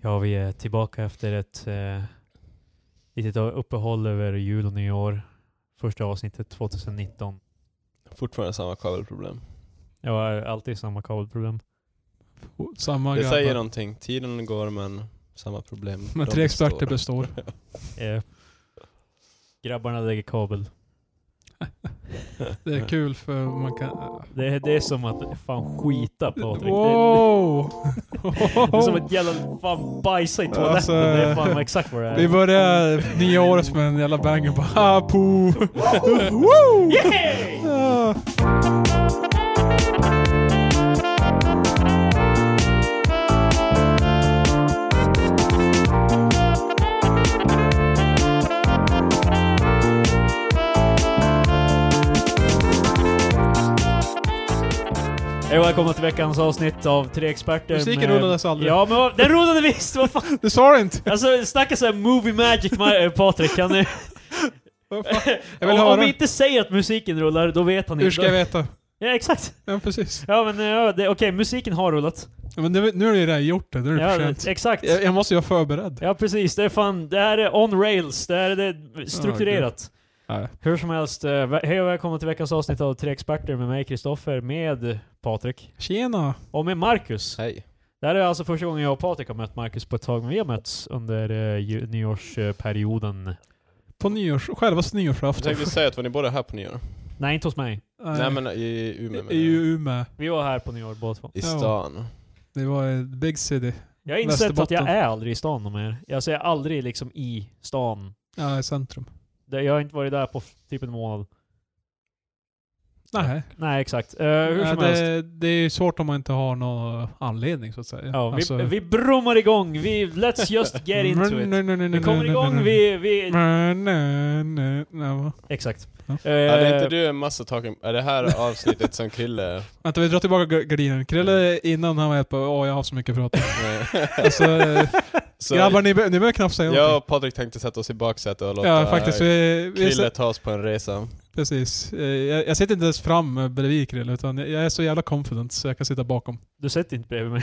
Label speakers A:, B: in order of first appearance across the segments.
A: Ja, vi är tillbaka efter ett eh, litet uppehåll över jul och nyår. Första avsnittet 2019.
B: Fortfarande samma kabelproblem.
A: Ja, alltid samma kabelproblem.
C: Samma
B: Det säger
C: grabbar.
B: någonting. Tiden går men samma problem.
C: Men
B: De
C: tre experter
B: består.
C: består.
A: Eh, grabbarna lägger kabel.
C: Det är kul för man kan...
A: Det, det är som att fan skita Patrik. Det, det
C: Wow!
A: är som att jävla fan bajsa i toaletten.
C: Alltså,
A: det är fan exakt vad det
C: Vi
A: är.
C: börjar nya året med en jävla banger bara ha po! Woo! Ah.
A: Hej och välkomna till veckans avsnitt av Tre Experter.
C: Musiken
A: med-
C: rullades aldrig.
A: Ja, men vad- den rullade visst! Vad fan?
C: Du sa det inte!
A: Alltså, snacka såhär movie magic Ma- eh, Patrik. Han är...
C: Vad fan? Jag
A: om,
C: vill
A: om vi
C: höra.
A: inte säger att musiken rullar, då vet han
C: Hur
A: inte.
C: ska jag veta?
A: Ja, exakt.
C: Ja precis.
A: Ja, men eh, ja, det- okej, musiken har rullat.
C: Ja, Men nu, nu är det redan gjort det, nu är det för
A: Ja,
C: sent.
A: exakt.
C: Jag, jag måste ju vara förberedd.
A: Ja, precis. Det är fan, det här är on rails. Det här är det strukturerat.
C: Ja.
A: Hur som helst, eh, vä- hej och välkomna till veckans avsnitt av Tre Experter med mig, Kristoffer, med Patrik
C: Tjena!
A: och med Marcus.
B: Hej.
A: Det här är alltså första gången jag och Patrik har mött Marcus på ett tag, men vi har mötts under eh, ju- nyårsperioden.
C: På nyårs... Självaste
B: Jag
C: nyårsafton.
B: tänkte säga att var ni båda här på nyår?
A: Nej, inte hos mig.
B: Nej men i Umeå menar
C: I
B: jag.
C: EU med.
A: Vi var här på nyår båda två.
B: I
C: Ja.
B: stan.
C: Det var eh, big city.
A: Jag har insett att
C: Västerbotten.
A: jag är aldrig i stan om er. Alltså jag är aldrig liksom i stan.
C: Ja, i centrum.
A: Det- Jag har inte varit där på f- typ en månad.
C: Nej.
A: Nej, exakt. Eh, hur
C: Nej,
A: som helst.
C: det, det är ju svårt om man inte har någon anledning så att säga. Alltså-
A: Ja, vi, vi brummar igång. Vi, let's just get
C: Mm,
A: into it. Vi kommer igång, vi... vi exakt.
C: Ja.
A: Eh,
B: Hade inte du en massa taken... Är det här avsnittet som Krille...
C: Vänta, vi drar tillbaka gar- gardinen. Krille innan han var helt på åh jag har haft så mycket att prata om."
B: Nej.
C: alltså, eh,
B: Så
C: Grabbar, ni, be- ni behöver knappt säga
B: Jag
C: någonting.
B: och Patrik tänkte sätta oss i baksätet och låta
C: Ja, faktiskt. Vi, vi,
B: Krille ta oss på en resa.
C: precis. Eh, Jag, jag sitter inte ens fram eh, bredvid Krille, utan jag jag är så jävla confident så jag kan sitta bakom.
A: Du sitter inte bredvid mig.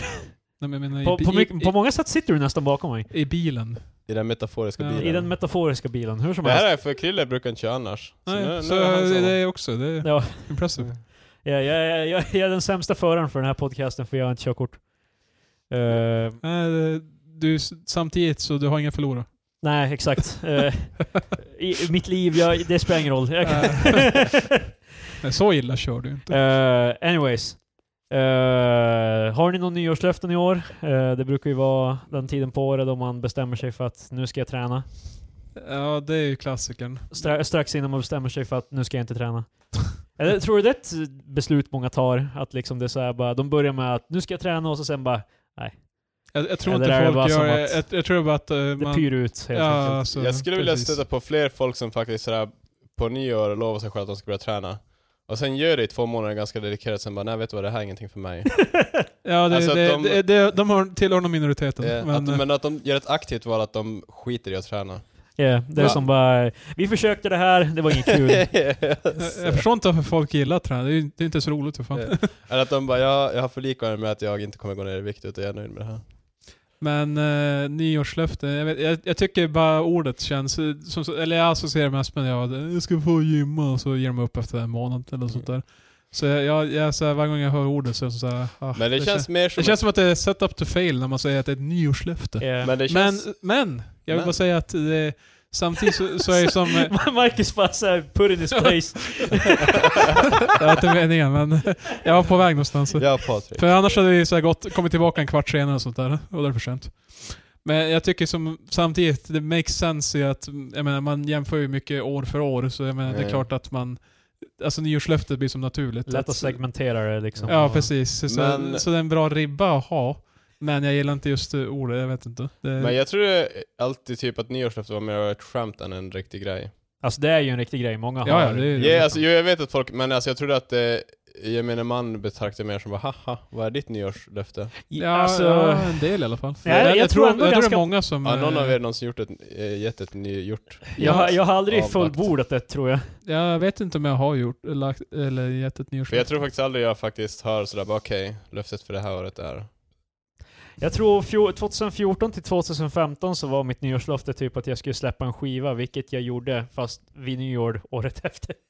C: Nej, men jag menar, i
A: På,
C: bi-
A: på,
C: i-
A: mycket, på många sätt sitter du nästan bakom mig.
C: I, I bilen.
B: I den metaforiska
C: Ja.
B: bilen.
A: I den metaforiska bilen. Hur som
B: det här
A: helst.
B: är för Krille brukar inte köra annars.
C: Nej, så,
B: nu, nu är han
C: det,
B: samma.
C: det är också. Det är
A: Ja,
C: impressive.
A: ja, jag, jag, jag, jag är den sämsta föraren för den här podcasten för jag har inte körkort. Eh,
C: Nej, det- du, samtidigt så du har inga förlorare.
A: nej, exakt. Eh, i, i mitt liv, jag, det spelar ingen roll. Jag kan-
C: Nej, Eh, så illa kör du inte.
A: Eh, anyways. Eh, har ni någon nyårslöften i år? Eh, det brukar ju vara den tiden på året då man bestämmer sig för att nu ska jag träna.
C: Ja, det är ju klassikern.
A: Stra- strax innan man bestämmer sig för att nu ska jag inte träna. Eller, tror du det är ett beslut många tar? Att liksom det är så här bara, de börjar med att nu ska jag träna och så sen bara,
C: Jag, jag tror
A: Eller är
C: inte
A: det bara
C: folk gör
A: som
C: det.
A: att-
C: Jag, jag tror bara att eh,
A: det
C: man...
A: pyr ut helt enkelt.
C: alltså,
B: jag skulle vilja
C: precis.
B: stöta på fler folk som faktiskt sådär på nyår lovar sig själva att de ska börja träna. Och sen gör det i två månader ganska dedikerat, sen bara nej vet du vad, det här är ingenting för mig.
C: Ja, det,
B: Alltså att
C: det,
B: de-
C: de... Det, det, de har, tillhör nog minoriteten.
B: Eh,
C: men,
B: att,
C: eh,
B: men att de gör ett aktivt val att de skiter i att träna.
A: Yeah, det är
B: Va?
A: som bara, vi försökte det här, det var inget kul.
C: Eh, jag, jag förstår inte varför folk gillar att träna. Det är, ju- det är inte så roligt för fan.
B: Eh, Eller att de bara, jag, jag har förlikat mig med att jag inte kommer gå ner i vikt utan jag är nöjd med det här.
C: Men eh, nyårslöfte, jag, vet, jag, jag tycker bara ordet känns... eh, Som, så- eller jag associerar mest med det, ja, det, jag ska få gymma och så ger de upp efter en månad eller sånt
B: Mm.
C: där. Så jag, jag, jag, så här, varje gång jag hör ordet så är det så här, ah,
B: Men det, känns
C: kän-
B: mer som...
C: det känns som att det är set up to fail när man säger att det är ett nyårslöfte.
A: Yeah.
B: men det
C: Men,
B: känns...
C: men, jag vill
B: Men.
C: bara säga att det, samtidigt så, så är det som... eh,
A: Marcus bara såhär, put in his place.
C: Jag var inte meningen, men jag var på väg någonstans.
B: Ja Patrik.
C: För annars hade vi så här gått, kommit tillbaka en kvart senare och sånt där, och då är det för sent. Men jag tycker som, samtidigt, det makes sense i att, jag menar, man jämför ju mycket år för år, så jag menar, det
B: Mm.
C: är klart att man, alltså nyårslöftet blir som naturligt.
A: Lätt att segmentera det liksom.
C: Ja, precis. Så,
B: Men-
C: så det är en bra ribba att ha, men jag gillar inte just eh, ordet, jag vet inte. Det,
B: Men jag tror det alltid typ att nyårslöften var mer ett skämt än en riktig grej.
A: Alltså det är ju en riktig grej, många har...
C: ja, ja, det är
B: Ja, alltså, jo, jag vet att folk, men alltså, jag trodde att eh, gemene man betraktar det mer som bara haha, vad är ditt nyårslöfte?
C: Ja,
A: alltså,
C: ja, en del i alla fall.
A: Nej, jag tror ändå
C: jag tror det
A: ganska-
C: är många som...
B: Ja, någon
C: eh,
B: av er någonsin gjort ett, eh, gett ett nygjort? Alltså,
A: Jag, jag har aldrig
B: Avvakt.
A: fullbordat det tror jag.
C: Jag vet inte om jag har gjort, lagt, eller gett ett
B: För jag
C: nyårslöfte.
B: tror faktiskt aldrig jag faktiskt hör sådär bara okej, löftet för det här året är...
A: Jag tror fjo- 2014 till 2015 så var mitt nyårslöfte typ att jag skulle släppa en skiva, vilket jag gjorde fast vid nyår året efter.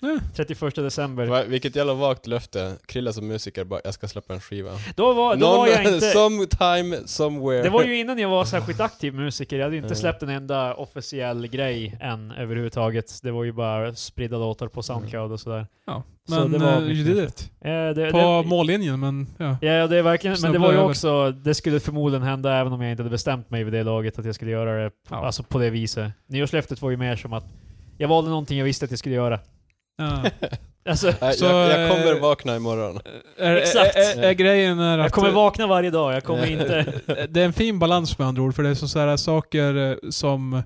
C: Ja.
A: 31 december.
B: Va- Vilket jävla vagt löfte. Krilla som musiker bara, jag ska släppa en skiva.
A: Då var, då var jag inte...
B: sometime, somewhere.
A: Det var ju innan jag var särskilt aktiv musiker, jag hade ju inte
B: Mm.
A: släppt en enda officiell grej än överhuvudtaget. Det var ju bara spridda låtar på Soundcloud och sådär.
C: Ja.
A: Så
C: Men
A: det var
C: eh,
A: mitt
C: you did it.
A: Eh, det,
C: På
A: det,
C: mållinjen, men ja.
A: Ja, det är verkligen, men det var ju
C: Snubbla
A: också,
C: över.
A: det skulle förmodligen hända även om jag inte hade bestämt mig vid det laget att jag skulle göra det
C: Ja.
A: alltså på det viset. Nyårslöftet var ju mer som att jag valde någonting jag visste att jag skulle göra.
C: ja.
A: Alltså,
B: Nej,
C: Så,
B: jag, jag kommer
C: eh,
B: vakna imorgon.
C: Är,
A: Exakt.
C: Är, är, är grejen är att... eh,
A: jag kommer vakna varje dag, jag kommer inte...
C: Det är en fin balans med andra ord, för det är så så här saker eh, som är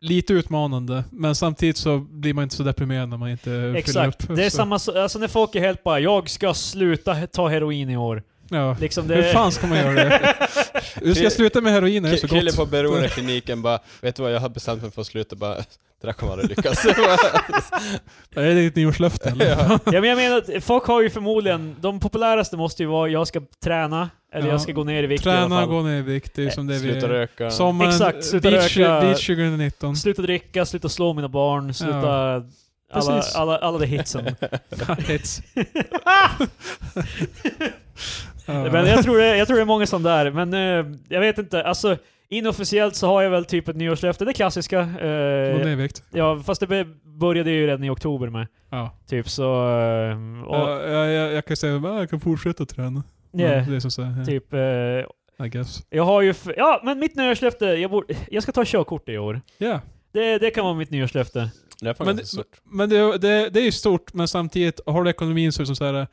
C: lite utmanande, men samtidigt så blir man inte så deprimerad när man inte fyller upp.
A: Exakt. Det är
C: så,
A: samma så- alltså när folk är helt bara 'Jag ska sluta he- ta heroin i år'
C: Ja.
A: Liksom det...
C: Hur fan ska man göra det? Du ska sluta med heroin, det är så
B: Ki- Kille
C: gott.
B: på beroendekliniken bara, vet du vad jag har bestämt mig för att sluta bara, det där kommer aldrig lyckas.
C: Är det ditt nyårslöfte eller?
B: Ja.
A: Ja men jag menar att folk har ju förmodligen, de populäraste måste ju vara 'Jag ska träna' eller
C: Ja.
A: 'Jag ska gå ner i vikt' i alla
C: Träna,
A: fall.
C: gå ner i vikt, det är ju som det vi...
B: Sluta röka.
C: Sommaren,
A: Exakt, sluta
C: beach,
A: röka.
C: beach 2019.
A: Sluta dricka, sluta slå mina barn, sluta... Alla,
C: Precis.
A: alla, alla de hitsen.
C: Hits. Ja.
A: men jag tror, det, jag tror det är många sådana där, men eh, jag vet inte. Alltså, inofficiellt så har jag väl typ ett nyårslöfte, det klassiska.
C: Gå ner
A: Eh,
C: i vikt.
A: ja, fast det be- började jag ju redan i oktober med.
C: Ja.
A: Typ så... Eh, och,
C: Ja, jag, jag, jag kan säga att jag kan fortsätta träna. Men
A: yeah,
C: Det är som så här,
A: typ... Eh,
C: I guess.
A: jag har ju... f- Ja, men mitt nyårslöfte, jag, borde, jag ska ta körkort i år.
C: Ja.
A: Det, det kan vara mitt nyårslöfte.
B: Det är fan
C: Men,
B: ganska stort.
C: men det, det, det är ju stort, men samtidigt, har du ekonomin så är det som så här,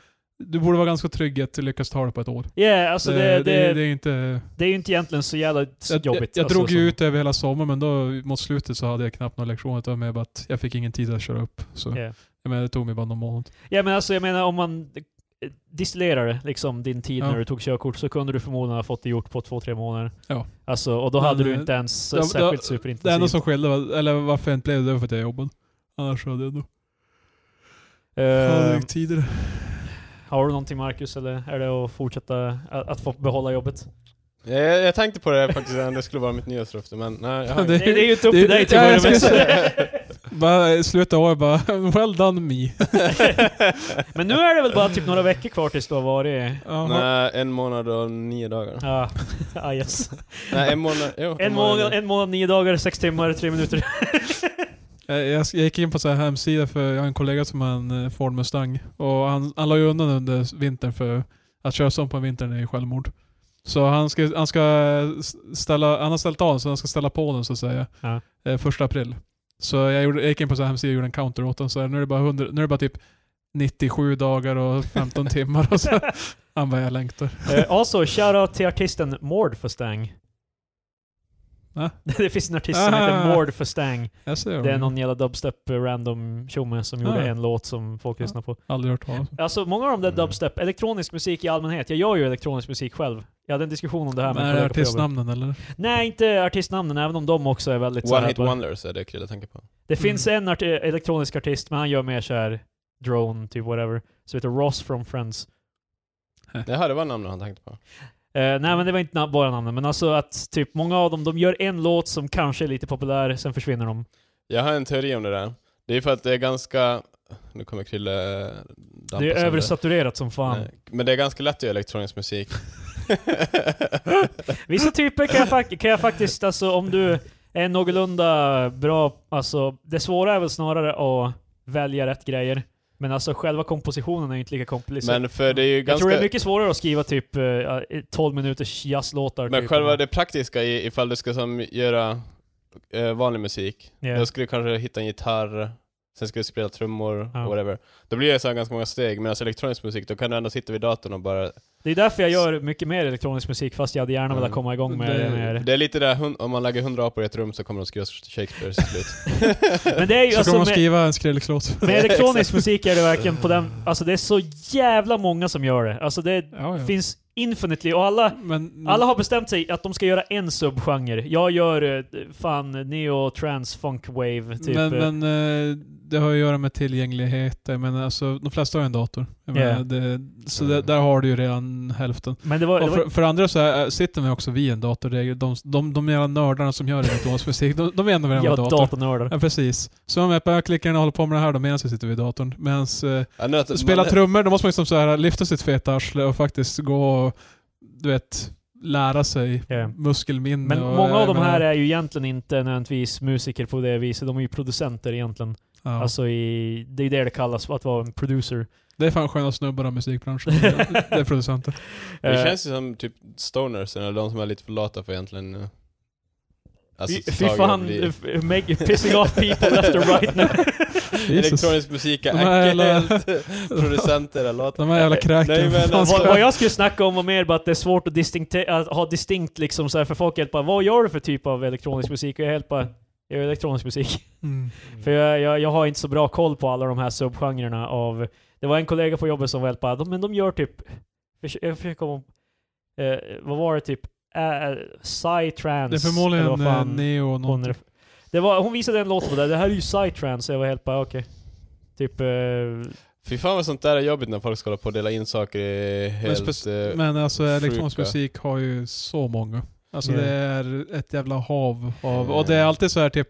C: du borde vara ganska trygg att lyckas ta det på ett år.
A: Yeah, alltså det, det, det,
C: är ju inte...
A: är ju inte egentligen så jävla
C: Jag, jag,
A: jobbigt.
C: jag
A: alltså,
C: drog ju
A: som-
C: ut det över hela sommaren, men då mot slutet så hade jag knappt några lektioner. Utan med bara att jag fick ingen tid att köra upp. Så
A: Yeah.
C: jag menar, det tog mig bara någon månad.
A: Ja men alltså jag menar om man eh, distillerar det, liksom din tid
C: Ja.
A: när du tog körkort så kunde du förmodligen ha fått det gjort på två, tre månader.
C: Ja.
A: Alltså, och då
C: Men,
A: hade du
C: eh,
A: inte ens
C: det- det-
A: särskilt
C: Det enda
A: superintensivt.
C: som skilde, var- eller varför jag inte blev det, var för att jag jobbade. Annars hade jag nog...
A: Eh, Ehm.
C: Hade jag tidigare.
A: har du någonting Marcus, eller är det att fortsätta att, att få behålla jobbet?
B: Jag, jag tänkte på det faktiskt, det skulle vara mitt nyårslöfte, men nej. Jag har
A: Det,
B: inget.
A: det är ju inte upp
C: det-
A: till dig till
C: ja,
A: att
C: jag
A: börja
C: skulle
A: med.
C: Bara sluta året bara, well done me.
A: Men nu är det väl bara typ några veckor kvar tills du har varit...
C: Ja.
B: nej, en månad och nio dagar.
A: Ja, ah, yes.
B: Nej, en månad, jo,
A: En månad, en månad, nio dagar, sex timmar, tre minuter.
C: Jag, Eh, jag, jag gick in på så här hemsida för jag har en kollega som har en eh, Ford Mustang. Och han, han la ju undan under vintern för att köra sånt på vintern är ju självmord. Så han ska, han ska s- ställa, han har ställt av den så han ska ställa på den så att säga.
A: Ja.
C: Eh, första april. Så jag, gjorde, jag gick in på så här hemsida och gjorde en counter åt den. Så här, nu, är det bara 100, nu är det bara typ 97 dagar och 15 timmar. Och så. Han bara, jag längtar.
A: Eh, Also, shoutout till artisten Mord för Stang.
C: Va?
A: det finns en artist som heter
C: Ah.
A: Mord för Stang.
C: Jag ser
A: Det är
C: honom.
A: någon jävla dubstep eh, random tjomme som gjorde
C: Ah.
A: en låt som folk lyssnar på.
C: Aldrig hört talas om.
A: Alltså många av de där
B: Mm.
A: dubstep, elektronisk musik i allmänhet, jag gör ju elektronisk musik själv. Jag hade en diskussion om det här
C: Men
A: med en
C: är det
A: kollega på Alltså, jobbet.
C: artistnamnen eller?
A: Nej, inte artistnamnen, även om de också är väldigt så
B: One
A: här
B: hit
A: bara-
B: wonders är det Krille tänker på.
A: Det finns
C: Mm.
A: en art- elektronisk artist, men han gör mer så här drone, typ whatever. Så heter Ross from Friends.
B: Det här det var namnet han tänkte på.
A: Eh, nej men det var inte na- bara namnen, men alltså att typ många av dem, de gör en låt som kanske är lite populär, sen försvinner de.
B: Jag har en teori om det där. Det är för att det är ganska... Nu kommer Krille... eh, dampa
A: Det är
B: sönder.
A: översaturerat som fan.
B: Nej, Men det är ganska lätt att göra elektronisk musik.
A: Vissa typer kan jag, fak- kan jag faktiskt, alltså om du är någorlunda bra, alltså det svåra är väl snarare att välja rätt grejer. Men alltså själva kompositionen är ju inte lika komplicerad.
B: Men för det är ju
A: jag tror det är
B: ganska...
A: mycket svårare att skriva typ eh, 12 minuters jazzlåtar.
B: Men
A: typ.
B: själva det praktiska i, ifall du ska som göra eh, vanlig musik.
A: Ja.
B: Då skulle du kanske hitta en gitarr, sen skulle du spela trummor,
A: Ja.
B: whatever. Då blir det så här ganska många steg. Medan elektronisk musik, då kan du ändå sitta vid datorn och bara...
A: Det är därför jag gör mycket mer elektronisk musik, fast jag hade gärna velat
B: Mm.
A: komma igång med det
C: Det-
A: mer.
B: Det är lite där, hun- om man lägger hundra apor i ett rum så kommer de skriva Shakespeare till slut.
A: Men det är ju
C: Så
A: alltså
C: kommer de
A: med,
C: skriva en Skrillex-låt.
A: med elektronisk musik är det verkligen på den, alltså det är så jävla många som gör det. Alltså det
C: Ja, ja.
A: finns infinitely, och alla
C: Men,
A: Mm. Alla har bestämt sig att de ska göra en subgenre. Jag gör eh, fan neo trans funk wave typ.
C: men,
A: eh,
C: men eh, det har ju att göra med tillgänglighet. Men alltså, de flesta har ju en dator. Jag
A: Ja.
C: menar, det, så
B: Mm.
C: där- där har du ju redan den hälften.
A: Men det var... Det
C: Och
A: var
C: för, för andra så här, äh, sitter man också vid en dator. Det är De, de, de jävla nördarna som gör elektronisk musik, de, de är ändå vid en
A: ja,
C: dator. dator.
A: datornördar.
C: Ja, precis. Så om jag bara klickar in och håller på med det här då medan jag sitter vid datorn. Medan eh,
B: Ja, nu att-
C: spela
B: man-
C: trummor, då måste man liksom så här lyfta sitt feta arsle och faktiskt gå och, du vet, lära sig
A: Ja.
C: muskelminne.
A: Men
C: och,
A: många av
C: jag
A: de här
C: menar,
A: är ju egentligen inte nödvändigtvis musiker på det viset. De är ju producenter egentligen.
C: ja.
A: Alltså i... Det är ju det det kallas, att vara en producer.
C: Det är fan sköna snubbar av musikbranschen. det är producenter.
A: Eh,
B: Det känns ju som typ stoners, eller de som är lite för lata för egentligen... eh,
A: Fy
B: ta
A: fy
B: tag i
A: fan, eh,
B: och bli-
A: f- make, pissing off people left and right nu.
C: Jesus.
B: Elektronisk musik är
C: De här jävla-
B: äckligt. Producenter är lata.
C: De här jävla
B: Nej,
C: kräken.
B: men-
C: Fan,
A: Vad,
C: ska-
A: vad jag skulle snacka om var mer bara att det är svårt att, distinkte- att ha distinkt liksom så här, för folk är helt bara Vad gör du för typ av elektronisk musik? Och jag är helt bara Jag gör elektronisk musik.
C: Mm.
A: För jag, jag, jag har inte så bra koll på alla de här subgenrerna av Det var en kollega på jobbet som var helt bara "De- Men de gör typ förs- Jag försöker komma eh, Vad var det typ? Äh, Psytrance?
C: Det är
A: eller
C: förmodligen
A: vad
C: eh,
A: fan
C: neo
A: hon,
C: någonting.
A: det var, hon visade en låt på det, det här är ju Psytrance, jag var helt bara okej. Typ... eh,
B: Fy fan vad sånt där är jobbigt när folk ska hålla på och dela in saker i helt...
C: spec-
B: eh,
C: Men alltså elektronisk
B: sjuka.
C: musik har ju så många. Alltså
A: Ja.
C: det är ett jävla hav av, och
B: Mm.
C: det är alltid så här typ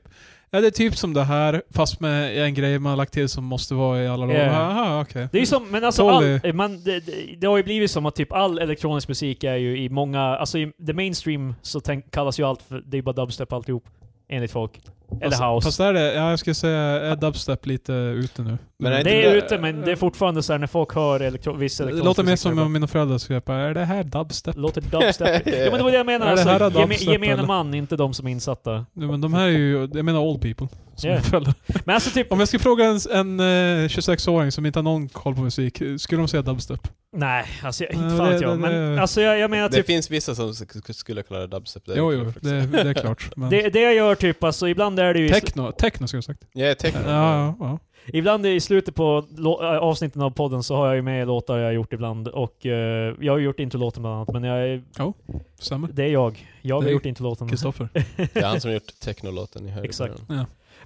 C: Ja det är typ som det här, fast med en grej man har lagt till som måste vara i alla låtar.
A: Ja.
C: Aha, okej.
A: Det är ju som, men alltså
C: Tolly.
A: all, man, det, det- det har ju blivit som att typ all elektronisk musik är ju i många, alltså i the mainstream så tänk, kallas ju allt för, det är bara dubstep alltihop. Enligt folk. Eller
C: fast,
A: house.
C: Fast där är det, ja, jag skulle säga är dubstep lite ute nu.
B: Men är
A: det
B: inte
A: är
B: det-
A: ute men det är fortfarande såhär när folk hör elektro, viss
C: Det
A: elektronisk
C: låter mer
A: musik, så är
C: som
A: det Mm.
C: om mina föräldrar skulle hjälpa. Är det här dubstep?
A: bara, Låter dubstep. ja men det var det jag menade,
C: Är det här
A: alltså, geme,
C: dubstep,
A: gemene
C: eller?
A: man, inte de som är insatta.
C: Ja, men de här är ju, jag menar old people. Som
A: Ja.
C: mina föräldrar.
A: Men alltså typ,
C: Om jag skulle fråga en, en eh, 26-åring som inte har någon koll på musik, skulle de säga dubstep?
A: nej, alltså jag, inte
C: Ja,
A: fan
C: det-
A: vet jag.
C: det-
A: Men
C: det-
A: alltså jag, jag menar
B: det
A: typ,
B: finns vissa som sk- skulle kalla det dubstep. det är
C: Jo,
B: ju
C: jo,
B: faktiskt.
C: det, det är klart. Men
A: det, det jag gör typ, alltså ibland är det ju... i sl-
C: techno, techno skulle jag sagt.
B: Jag är techno.
C: Ja, ja.
A: Ibland i slutet på lå- äh, avsnitten av podden så har jag ju med låtar jag har gjort ibland och eh, jag har ju gjort introlåten bland annat men jag, är-
C: Stämmer.
A: det är jag. Jag har
C: Det är
A: gjort introlåten.
C: Kristoffer.
B: Det är han som har gjort technolåten i höjden.
A: Exakt.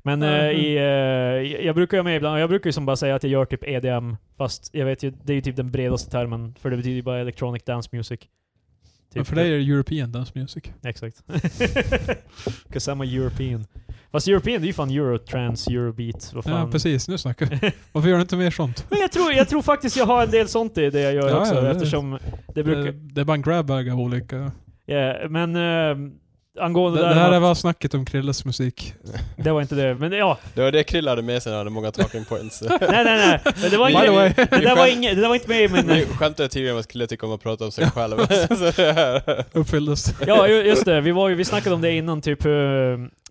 A: Men
C: Ja,
A: eh,
C: mm.
A: i, eh, jag brukar ju med ibland, och jag brukar ju som bara säga att jag gör typ EDM fast jag vet ju, det är ju typ den bredaste termen för det betyder ju bara Electronic Dance Music. Typ
C: Men för dig är det European Dance Music.
A: Exakt. 'Cause I'm a European. Fast European, det är ju fan Eurotrance, Eurobeat, vad fan.
C: Ja, precis. Nu snackar vi. Varför gör du inte mer sånt?
A: Men jag tror, jag tror faktiskt jag har en del sånt i det jag gör
C: Ja,
A: också
C: ja, det-
A: eftersom det
C: Eh,
A: brukar...
C: det är bara en grabbag av olika...
A: Ja, men eh, angående
C: Det,
A: det,
C: det här
A: där,
C: är
A: det, var...
C: bara snacket om Krilles musik.
A: inte det. Men ja,
B: Det var det Krill hade med sig när han hade många talking points.
A: nej nej nej. Men det, var
B: Vi-
C: By the
A: inget,
C: way.
B: vi-
A: det,
B: vi
A: där var
B: skämt-
A: inget, det där var inte med i min...
B: Vi skämtade tidigare om att Krille tycker om att prata om sig själv. Så det här-
C: Uppfylldes.
A: Ja ju- just det, vi, var ju, vi snackade om det innan typ, eh,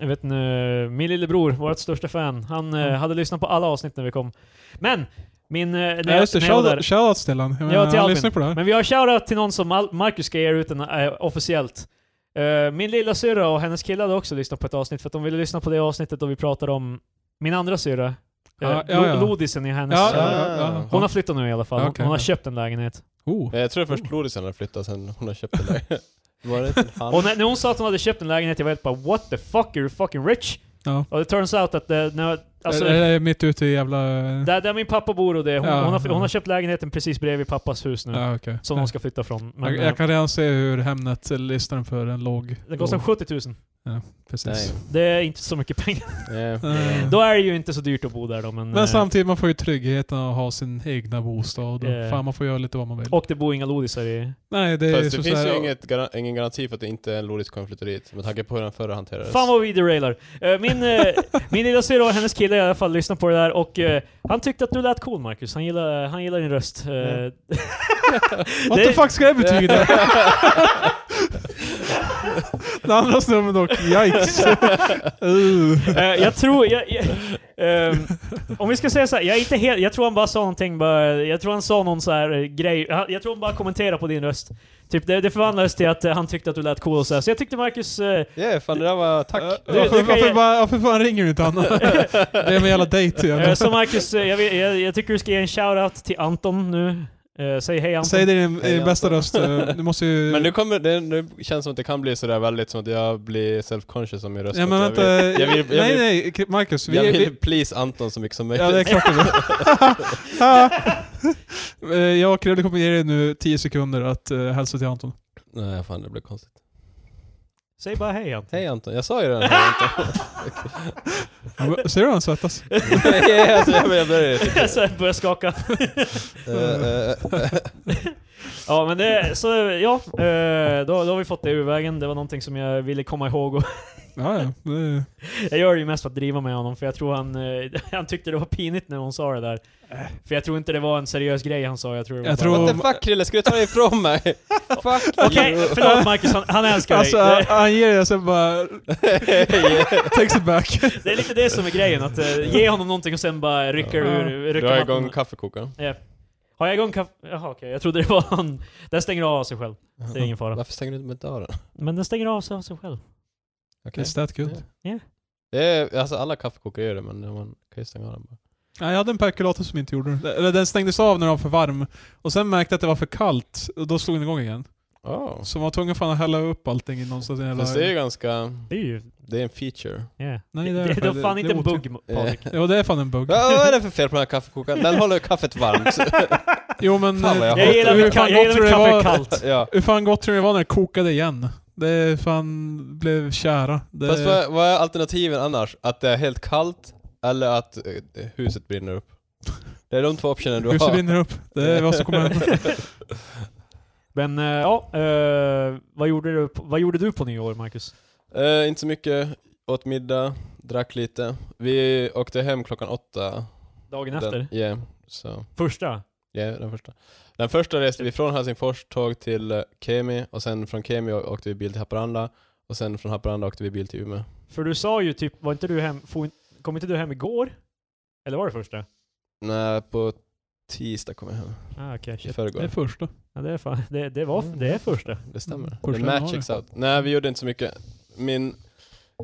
A: jag vet inte, eh, min lillebror, vårt största fan, han eh,
C: Mm.
A: hade lyssnat på alla avsnitt när vi kom. Men, min... eh, När
C: Ja, just det.
A: jag, när jag var där,
C: Shout- Shoutouts till han. Jag menar,
A: till
C: han
A: Albin.
C: lyssnar på det här.
A: men vi har shoutout till någon som Al- Marcus ska ge ut den eh, officiellt. Eh, min lilla syrra och hennes kille hade också lyssnat på ett avsnitt för att de ville lyssna på det avsnittet då vi pratade om min andra syrra. eh,
C: Ah, Ja, ja, ja.
A: Lo- Lodisen i hennes...
C: Ja, ja, ja, ja.
A: Hon har flyttat nu i alla fall. Hon-
C: Okej.
A: hon har köpt en lägenhet.
C: Oh.
B: Men jag tror först Lodisen hade flyttat sen hon har köpt det där. Var det inte en han?
A: Och när, när hon sa att hon hade köpt en lägenhet, jag var helt bara what the fuck, are you fucking rich?
C: Ja.
A: Och det turns out att det, när, alltså,
C: Alltså, är det mitt ute i jävla...
A: där, där min pappa bor och det, hon,
C: Ja,
A: hon, har,
C: ja.
A: hon har köpt lägenheten precis bredvid pappas hus nu.
C: Ja, okej.
A: Som de ska flytta från. Men,
C: jag,
A: eh,
C: jag kan redan se hur Hemnet listar den för en låg...
A: det kostar
C: låg-
A: 70 000.
C: Precis.
A: Det är inte så mycket pengar.
B: Nej.
C: Eh,
A: Då är det ju inte så dyrt att bo där då, men... eh,
C: Men samtidigt, man får ju tryggheten att ha sin egna bostad. Och
A: Eh.
C: Fan, man får göra lite vad man vill.
A: Och det bor inga lodisar i...
C: Nej, det är
B: Fast
C: så
B: det finns
C: så här-
B: ju inget, garan- ingen garanti för att det inte är en lodis som kommer flytta dit. Med tanke på hur den förra hanterades.
A: Fan vad vi derailar. Eh, Min, eh, min lilla syrra och hennes kille i alla fall lyssnade på det där och eh, han tyckte att du lät cool Marcus. Han gillar, han gillar din röst. Eh,
B: Mm.
C: What
A: Det-
C: the fuck ska det betyda? Den andra snubben dock, yikes. Uh.
A: Eh, jag tror... Jag, jag, ehm, om vi ska säga så här, jag är inte helt... Jag tror han bara sa någonting bara, Jag tror han sa någon så här eh, grej. Han- Jag tror han bara kommenterade på din röst. Typ det, det förvandlades till att eh, han tyckte att du lät cool och så, här. så jag tyckte Marcus... eh,
B: Ja, fan det där var... Tack!
C: Varför,
A: du kan
C: varför,
A: ge-
C: bara, varför fan ringer du inte Anna? Det är med jävla dejt igen.
A: eh, så Marcus, eh, jag, vill- jag, jag tycker du ska ge en shout-out till Anton nu. Eh, säg hej Anton.
C: Säg det i din
B: Hej,
C: i din bästa
B: Anton.
C: röst. eh, Du måste ju...
B: Men nu kommer det, nu känns som att det kan bli sådär väldigt som att jag blir self-conscious om min röst.
C: ja,
B: att
C: men
B: jag
C: vänta.
B: vill- Jag vill, jag
C: nej,
B: vill,
C: nej, K- Marcus. Vi,
B: jag
C: vi,
B: vill please Anton så mycket som möjligt.
C: ja, det är klart du vill. Eh, jag och Krille kommer ge dig nu 10 sekunder att uh, hälsa till Anton.
B: Nej fan det blev konstigt.
A: Säg bara hej Anton.
B: Hej Anton, jag sa ju redan hej Anton.
C: Ja, Ser du hur han svettas?
B: Nej, alltså, jag börjar- jag börjar typ.
A: så jag börjar skaka.
B: Eh, eh, eh.
A: Ja men det, så ja, eh, då, då har vi fått det ur vägen. Det var någonting som jag ville komma ihåg. Och
C: Ja, ja. Det är...
A: jag gör det ju mest för att driva med honom, för jag tror han, eh, han tyckte det var pinigt när hon sa det där.
B: Äh.
A: För jag tror inte det var en seriös grej han sa, jag tror det var
C: Jag
A: bara-
C: tror-
B: What the fuck Krille, ska du ta dig ifrån mig? fuck
A: Okej,
B: you.
A: förlåt Marcus, han, han älskar
C: Alltså,
A: dig.
C: han- han ger dig och sen bara... Takes it back.
A: Det, det är lite det som är grejen, att eh, ge honom någonting och sen bara rycker
C: Ja.
A: ur... Rycker
B: Dra
A: mattan.
B: igång kaffekokaren.
A: Har jag igång kaff... Jaha okej, jag trodde det var han... Den stänger av sig själv. Det är ingen fara.
B: Varför stänger du inte med dörren?
A: Men den stänger av sig av sig själv.
B: Okej.
C: Is that good?
B: Ja.
A: Ja.
B: Det är, alltså alla kaffekokare gör det men man kan ju stänga av den bara.
C: Nej, jag hade en perkulator som inte gjorde det. Eller den stängdes av när den var för varm. Och sen märkte jag att det var för kallt. Och då slog den igång igen.
B: Oh.
C: Så man var tvungen fan att hälla upp allting i någonstans i en jävla...
B: Fast det är ju ganska,
A: Det är ju...
B: det är en feature.
A: Yeah.
C: Nej,
A: det,
C: det
A: det,
C: är
A: det,
C: fan-
A: var fan
C: det-
A: inte
C: det
A: en
C: är
A: bugg Patrik.
B: Eh.
C: Jo, det är fan en bug.
B: Vad vad är det för fel på den här kaffekokaren? Den håller kaffet varmt.
C: Jo men...
B: Fan, vad jag
C: eh,
A: Jag gillar
B: hatar-
C: hur
A: mitt
C: fan
A: ka- jag gillar
C: gott tror
A: mitt kaffe
C: det var-
A: kallt.
B: ja.
C: Hur fan gott tror ni det var när det kokade igen? Det fan blev kära. Det...
B: Fast vad, vad är alternativen annars? Att det är helt kallt eller att eh, huset brinner upp? Det är de två optionerna du
C: Huset
B: har.
C: brinner upp. Det är vad som kommer hända.
A: Men eh, ja, eh, vad, gjorde du, på- vad gjorde du på nyår Marcus?
B: Eh, inte så mycket. Åt middag, drack lite. Vi åkte hem klockan åtta.
A: Dagen
B: Den,
A: efter?
B: yeah, så,
A: Första?
B: yeah, den första. Den första reste vi från Helsingfors tåg till eh, Kemi och sen från Kemi å- åkte vi bil till Haparanda och sen från Haparanda åkte vi bil till Umeå.
A: För du sa ju typ, var inte du hem, for, kom inte du hem igår? Eller var det första?
B: Nej, på tisdag kom jag hem.
A: Ah, okej.
B: I
A: shit.
C: Det är
B: förrgår.
C: första.
A: ja, det är fan, det, det, var, det är första.
B: Mm. Det stämmer.
C: Första
B: The
C: januari.
B: match checks out. Nej, vi gjorde inte så mycket. Min,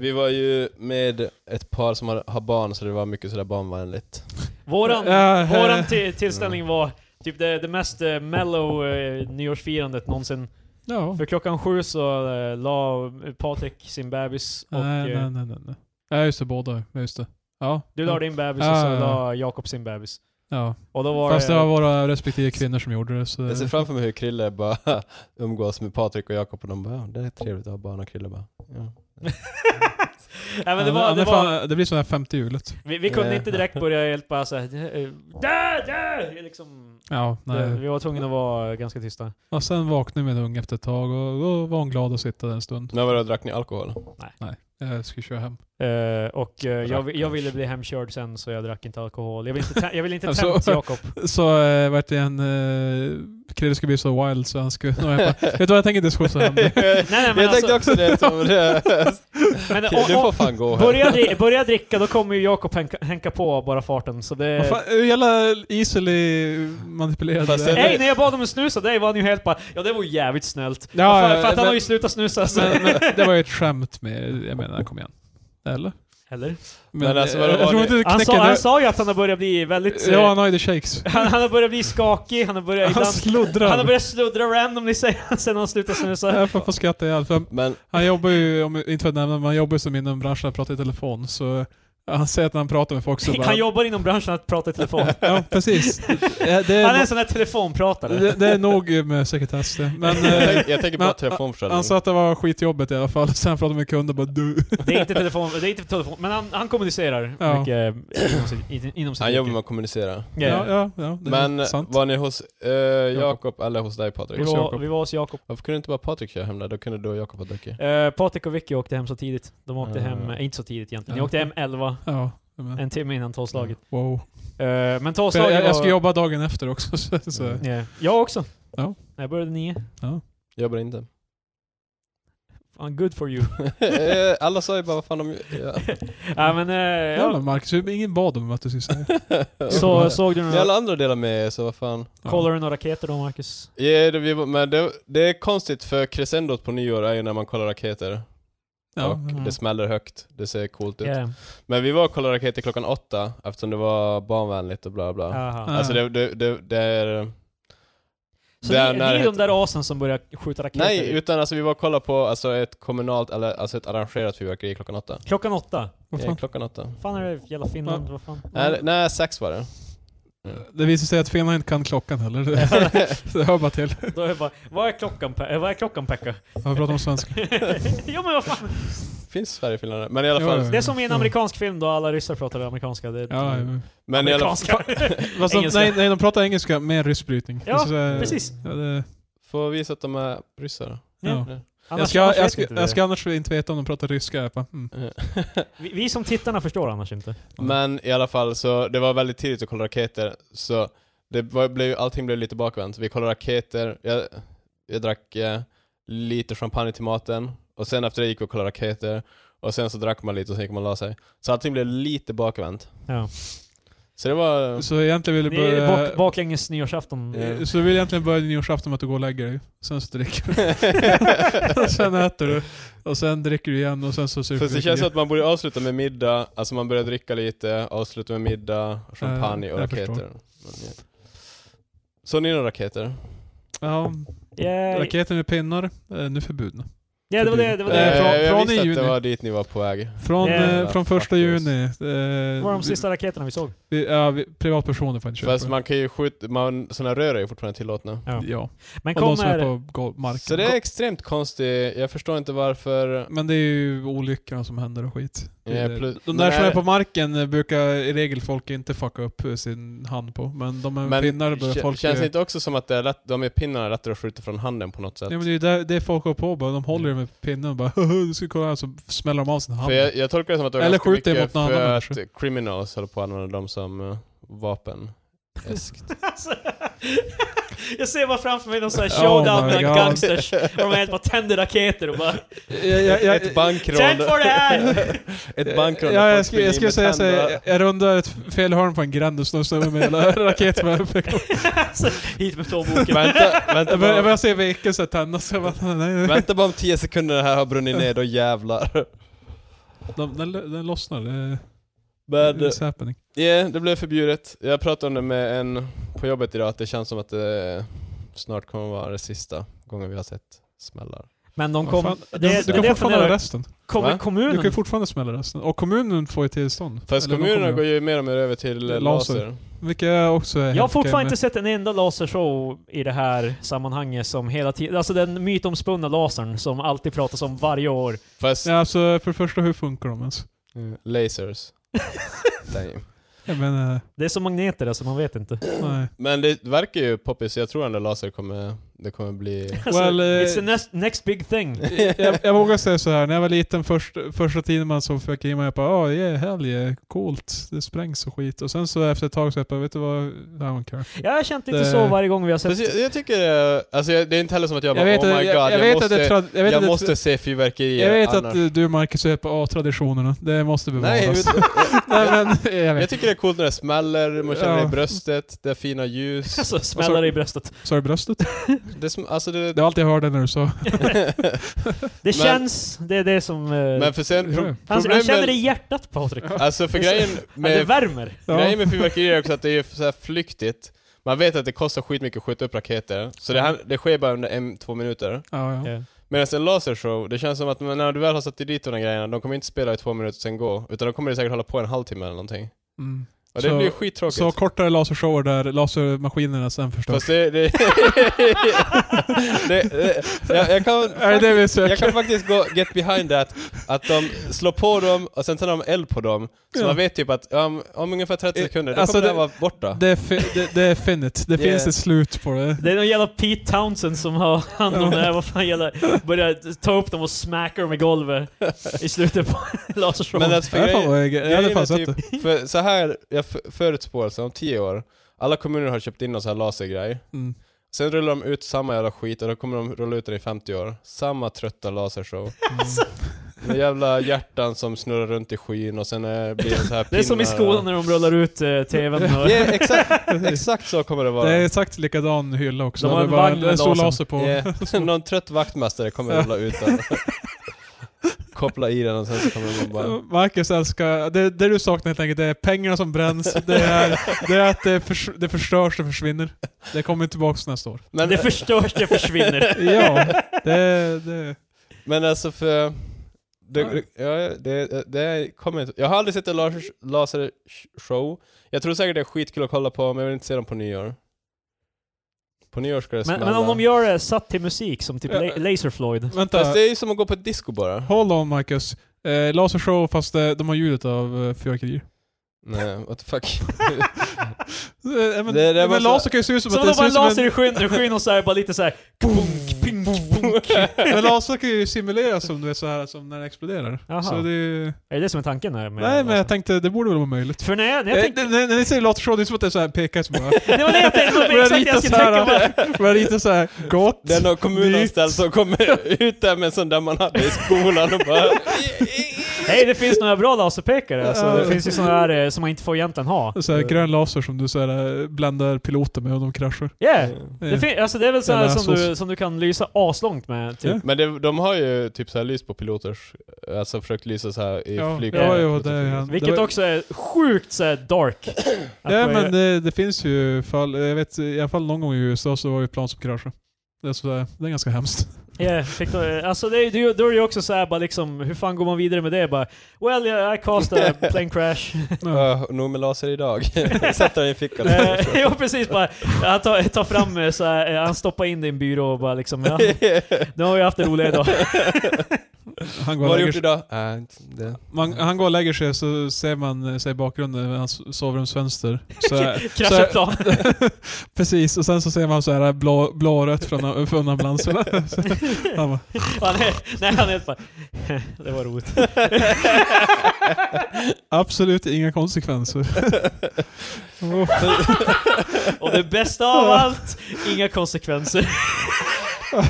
B: vi var ju med ett par som har, har barn, så det var mycket sådär barnvänligt.
A: Våran,
C: Ja, eh.
A: våran ti- tillställning var typ det, det mest eh, mellow eh, nyårsfirandet någonsin.
C: Ja.
A: För klockan sju så eh, la Patrik sin bebis och
C: Nej,
A: eh,
C: nej, nej, nej, nej. Ja just det, båda. Ja, just det. Ja.
A: du la din bebis och
C: Ja,
A: så
C: ja, ja.
A: la Jakob sin bebis.
C: Ja.
A: Och då var
C: Fast det
A: det...
C: var våra respektive kvinnor som gjorde det. Så...
B: Jag ser framför mig hur Krille bara umgås med Patrik och Jakob och de bara ja, det är trevligt att ha barn” och Krille bara ja.
A: Nej, men det,
C: Ja,
A: var, det,
C: är
A: var,
C: fan- det blir som det här femte hjulet.
A: vi, vi kunde
B: Eh.
A: inte direkt börja helt bara såhär... Där, där! Liksom,
C: Ja,
A: det,
C: nej.
A: vi var tvungna att vara ganska tysta.
C: Och sen vaknade jag med en unge efter ett tag och då var hon glad att sitta där en stund.
B: Men vadå, drack ni alkohol?
C: Jag skulle köra hem.
A: Eh, och eh, jag, vi- jag
B: Rackars.
A: ville bli hemkörd sen så jag drack inte alkohol. Jag ville inte, tä- jag ville inte
C: Alltså-
A: tämta Jakob.
C: Så eh, vart det en... Eh, Krille skulle bli så wild så han skulle... Nå, jag bara, Vet du vad, jag tänker inte skjutsa hem dig.
A: Nej, nej, men
B: jag tänkte också det. Som, det
A: Men,
B: Krille, du
A: och- och-
B: får fan gå hem.
A: Börja, dri- börja dricka, då kommer ju Jakob hänka, hänka på bara farten. Så det...
C: Vad fan, Hur jävla easily manipulerad
B: Fast
C: det är.
B: det-
A: Ey, när jag bad om en snus av dig var han ju helt bara Ja det var jävligt snällt.
C: Ja,
A: Ja, för,
C: ja,
A: för att han
C: men-
A: har ju slutat snusa. Så.
C: men, men, det var ju ett skämt med... Jag menar, kom igen. Eller?
A: Eller?
C: Men,
B: Men alltså,
C: eh,
B: vadå,
C: jag,
B: var
C: tror
B: det-
C: inte det
A: Han
C: knäcker
A: sa, han
C: det-
A: sa ju att han har börjat bli väldigt... eh,
C: Ja, han har ju the shakes.
A: han, han har börjat bli skakig, han har börjat
C: Han
A: ibland...
C: sluddrar.
A: Han har börjat sluddra randomly säger- sen han slutade snusa.
C: Jag får, får skratta ihjäl. För
B: Men
C: han jobbar ju, om, inte för att nämna, men han jobbar ju som inom branschen att prata i telefon. Så han säger att när han pratar med folk så bara...
A: Han jobbar inom branschen att prata i telefon.
C: Ja, precis. Eh, Det
A: Han är en
C: är,
A: sån där telefonpratare.
C: det, det är nog med sekretess det. Men
B: jag,
C: eh,
B: tänk, jag tänker på
C: men- alltså-
B: telefonförsäljning.
C: han sa att det var skitjobbigt i alla fall. Sen pratade han med kunder bara du.
A: Det är inte telefon, det är inte telefon men han, han kommunicerar
C: Ja.
A: mycket eh, inom sitt, inom sitt
B: han jobbar
A: yrke.
B: med att kommunicera.
A: Ja,
C: Ja, ja, ja det
B: Men
C: är sant.
B: var ni hos eh, Jakob eller hos dig Patrik?
A: Vi var, vi var hos Jakob.
B: Varför kunde inte bara Patrik köra hem där? Då kunde du och Jakob ha druckit.
A: Eh, Patrik och Vicky åkte hem så tidigt. De åkte
B: Ah.
A: hem, eh, inte så tidigt egentligen, de
C: Ja.
A: åkte hem 11,
C: Ja, men,
A: en timme innan tolvslaget.
C: wow.
A: Eh, men
C: Mm. För jag,
A: tolvslaget
C: jag, jag ska
A: var...
C: jobba dagen efter också. Så, så.
B: Mm.
A: Ja. Jag också.
C: Ja.
A: Jag började nio.
B: Jobbar inte.
A: Fan, good for you.
B: Eh, Alla sa ju bara vad fan de ja.
A: ja, men, eh,
C: Jävlar
A: ja.
C: Marcus, ingen bad om att du skulle säga.
A: Så såg du
B: Ni alla
A: några...
B: andra delar med er, så vad fan.
A: Kollade du några raketer då Marcus?
B: Ja, det, vi, var- men det, det är konstigt för crescendot på nyår är ju när man kollar raketer.
C: Ja,
B: och
A: mm.
B: det smäller högt, det ser coolt ut.
A: Yeah.
B: Men vi var och kollade raketer klockan åtta eftersom det var barnvänligt och bla bla.
A: Aha.
C: Ja.
B: Alltså det, det, det, det är...
A: Så
B: Där
A: ni, ni är
B: närhet.
A: de där asen som börjar skjuta raketer?
B: Nej, utan alltså vi var och kollade på alltså, ett kommunalt, eller alltså ett arrangerat fyrverkeri klockan åtta.
A: Klockan åtta?
C: Vad
B: Eh,
C: fan?
B: klockan åtta.
A: fan är det för jävla Finland? Vad fan?
B: Nej, nej, sex var det.
C: Det visar sig att Finland inte kan klockan heller. Så det hör bara till.
A: Då är det bara, vad är klockan, Pe- eh, vad är klockan Pekka?
C: Jag pratar om svenska.
A: jo men vad fan.
B: Finns Sverige och Finland Men i alla
C: Ja,
B: fall...
C: ja.
A: Det är som i en amerikansk film då alla ryssar pratar amerikanska. Det är
C: Ja, ja.
B: Men i alla fall...
A: amerikanska.
C: Fast de,
A: Engelska.
C: nej, nej, de pratar engelska med rysk brytning.
A: Ja,
C: Så, eh,
A: precis.
C: Ja, det,
B: Får visa att de är ryssar då?
C: ja.
A: Annars-
C: Jag, ska,
A: annars
C: jag,
A: vet
C: ska,
A: inte vi
C: jag
A: det.
C: ska annars inte veta om de pratar ryska. Jag bara, mm.
A: Vi, vi som tittarna förstår annars inte.
B: Men i alla fall så, det var väldigt tidigt att kolla raketer, så det var, blev, ju- allting blev lite bakvänt. Vi kollade raketer, jag, jag drack eh, lite champagne till maten, och sen efter det gick vi och kollade raketer, och sen så drack man lite och sen gick man och la sig. Så allting blev lite bakvänt.
A: Ja.
B: Så det var...
C: Så egentligen vill du
A: Det är
C: börja...
A: bak, baklänges nyårsafton.
B: Eh.
C: Så du vill egentligen börja nyårsafton med att du går och lägger dig. Sen så dricker du. och sen äter du. Och sen dricker du igen och sen så super
B: För det känns som att man borde avsluta med middag, alltså man börjar dricka lite, avsluta med middag, champagne
C: Eh,
B: och
C: jag
B: raketer.
C: förstår. Eh,
B: Men, ja. Så ni några raketer?
C: Ja,
A: Ja,
C: raketer med pinnar är nu förbjudna.
A: ja, det var det. det, var
B: Eh,
A: det.
C: från-
B: jag
C: från
B: visste
C: i
B: att
C: juni.
B: det var dit ni var på väg.
C: Från,
A: Yeah.
C: eh, från
B: Fuckers.
C: första juni. Eh,
A: Det var de
C: vi-
A: sista raketerna vi såg.
C: vi, ja, vi, privatpersoner får inte köpa.
B: Fast man kan ju skjuta, man, såna rör är ju fortfarande tillåtna.
A: Ja.
C: Ja,
A: Men
C: och de som är
A: kommer...
C: på gol- marken.
B: Så det är extremt konstigt, jag förstår inte varför... eh,
C: Men det är ju olyckorna som händer och skit. Det
B: Ja,
C: är-
B: plus-
C: de där
B: men
C: som
B: är-
C: är på marken eh, brukar i regel folk inte fucka upp eh, sin hand på. Men de med
B: Men
C: pinnar börjar
B: kä-
C: folk...
B: känns
C: eh,
B: det inte också som att det är lätt, de är pinnarna är lättare att skjuta från handen på något sätt?
C: Ja, men det är ju där, det folk går på bara. De håller ju med pinnen och bara du ska kolla här, så smäller de av sin hand.
B: för jag, jag tolkar det som att det var
C: Eller
B: ganska
C: skjuter
B: mycket
C: mot någon
B: för
C: annan
B: att
C: människa.
B: criminals håller på att använda dem som eh, vapen. Eskt.
A: Alltså, jag ser bara framför mig någon sån här
C: Oh
A: showdown
C: my
A: mellan
C: God.
A: gangsters. Och de helt bara tänder raketer och bara
B: ett bankrån.
A: Tänd för det här!
B: ett bankrån.
C: Eh, Ja,
B: där
C: jag,
B: folk
C: skulle, jag
B: springer
C: skulle säga
B: med
C: så här,
B: tänder.
C: jag- jag rundar ett fel hörn på en gränd och snor snubben med hela raket med.
A: alltså, hit med plånboken.
B: Vänta, vänta,
C: Jag börjar jag
B: bara,
C: börjar se veken så här tändas. så jag bara, nej, nej.
B: vänta bara om 10 sekunder det här har brunnit ner, då jävlar.
C: De- Den, den lossnar. Det,
B: Men,
C: it's happening.
B: Ja, det blev förbjudet. Jag pratade om det med en på jobbet idag, att det känns som att det snart kommer vara det sista gången vi har sett smällar.
A: Men de
C: Vad
A: kom...
C: fan,
A: Det,
C: du,
A: det,
C: du kan
A: det
C: fortfarande ha
A: funderar,
C: resten.
A: kommer
B: Va?
C: Du
A: kommunen...
C: kan ju fortfarande smälla resten. Och kommunen får ju tillstånd.
B: Fast
C: Eller de
B: kommunerna
C: kommer-
B: går ju mer och mer över till laser.
C: Laser.
B: laser.
C: Vilket jag också är
A: jag har
C: helt okej
A: fortfarande
C: med.
A: inte sett en enda lasershow i det här sammanhanget som hela tiden... Alltså den mytomspunna lasern som alltid pratas om varje år.
B: Fast
C: Ja, alltså, för det första, hur funkar de ens?
B: eh, lasers. Damn.
C: Jag menar,
A: Det är som magneter alltså, man vet inte.
C: nej.
B: Men det verkar ju poppis, jag tror ändå laser kommer, det kommer bli...
A: Alltså,
C: Well, eh,
A: it's the next, next big thing.
C: jag, jag vågar säga så här. när jag var liten först, första tiden man såg fyrverkerier, man bara oh, yeah, hell yeah, coolt, det sprängs och skit. Och sen så efter ett tag så jag bara, vet du vad, I don't care.
A: Jag har känt lite
C: Det-
A: så varje gång vi har sett...
B: Fast jag, jag tycker, eh, alltså jag, det är inte heller som att jag,
C: Jag
B: bara
C: vet,
B: oh my
C: att-
B: god, jag,
C: jag, jag vet
B: måste,
C: att det är trad- jag vet
B: jag
C: att det-
B: måste se fyrverkerier
C: jag vet
B: annars.
C: att du Marcus är på oh, traditionerna, det måste bevaras.
B: Nej,
C: Nej,
B: utan,
C: men, jag
B: jag
C: vet.
B: tycker det är coolt när det smäller, man känner det
C: Ja.
B: i bröstet, det är fina ljus.
A: Alltså smällare i bröstet.
C: Sa du bröstet?
B: Det, är som, alltså det,
C: Det var allt jag hörde när du sa.
A: Det känns, det är det som... eh,
B: Men för sen, pro-
C: Han-
A: han, han
B: problemet-
A: känner det i hjärtat Patrik.
B: Alltså för grejen
A: Men det
B: med,
A: värmer.
C: Ja.
B: grejen med fyrverkerier är också att det är så här flyktigt. Man vet att det kostar skitmycket att skjuta upp raketer, så det, här, det sker bara under en, två minuter.
C: Ja, ja.
A: Ja.
B: Medan alltså en lasershow, det känns som att när du väl har satt dit de där grejerna, de kommer inte spela i två minuter och sen gå, utan de kommer säkert hålla på en halvtimme eller någonting.
C: Mm.
B: Och det
C: Så-
B: blir skittråkigt.
C: Så kortare lasershower där lasermaskinerna sen förstörs.
B: Fast det... det, det, det jag, jag kan...
C: Är det det vi söker?
B: Jag kan faktiskt gå get behind that, att de slår på dem och sen tar de eld på dem. Så
C: Ja.
B: man vet typ att um, om ungefär 30
C: Eh,
B: sekunder, då
C: alltså
B: kommer det,
C: det-
B: här vara borta.
C: Det är, fi- det, det är finit. Det
B: Yeah.
C: finns ett slut på det.
A: Det är någon jävla Pete Townsend som har hand om det här, vad fan jävla... Börjar ta upp dem och smacka dem i golvet i slutet på lasershowen.
B: Men att för
C: Jag hade
B: grejen,
C: fan, varit- jag hade
B: grejen är
C: fan sett det.
B: typ, för så här, jag f- förutspår så om 10 år, alla kommuner har köpt in någon sån här lasergrej.
C: Mm.
B: Sen rullar de ut samma jävla skit och då kommer de rulla ut den i 50 år. Samma trötta lasershow. Med jävla hjärtan som snurrar runt i skyn och sen eh, blir det så här
A: det är som i
B: pinnar
A: skolan
B: och-
A: när de rullar ut eh, TVn och...
B: Ja, exakt, exakt så kommer det vara.
C: Mm. Det är exakt likadan hylla också.
A: De har
C: det är
A: en
C: bara
A: vagn
C: en,
A: med
C: en stor
A: laser.
C: laser på.
B: Ja, Någon trött vaktmästare kommer rulla ut den. koppla i den och sen så kommer den bara...
C: Marcus älskar, det, det du saknar helt enkelt, det är pengarna som bränns, det är, det är att det, förs, det förstörs och försvinner. Det kommer tillbaks nästa år.
B: Men,
A: det förstörs, det försvinner.
C: Ja, det... det.
B: men alltså för... Det, ja, det, det kommer inte... Jag har aldrig sett en laser, laser show. Jag tror säkert det är skitkul att kolla på, men jag vill inte se dem på nyår. På nyår ska det
A: Men,
B: smälla.
A: men om de gör det satt till musik, som typ
C: Ja.
A: La- Laser Floyd.
C: Vänta,
B: Fast det är ju som att gå på ett disco bara.
C: hold on Marcus. Eh, lasershow fast eh, de har ljudet av eh, fyrverkerier.
B: Nej, what the fuck.
C: Eh, men
B: Det- det
C: men
B: var så-
C: laser kan ju se ut som,
A: Som
C: att
A: de bara
C: det ser ut som
A: laser
C: en,
A: i skyn, skyn och såhär, bara lite såhär... Punk, pink, punk.
C: men laser kan ju simulera som du vet så här som när det exploderar.
A: Jaha.
C: Så det är ju,
A: Är det det som är tanken här med
C: Nej men
A: laser?
C: jag tänkte, det borde väl vara möjligt.
A: För när jag, när jag
C: Eh,
A: tänkte...
C: det- När när ni säger lasershow, det är som att det är såhär pekar som bara...
A: Det var det jag tänkte, det var
C: Börjar
A: exakt det
C: rita
A: jag skulle tänka på!
C: såhär, börjar rita såhär gott.
B: Det är någon kommunanställd som kommer ut där med en sån där man hade i skolan och bara...
A: Nej, det finns några bra laserpekare. Alltså, det
C: Ja.
A: finns ju sådana här eh, som man inte får egentligen ha.
C: Så här, grön laser som du så här, eh, bländar piloter med och de kraschar.
A: Yeah.
C: Eh,
A: Det, fin- alltså, det är väl sådana
C: Jävla
A: som du,
C: sås.
A: som du kan lysa aslångt med, typ.
C: Ja.
B: Men det, de har ju typ så här lys på piloters, alltså försökt lysa så här i
C: Ja,
B: flygplan.
C: ja, ja, det är han.
A: Vilket
C: Det var-
A: också är sjukt såhär dark. Att
C: ja
A: man-
C: men eh, det, det finns ju fall, jag vet i alla fall någon gång i USA så var ju plan som kraschade. Det är, så här, det är ganska hemskt.
A: Yeah, fick de, alltså det, är- det, är ju- då är det ju också såhär bara liksom, hur fan går man vidare med det? Bara, well yeah, I caused a plane crash.
B: Ja, nog med laser idag. Sätter den i fickan.
A: Eh, ja precis, bara, han tar, tar fram eh, så här, eh, han stoppar in det i en byrå och bara liksom, ja, nu har jag haft en rolig idag.
C: Han
B: Vad har du
C: går, och lägger,
B: gjort
C: sig-
B: idag? Äh, inte det.
C: man, han går och lägger sig så ser man eh, sig i bakgrunden vid hans sovrumsfönster. Så här, så
A: Kraschar
C: här-
A: plan.
C: precis, och sen så ser man så här blå, blå och rött från, från ambulansen. Så han bara,
A: Han är, nej han är helt bara, det var roligt.
C: absolut inga konsekvenser. Oh,
A: Och det bästa av allt, inga konsekvenser.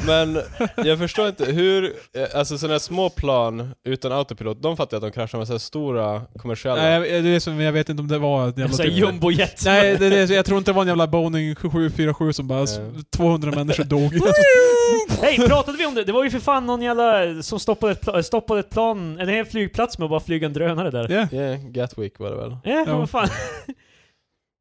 B: Men jag förstår inte hur, eh, alltså sådana här små plan utan autopilot, de fattar jag att de kraschar med så här stora kommersiella.
C: nej, jag- det är som, jag vet inte om det var ett jävla...
A: Såhär jumbojet.
C: Nej, det, det, jag tror inte det var en jävla Boeing 747 som bara... s-
B: Eh.
C: 200 människor dog.
A: Hej, pratade vi om det? Det var ju för fan någon jävla som stoppade ett, pla- stoppade ett plan, en hel flygplats med att bara flyga en drönare där.
C: Ja.
B: Yeah, Gatwick var det väl.
A: Ja,
C: Ja.
A: vad fan.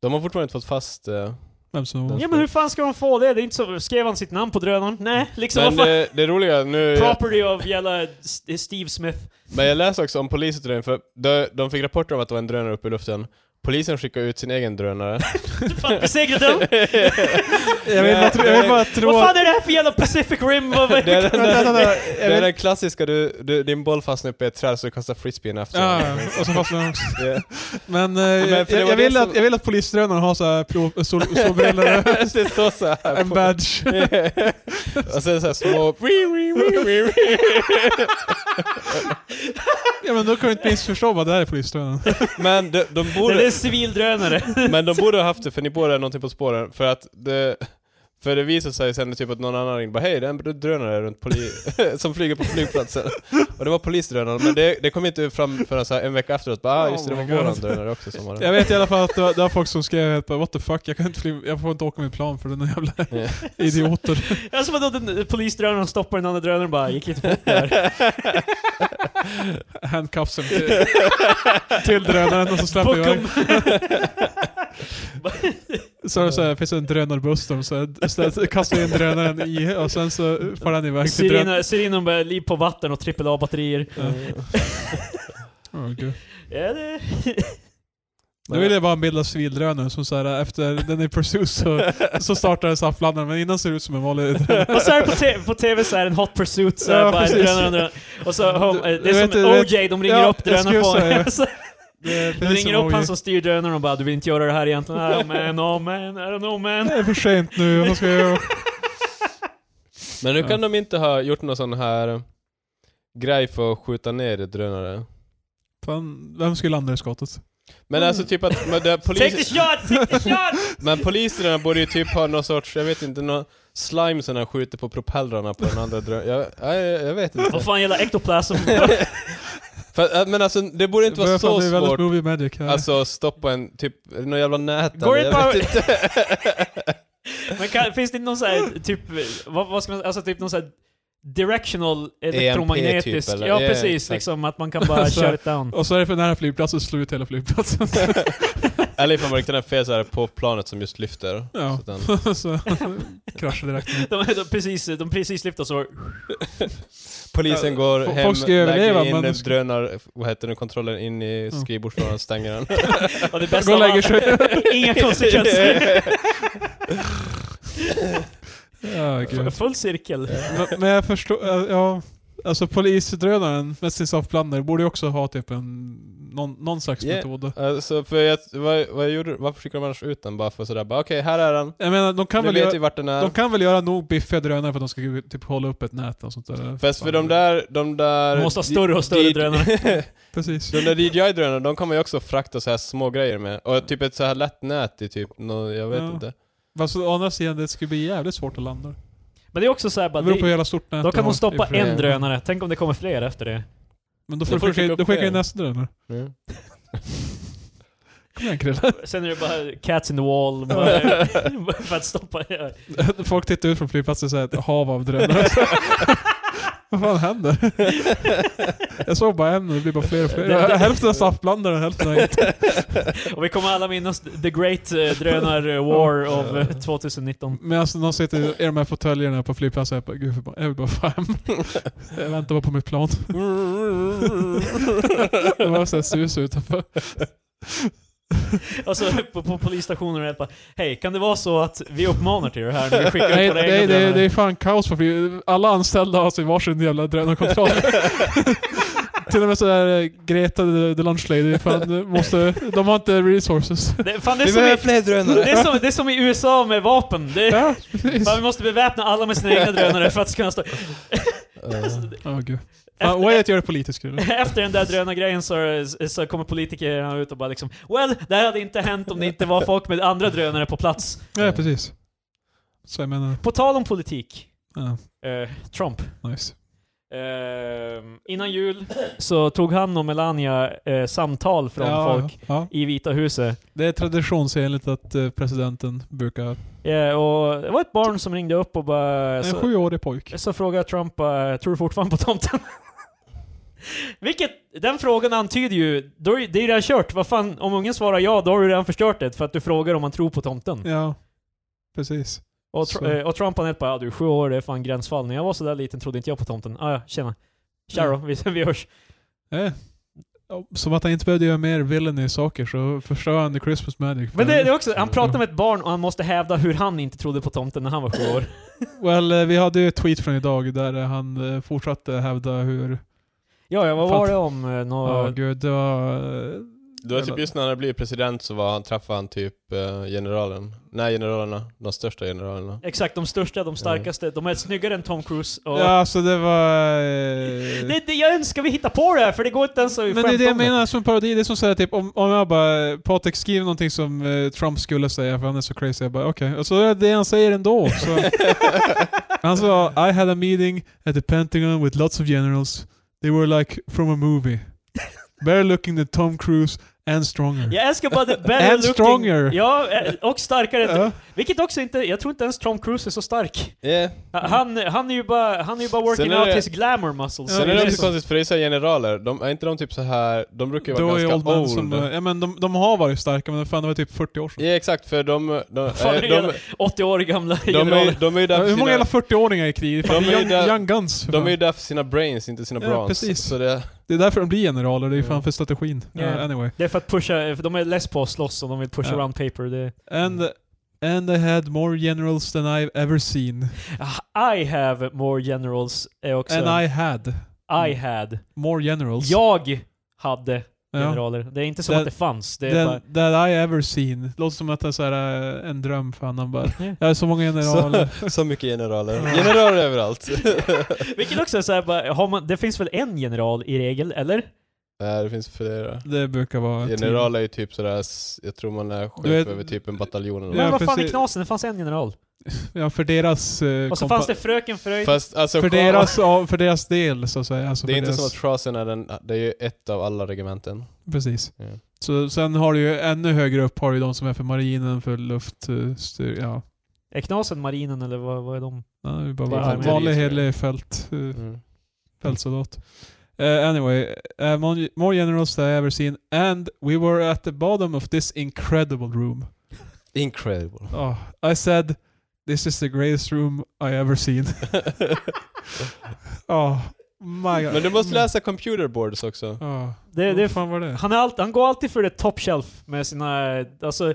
B: De har fortfarande inte fått fast... eh,
C: Vem som
A: Ja men hur fan ska de få det? Det är inte så, skrev han sitt namn på drönaren? Nej, liksom
B: Men eh,
A: vad fan?
B: det, det roliga nu...
A: Property of jävla S- eh, Steve Smith.
B: Men jag läste också om polisutredningen, för de, de fick rapporter om att det var en drönare uppe i luften. Polisen skickade ut sin egen drönare.
A: Fan, besegrade dem?
C: Jag vill bara, tro- jag vill bara tro
A: Vad
C: att...
A: fan är det här för jävla Pacific Rim? Vad- vad-
B: Det är den
C: Vänta, vänta,
B: där,
C: vänta.
B: det
C: Jag
B: är
C: vill-
B: den klassiska, du, du, din boll fastnar uppe i ett träd så du kastar frisbeen efter
C: Ja,
B: den.
C: och så fastnade han också.
B: Det-
C: Men eh, jag,
B: för det var
C: jag,
B: det
C: vill
B: som-
C: att, jag vill att polisdrönarna har så här pro- sol, solbrillor,
B: Det står så här.
C: en
B: på-
C: badge.
B: och sen så här små...
C: Ja men då kan du inte missförstå vad det här är polisdrönaren.
B: Men de, de
A: Det är
B: borde...
A: en civil drönare.
B: Men de borde ha haft det för ni båda är någonting på spåren. För att det... För det visade sig sen typ att någon annan ringde bara hej det är en drönare runt poli- som flyger på flygplatsen. Och det var polisdrönaren, men det, det kom inte fram förrän så här en vecka efteråt. Bara, ah, just det, det
C: Oh
B: var
C: my God.
B: våran drönare också som var
C: Jag
B: det.
C: vet i alla fall att det var, det var folk som skrev helt bara what the fuck, jag, kan inte fly, jag får inte åka med plan för den här jävla
B: Ja.
C: idioter.
A: Alltså vadå, den polisdrönaren stoppar den andra drönaren bara, gick lite fort där.
C: Handcuffsen till, till drönaren och så släpper
A: Book 'em.
C: iväg. Så, är det så här, finns det en drönarbuss där de så här, ställer- kastar in drönaren i och sen så far den iväg till drönaren.
A: Sirenen- Sirenen börjar liv på vatten och AAA-batterier.
C: Oh, gud.
A: Ja, det...
C: Nu vill jag bara ha en bild av civildrönaren som såhär, efter den är i pursuit så, så startar den saftladdaren, men innan ser det ut som en vanlig drönare.
A: Och så här på, te- på tv så är det en hot pursuit, så här
C: Ja,
A: bara
C: precis.
A: drönaren, drönaren. Och så, hon- eh,
C: Du-
A: det
C: du
A: är
C: vet-
A: som
C: du vet-
A: OJ, de ringer
C: Ja,
A: upp
C: jag skulle
A: drönaren
C: säga.
A: på Så
C: Det är precis
A: De ringer
C: som
A: upp han
C: OJ.
A: som styr drönaren och bara du vill inte göra det här egentligen. Ah, man, oh man, I don't know man.
C: Det är för sent nu, vad ska jag göra?
B: Men nu kan de inte ha gjort någon sån här grej för att skjuta ner drönare.
C: Fan, vem skulle landa i skottet?
B: Men
C: Mm.
B: alltså typ att men det,
A: Take the
B: polis,
A: shot, take the shot!
B: men poliserna borde ju typ ha någon sorts, jag vet inte, någon slime som de skjuter på propellrarna på den andra drönaren. Jag, jag, jag vet inte.
A: Vad fan gäller ektoplasm?
B: För, äh, men alltså det borde inte vara
C: Börjar fan
B: så
C: bli väldigt
B: svårt
C: movie magic här.
B: Alltså stoppa en, typ, någon jävla nät
A: Går det
B: eller
A: bara-
B: jag vet inte.
A: Men kan, finns det inte någon sån här, typ, vad, vad ska man, alltså typ någon sån här directional
C: E
A: elektromagnetisk.
C: typ,
B: eller?
A: ja,
B: Ja,
A: precis.
B: exakt.
A: liksom att man kan bara
C: Så-
A: shut it down.
C: Och så är det för nära flygplatsen, slår ut hela flygplatsen.
B: Eller ifall man riktar den fel så är det på planet som just lyfter.
C: Ja.
B: Så den,
C: så kraschar direkt.
A: De, de, precis, de precis lyfter så.
B: polisen går
C: Folk
B: hem,
C: ska överleva,
B: lägger in
C: men
B: den
C: du ska-
B: drönar, vad heter det, kontrollen in i skrivbordslådan och stänger den.
A: Och det bästa
C: Gå och
A: av
C: lägger
A: allt,
C: sig.
A: inga konsekvenser.
C: Ja, gud.
A: Full cirkel.
C: Men- Men jag förstår, eh, ja. Alltså polisdrönaren, mässingsaftblandare, borde ju också ha typ en, någon, någon slags
B: Yeah.
C: metod.
B: Alltså, för jag, vad, vad gjorde, varför skickade de annars ut den bara för sådär, bara okej, här är den.
C: Jag menar, de kan,
B: Nu
C: väl
B: vet
C: göra,
B: vi vart den är.
C: de kan väl göra nog biffiga drönare för att de ska typ hålla upp ett nät och sånt där.
B: Fast för de där, de där...
A: De måste ha större och större
B: D-
A: drönare.
C: Precis.
B: de där DJI-drönarna, de kan man ju också frakta så här små grejer med. Och typ ett så här lätt nät i typ, nå jag vet
C: Ja.
B: inte.
C: Fast å andra sidan, det skulle bli jävligt svårt att landa.
A: Men det är också så här, bara,
C: Det beror på hur
A: det,
C: jävla stort nät
A: då
C: du
A: kan
C: har
A: de
C: i
A: stoppa
C: och för sig.
A: en drönare. Tänk om det kommer fler efter det.
C: Men då
B: Då
C: får
B: får du
C: du skicka,
B: skicka
C: då
B: upp
C: skickar ju
B: fler.
C: nästa drönare.
B: Mm.
C: Kom igen Krille.
A: Sen är det bara cats in the wall. Bara, för att stoppa det.
C: Folk tittar ut från flygplatsen och säger ett hav av drönare. Vad fan händer? Jag såg bara en och det blir bara fler och
A: Det-
C: fler.
A: det-
C: Hälften är saftblandare och hälften är inte.
A: Och vi kommer alla minnas The Great eh, Drönar eh, War of eh, 2019.
C: Men alltså någon sitter i de här fåtöljerna på flygplatsen och jag bara, gud förbannat, jag vill bara få hem. Jag väntar bara på mitt plan. Det var såhär sus utanför.
A: Och så på, på polisstationen och det bara Hej, kan det vara så att vi uppmanar till det här när vi skickar
C: Nej,
A: ut våra egna
C: det, det, det
A: drönare?
C: är fan kaos på flyg. Alla anställda har sin varsin jävla drönarkontroll. Till och med sådär eh, Greta the, the lunch lady, fan, eh, måste, de har inte resources.
A: Det, fan, det, är som i,
B: fler drönare!
A: det, är som, det är som i USA med vapen. Det,
C: Ja, precis.
A: fan, vi måste beväpna alla med sina egna drönare för att kunna stå...
C: Ja, gud. Fan,
A: Efter,
C: Wyatt gör det politiskt kul.
A: efter den där drönargrejen så, så kommer politikerna ut och bara liksom Well, det här hade inte hänt om det inte var folk med andra drönare på plats.
C: Ja, precis. Så jag menar,
A: På tal om politik.
C: ja,
A: eh, Trump.
C: nice.
A: Eh, innan jul så tog han och Melania eh, samtal från
C: ja,
A: folk
C: Ja.
A: i Vita huset.
C: Det är traditionsenligt att eh, presidenten brukar...
A: Ja, Eh, och alltså- det var ett barn som ringde upp och bara...
C: En
A: Så,
C: sjuårig pojk.
A: så frågade Trump bara, tror du fortfarande på tomten? Vilket, den frågan antyder ju, då är, det är ju redan kört. Vad fan, om ungen svarar ja, då har du redan förstört det för att du frågar om han tror på tomten.
C: Ja, precis.
A: Och,
C: så.
A: tr- eh, och Trump han helt bara, ja, du är sju år, det är fan gränsfall. När jag var sådär liten trodde inte jag på tomten. Ah, ja, tjena. Tja
C: Mm.
A: då, vi, vi hörs.
C: Eh. Som att han inte behövde göra mer villainy saker så förstör han the Christmas magic.
A: Men det, det är också, han pratar med ett barn och han måste hävda hur han inte trodde på tomten när han var sju år.
C: Well, eh, vi hade ju ett tweet från idag där eh, han eh, fortsatte hävda hur...
A: Ja, ja vad
C: Fan.
A: var det om? eh,
C: Ja,
A: Nå,
C: gud, det var... eh,
B: Det var typ just när han blev president så var han, träffade han typ eh, generalen. Nej, generalerna. De största generalerna.
A: Exakt, de största, de starkaste, de är snyggare än Tom Cruise. Och
C: Ja, alltså det var... eh,
A: det, det, jag önskar vi hittar på det här, för det går inte ens att
C: Men det är
A: skämta
C: det jag
A: om det.
C: menar som parodi, det är som säger typ om, om jag bara Patrik skriver någonting som eh, Trump skulle säga för han är så crazy, jag bara okej. Och så är det det han säger ändå. Så. han sa I had a meeting at the Pentagon with lots of generals. They were like from a movie. Better looking than Tom Cruise and stronger.
A: Jag älskar bara the better
C: And
A: looking-
C: stronger.
A: Ja, eh, och starkare.
C: Ja.
A: Vilket också inte, jag tror inte ens Tom Cruise är så stark.
B: Yeah.
A: Ha- Han, han är ju bara, han är ju bara working
B: Sen är
A: out
B: det-
A: his glamour muscles.
C: Ja,
B: Sen är det
C: precis.
B: också konstigt för det är så här generaler, de, är inte de typ så här de brukar ju
C: Då
B: vara
C: är old
B: ganska
C: man
B: old.
C: som, eh, ja men de, de har varit starka men fan det var typ 40 år sedan.
B: Ja exakt, för de... De,
A: Fan,
B: eh,
A: det
B: de,
A: är
B: de,
A: jävla- 80 år gamla
B: de, är,
A: generaler.
B: de är ju där för
C: Hur
B: sina-
C: många jävla 40-åringar är i krig? Fan,
B: De är ju
C: young,
B: där-
C: young guns. för
B: De är
C: fan.
B: ju där för sina brains, inte sina
C: Ja,
B: brons.
C: precis.
B: Så det,
C: Det är därför de blir generaler, det är ju fan
B: Ja.
C: för strategin. Ja,
A: Ja.
C: anyway.
A: Det är för att pusha, för de är less på att slåss och de vill pusha
C: Ja.
A: around paper. Det,
C: And and I had more generals than I've ever seen.
A: Ah, I have more generals är också...
C: And I had
A: I had.
C: more generals.
A: Jag hade
C: Ja.
A: generaler. Det är inte som
C: Den-
A: att det fanns. Det är
C: Than,
A: bara,
C: that I ever seen. Låter som att det är så här, eh, en dröm för honom. Bara,
A: Ja.
C: jag har så många generaler.
B: så, så mycket generaler. Generaler överallt.
A: vilket också är såhär bara, har man, det finns väl en general i regel, eller?
B: Nej, det finns flera.
C: Det brukar vara...
B: General är ju typ sådär, s- jag tror man är chef
C: Du vet-
B: över typ en bataljon eller
C: Ja,
A: Men vad
B: något.
A: fan är
C: precis.
A: knasen? Det fanns en general.
C: Ja, för deras... eh,
A: Och så
C: kompa-
A: fanns det fröken Fröjd.
B: Fast alltså,
C: för,
B: kolla-
C: deras, ja, för deras del, så att säga. Alltså
B: det är
C: för
B: inte
C: deras,
B: som att Trasen är den, det är ju ett av alla regementen.
C: Precis.
B: Ja.
C: Så sen har du ju ännu högre upp har du ju de som är för marinen, för luft... eh, styr, ja.
A: Är knasen marinen eller vad, vad är de?
C: Ja, det är bara
B: Det är
C: va-
B: fan
C: vanlig
B: terrorister.
C: hederlig fält, eh,
B: Mm.
C: fältsoldat. Eh, anyway, eh, mon- more generals than I ever seen, and we were at the bottom of this incredible room.
B: Incredible.
C: Oh, I said, this is the greatest room I ever seen. oh, my god.
B: Men du måste läsa computer boards också.
C: Oh.
A: Det, det är
C: Vad
A: fan.
C: fan var det?
A: Han, är allt, han går alltid för det top shelf med sina... Alltså,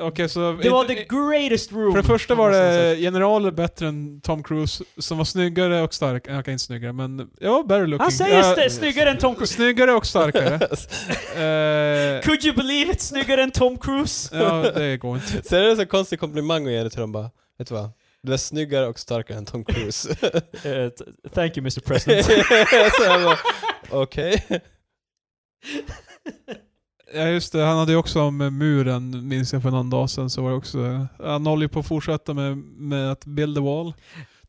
C: Okej, så...
A: det var
C: inte-
A: the greatest room!
C: För det första
A: kan
C: var
A: man säga så.
C: det generaler bättre än Tom Cruise, som var snyggare och starkare. Okej, inte snyggare, men... Ja, better looking.
A: Han säger
C: Ja,
A: st- snyggare än Tom Cruise.
C: Snyggare och starkare. Eh,
A: Could you believe it? Snyggare än Tom Cruise?
C: ja, det går inte.
B: Sen är det så konstig komplimang att ge det till dem bara, vet du vad? Du är snyggare och starkare än Tom Cruise.
A: Eh, t- thank you Mr President.
B: så jag bara, okej.
C: Ja, just det. Han hade ju också om eh, muren, minns jag för någon dag sedan, så var det också... Han håller ju på att fortsätta med, med att build the wall.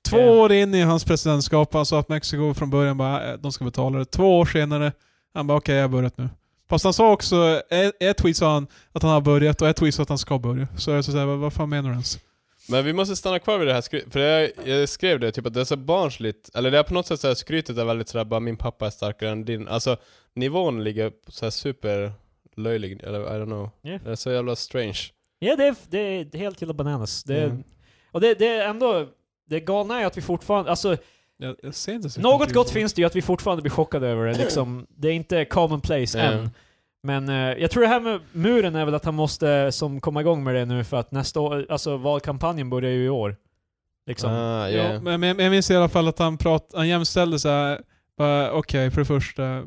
C: Två
A: Eh.
C: år in i hans presidentskap, han sa att Mexiko från början bara, eh, de ska betala det. Två år senare, han bara, okej, jag har börjat nu. Fast han sa också, eh, ett tweet sa han att han har börjat och ett tweet sa att han ska börja. Så jag så såhär, vad, vad fan menar du ens?
B: Men vi måste stanna kvar vid det här skry- för jag, jag skrev det typ att det är så barnsligt, eller det är på något sätt så här skrytet är väldigt sådär bara min pappa är starkare än din, alltså nivån ligger på så här super löjlig, eller I don't know.
A: Ja.
B: Det är så jävla strange.
A: Ja, det är, det är helt jävla bananas. Det är,
B: Mm.
A: Och det, det är ändå... Det galna är att vi fortfarande... Alltså,
C: Jag, jag ser inte så
A: något
C: mycket
A: gott
C: ut.
A: finns det ju att vi fortfarande blir chockade över det liksom. Det är inte commonplace
B: Mm.
A: än. Men eh, jag tror det här med muren är väl att han måste som komma igång med det nu för att nästa år... Alltså valkampanjen börjar ju i år. Liksom.
B: Ah,
C: Ja,
B: yeah.
C: men, men jag minns i alla fall att han, prat, han jämställde så här. bara, Okej, för det första,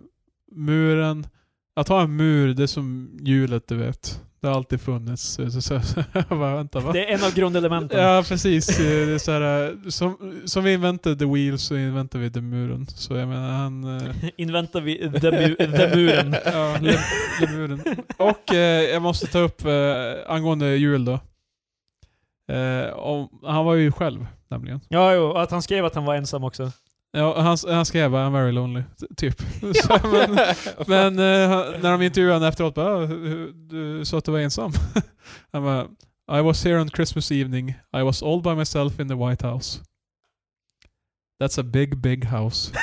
C: muren. Att ha en mur, det är som hjulet du vet. Det har alltid funnits. Så, så, så, så, jag bara, vänta va?
A: Det är en av grundelementen.
C: Ja, precis. Eh, Det är så här, eh, som, som vi inventade the wheel så inväntade vi the muren. Så jag menar, han... eh,
A: Inväntar vi the, mu- the muren.
C: Ja, le, le muren. Och eh, jag måste ta upp eh, angående jul då. Eh, om, han var ju själv, nämligen.
A: Ja, jo, och att han skrev att han var ensam också.
C: Ja, han, han skrev bara I'm very lonely, t- typ. Så, men men eh, han- när de intervjuade honom efteråt bara "Ah, hur- hur- du sa att du var ensam. han bara I was here on Christmas evening, I was all by myself in the White House. That's a big, big house.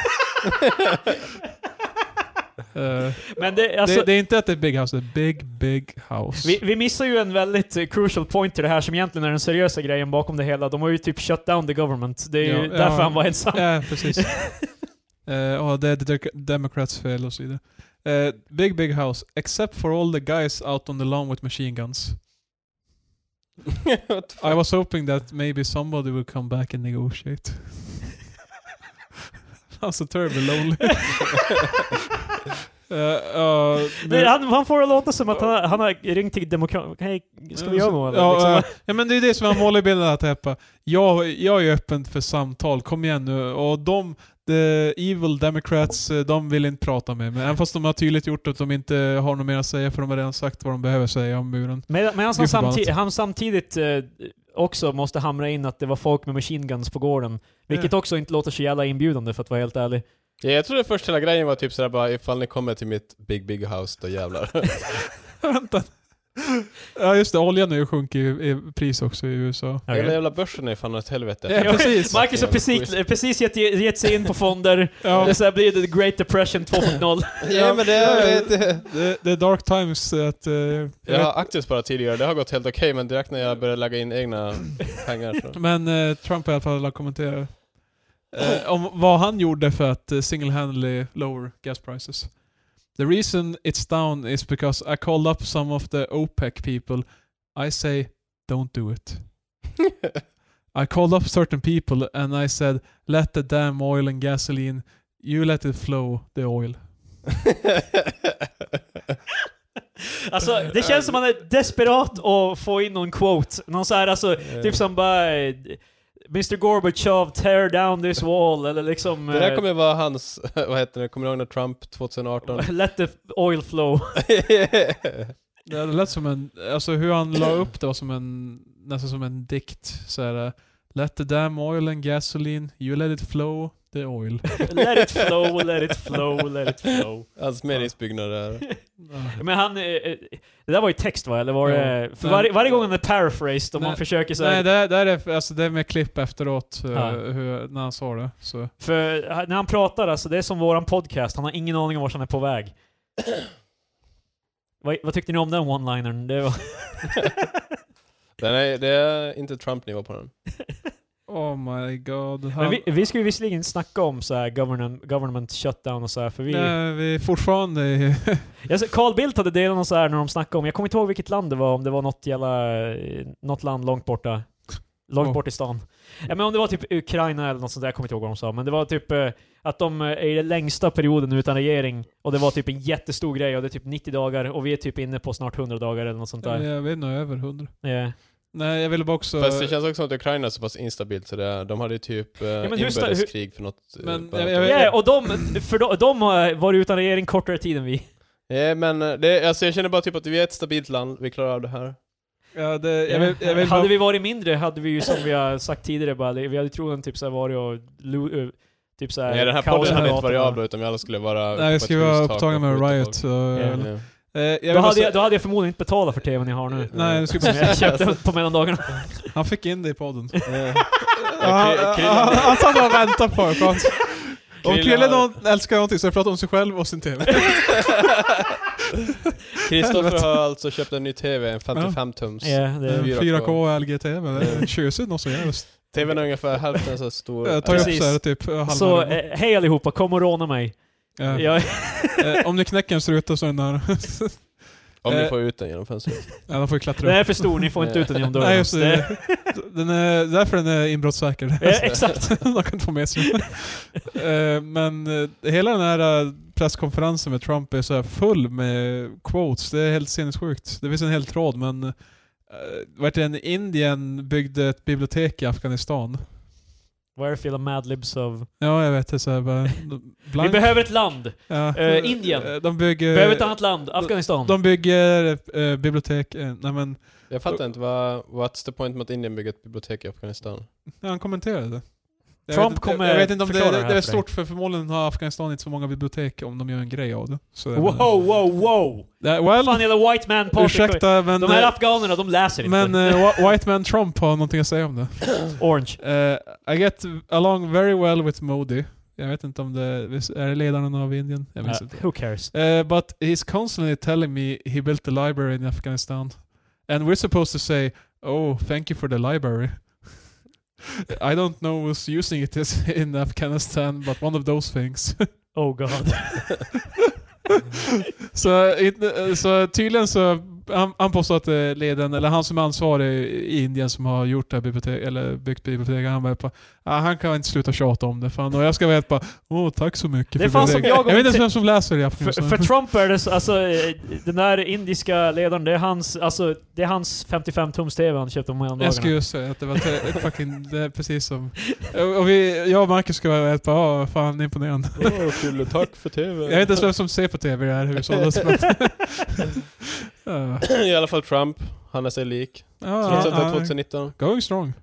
C: Eh,
A: Men det, alltså,
C: det, det är inte att det är big house, det är big, big house.
A: Vi, vi missar ju en väldigt eh, crucial point till det här som egentligen är den seriösa grejen bakom det hela. De har ju typ shut down the government. Det är ju
C: Ja, ja.
A: därför han var ensam.
C: Ja, precis. Eh, och det är the Dec- Democrats fel och så vidare. Eh, big, big house. Except for all the guys out on the lawn with machine guns.
B: What the
C: I was hoping that maybe somebody would come back and negotiate. I'm so terribly lonely. Eh, ja,
A: Det,
C: men-
A: han, han får det låta som att han, han har ringt till demokrat... Hej, ska vi göra något? eller?
C: Ja, eh,
A: liksom.
C: ja men det är det som han målar i bilden att Heppa. Jag, jag är öppen för samtal, kom igen nu. Och de, the evil democrats, eh, de vill inte prata med mig. Även fast de har tydligt gjort att de inte har något mer att säga för de har redan sagt vad de behöver säga om muren.
A: Med, medan han,
C: Gud förbannat.
A: samti- han samtidigt eh, också måste hamra in att det var folk med machine guns på gården. Vilket också inte låter så jävla inbjudande för att vara helt ärlig.
B: Ja, jag trodde först hela grejen var typ sådär bara ifall ni kommer till mitt big big house då jävlar.
C: Vänta. Ja just det, oljan har ju sjunkit i, i pris också i USA.
B: Hela jävla börsen är fan åt helvete.
C: Ja, precis.
A: Marcus har
B: Jävla
A: precis,
B: skit.
A: precis gett, gett sig in på fonder.
C: Ja.
A: Det så här blir det the great depression 2.0.
B: ja men det är... Det,
C: Det, det är dark times att... eh, jag
B: Jag har aktiesparat tidigare, det har gått helt okej men direkt när jag började lägga in egna pengar
C: vet-
B: så...
C: men eh, Trump i alla fall har kommenterat eh, om vad han gjorde för att eh, single-handedly lower gas prices. The reason it's down is because I called up some of the OPEC people. I say, don't do it. I called up certain people and I said, let the damn oil and gasoline, you let it flow, the oil.
A: Alltså, det känns som att man är desperat att få in någon quote. Någon så här, alltså, typ som bara... eh, Mr Gorbachev, tear down this wall, eller liksom...
B: Det där
A: eh,
B: kommer vara hans, vad heter det, kommer du ihåg när Trump 2018?
A: eh, Let the oil flow.
C: Det lät som en, alltså hur han la upp det var som en, nästan som en dikt. Så här, let the damn oil and gasoline, you let it flow, the oil.
A: let it flow, let it flow, let it flow.
B: Hans meningsbyggnad där.
A: Men han... eh, eh, Det där var ju text va? Eller var det... För varje, varje gång han är paraphrased, om
C: Nej.
A: man försöker så
C: Nej,
A: här,
C: där, där är, alltså, det är med klipp efteråt, eh,
A: Ja.
C: hur, när han sa det. Så.
A: För eh, när han pratar alltså, det är som våran podcast, han har ingen aning om vart han är på väg. vad, vad tyckte ni om den one-linern? Det var...
B: Den är, det är inte Trump-nivå på den.
C: Oh my god. Han,
A: Men vi, vi ska ju visserligen snacka om så här government, government shutdown och så här, för vi...
C: Nej, vi är fortfarande i...
A: Jag ser- Carl Bildt hade delat något så här när de snackade om, jag kommer inte ihåg vilket land det var, om det var något jävla, eh, något land långt borta. Långt
C: Ja.
A: bort i stan. Ja, men om det var typ Ukraina eller något sånt där, jag kommer inte ihåg vad de sa, men det var typ eh, att de eh, är i den längsta perioden utan regering, och det var typ en jättestor grej, och det är typ 90 dagar, och vi är typ inne på snart 100 dagar eller något sånt där.
C: jag vet inte, över 100.
A: Ja.
C: Nej, jag ville bara också...
B: Fast det känns också som att Ukraina är så pass instabilt så det, de hade ju typ eh,
A: men hur sta- hur-
B: inbördeskrig för något... eh,
C: Men,
B: bara
C: jag-
B: ett
C: jag
B: år
C: vet-
A: Ja, och de, för de, de har varit utan regering kortare tid än vi.
B: Nej men eh, det, alltså jag känner bara typ att vi är ett stabilt land, vi klarar av det här.
C: ja, det, jag vill, jag vill bara...
A: hade vi varit mindre hade vi ju som vi har sagt tidigare bara, vi hade troligen typ såhär varit och lo, ö, typ såhär
B: Nej den här
A: kaos
B: podden hade
A: på
B: inte varit
A: gatorna.
B: av då, utan vi alla skulle vara...
C: Nej,
B: på
C: vi
B: ett
C: skulle vara
B: hustak och Mm.
C: upptagna med
B: skjuta
C: Riot.
B: folk.
C: Så,
A: Ja.
B: Ja.
C: eh, jag vill
A: Då
C: bara
A: hade,
C: säga-
A: jag, då hade jag förmodligen inte betalat för tvn jag har nu.
C: Nej, det skulle
A: Som
C: bara säga.
A: jag köpte på mellandagarna.
C: Han fick in det i podden.
B: Ja, Kri- Krille-
C: Han- Han satt och väntade på det. skönt. Om
B: Krille
C: Krille
B: har-
C: någon älskar någonting så är det prata om sig själv och sin TV.
B: Kristoffer har alltså köpt en ny TV, en 55-tums.
A: Ja,
C: Eh,
A: det,
C: 4K LG-TV, det är tjusigt något så jävligt.
B: TVn är ungefär hälften så stor. Alltså,
C: Jag tar upp
A: precis.
C: såhär typ halva
A: så
C: rummet.
A: eh, hej allihopa, kom och råna mig.
C: Ja.
A: Jag,
C: Eh, Om ni knäcker en struta så är den där.
B: Om
C: eh,
B: ni får ut den genom fönstret.
C: Ja, de får ju klättra
A: den
C: upp.
A: är för stor, ni får inte ut den genom dörren.
C: Nej, just
A: Det-
C: det. Den är, därför den är inbrottssäker. Eh.
A: Ja, exakt.
C: De kan inte få med sig Eh, Men eh, hela den här eh, presskonferensen med Trump är så här full med quotes. Det är helt sinnessjukt. Det finns en hel tråd men eh, vart en Indien byggde ett bibliotek i Afghanistan.
A: Where feel mad libs of...
C: Ja, jag vet. Det är så här bara...
A: Vi
C: blank-
A: behöver ett land!
C: ja.
A: eh, Indien.
C: Eh, De bygger...
A: Behöver ett annat land, Afghanistan.
C: de bygger eh, bibliotek... eh, Nej men,
B: Jag fattar inte, vad, what's the point med att Indien bygger ett bibliotek i Afghanistan?
C: ja, han kommenterade det. Jag
A: Trump
C: vet, inte-
A: kommer
C: jag vet inte om det,
A: förklara
C: det,
A: det här
C: är
A: för
C: stort, för förmodligen har Afghanistan inte så många bibliotek om de gör en grej av det. Så, jag menar-
A: Wow, wow, wow!
C: Ja, well,
A: Fan hela white man Patrik.
C: Ursäkta, men,
A: De här
C: eh,
A: afghanerna, de läser inte.
C: men eh, Wh- White Man Trump har någonting att säga om det.
A: Orange.
C: Eh, I get along very well with Modi. Jag vet inte om det är det ledaren av Indien. Jag minns
A: Uh,
C: inte.
A: who cares?
C: Eh, but he's constantly telling me he built the library in Afghanistan. And we're supposed to say, oh, thank you for the library. I don't know who's using it is in Afghanistan, but one of those things.
A: Oh god.
C: så, inte- eh, så tydligen så, han, han påstår att det är ledaren, eller han som är ansvarig i Indien som har gjort det här bibliotek, eller byggt biblioteket, han bara på, ah, han kan inte sluta tjata om det. Fan. Och jag ska vara helt bara, åh tack så mycket
A: Det
C: för
A: fanns som
C: biblioteket."
A: jag och
C: jag vet inte ens
A: inte-
C: vem som läser i
A: för,
C: Afghanistan.
A: för Trump är det så- alltså, eh, den där indiska ledaren, det är hans, alltså, det är hans 55-tums-TV han köpte på mellandagarna.
C: Jag skulle ju säga att det var te- fucking, det är precis som... Och vi, jag och Marcus ska vara helt bara, ah, fan imponerande.
B: Åh, Krille, tack för TV.
C: Jag vet inte ens vem som ser på TV i det här hushållet. men- Ja.
B: I alla fall Trump, han är sig lik.
C: Ja,
B: Trots att det är
C: ja,
B: 2019.
C: Going strong.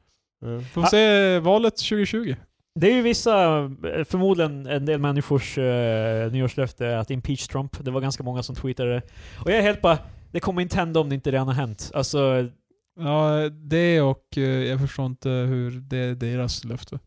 B: Mm.
C: Får vi se valet 2020?
A: Det är ju vissa, eh, förmodligen en del människors eh, nyårslöfte att impeach Trump. Det var ganska många som tweetade det. Och jag är helt bara, det kommer inte hända om det inte redan har hänt. Alltså,
C: Ja, det och eh, jag förstår inte hur det är deras löfte.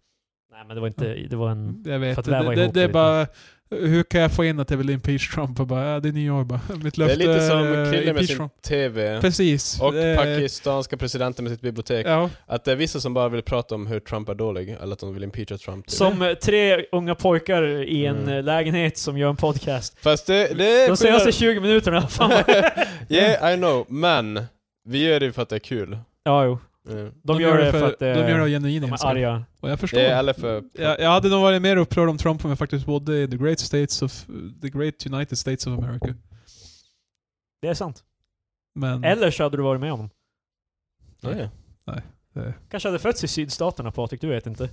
A: nej men det var
C: Mm.
A: inte, det var
B: Mm.
A: en...
C: Jag
A: För
C: vet
A: att
C: det,
A: väva
C: det, det,
A: ihop
C: det är
A: lite.
C: bara... Hur kan jag få in att jag vill impeach Trump? Och bara, ja, det är nyår bara. Mitt
B: Det är
C: löfte
B: lite som
C: eh,
B: Krille med
C: impeach
B: sin
C: Trump.
B: TV.
C: Precis.
B: Och
C: Det är-
B: pakistanska presidenten med sitt bibliotek.
C: Ja,
B: Att det är vissa som bara vill prata om hur Trump är dålig, eller att de vill impeacha Trump. Typ.
A: Som eh, tre unga pojkar i en
B: Mm.
A: eh, lägenhet som gör en podcast.
B: Fast det, det är
A: De senaste 20 minuterna, fan vad...
B: Yeah, I know, men vi gör det ju för att det är kul.
A: Ja, jo.
B: Mm.
A: De, gör det för att
C: de
A: eh,
C: gör det av genuin
A: de är
C: insikt.
A: arga.
C: Och jag förstår.
B: Det är eller för...
C: jag, jag hade nog varit mer upprörd om Trump om jag faktiskt bodde i the great states of... The great United States of America.
A: Det är sant.
C: Men...
A: Eller så hade du varit med om dem.
B: Ja, ja.
A: Kanske hade fötts i sydstaterna Patrik, du vet inte.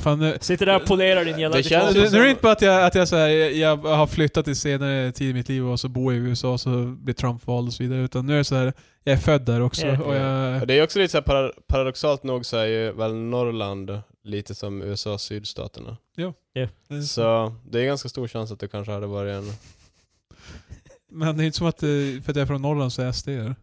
C: Fan, nu,
A: Sitter där och polerar din jävla...
B: Det känns-
A: diktator.
C: nu är det inte bara att jag, att jag, så här, jag, jag har flyttat till senare tid i mitt liv och så bor jag i USA och så blir Trump vald och så vidare. Utan nu är det så här, jag är född där också.
A: Ja.
C: Och jag,
B: Och Det är också lite så här para- paradoxalt nog så är ju väl Norrland lite som USA sydstaterna.
C: Mm.
B: Så det är ganska stor chans att du kanske hade varit en...
C: Men det är inte som att eh, för att jag är från Norrland så är jag SD er.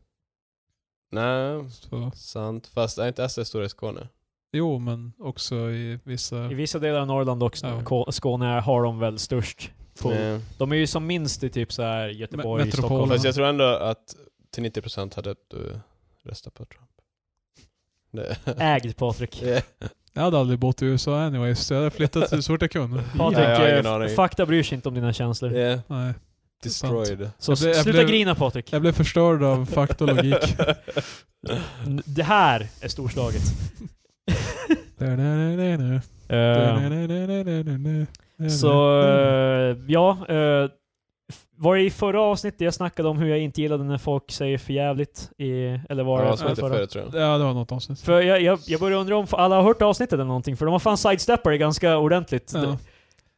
B: Nej,
C: Så.
B: sant. Fast är inte SD stora i Skåne?
C: Jo, men också i vissa...
A: I vissa delar av Norrland och
C: Ja.
A: Skå- Skåne har de väl störst. pool.
B: Nej.
A: De är ju som minst i typ så här Göteborg,
C: Me-
A: Stockholm.
C: metropolen.
B: Fast jag tror ändå att till 90% hade du röstat på Trump. Det.
A: Ägd Patrik.
B: Yeah.
C: Jag hade aldrig bott i USA anyways, så jag hade flyttat så fort jag kunde.
A: Patrik,
B: jag har
A: eh,
B: ingen aning.
A: f- fakta bryr sig inte om dina känslor.
B: Yeah.
C: Nej.
B: Destroyed.
A: Så
C: Jag blev- jag
A: sluta
C: blev-
A: grina Patrik.
C: Jag blev förstörd av fakta och logik.
A: N- Det här är storslaget. Eh,
C: Mm.
A: så, eh, ja. eh, f- var det i förra avsnittet jag snackade om hur jag inte gillade när folk säger för jävligt i, Eller var det
B: Ja, som inte
A: förra?
B: förr tror jag.
C: Ja, det var något avsnitt.
A: För jag, jag, jag började undra om alla har hört avsnittet eller någonting, för de har fan sidesteppar ganska ordentligt.
C: Ja.
A: Det,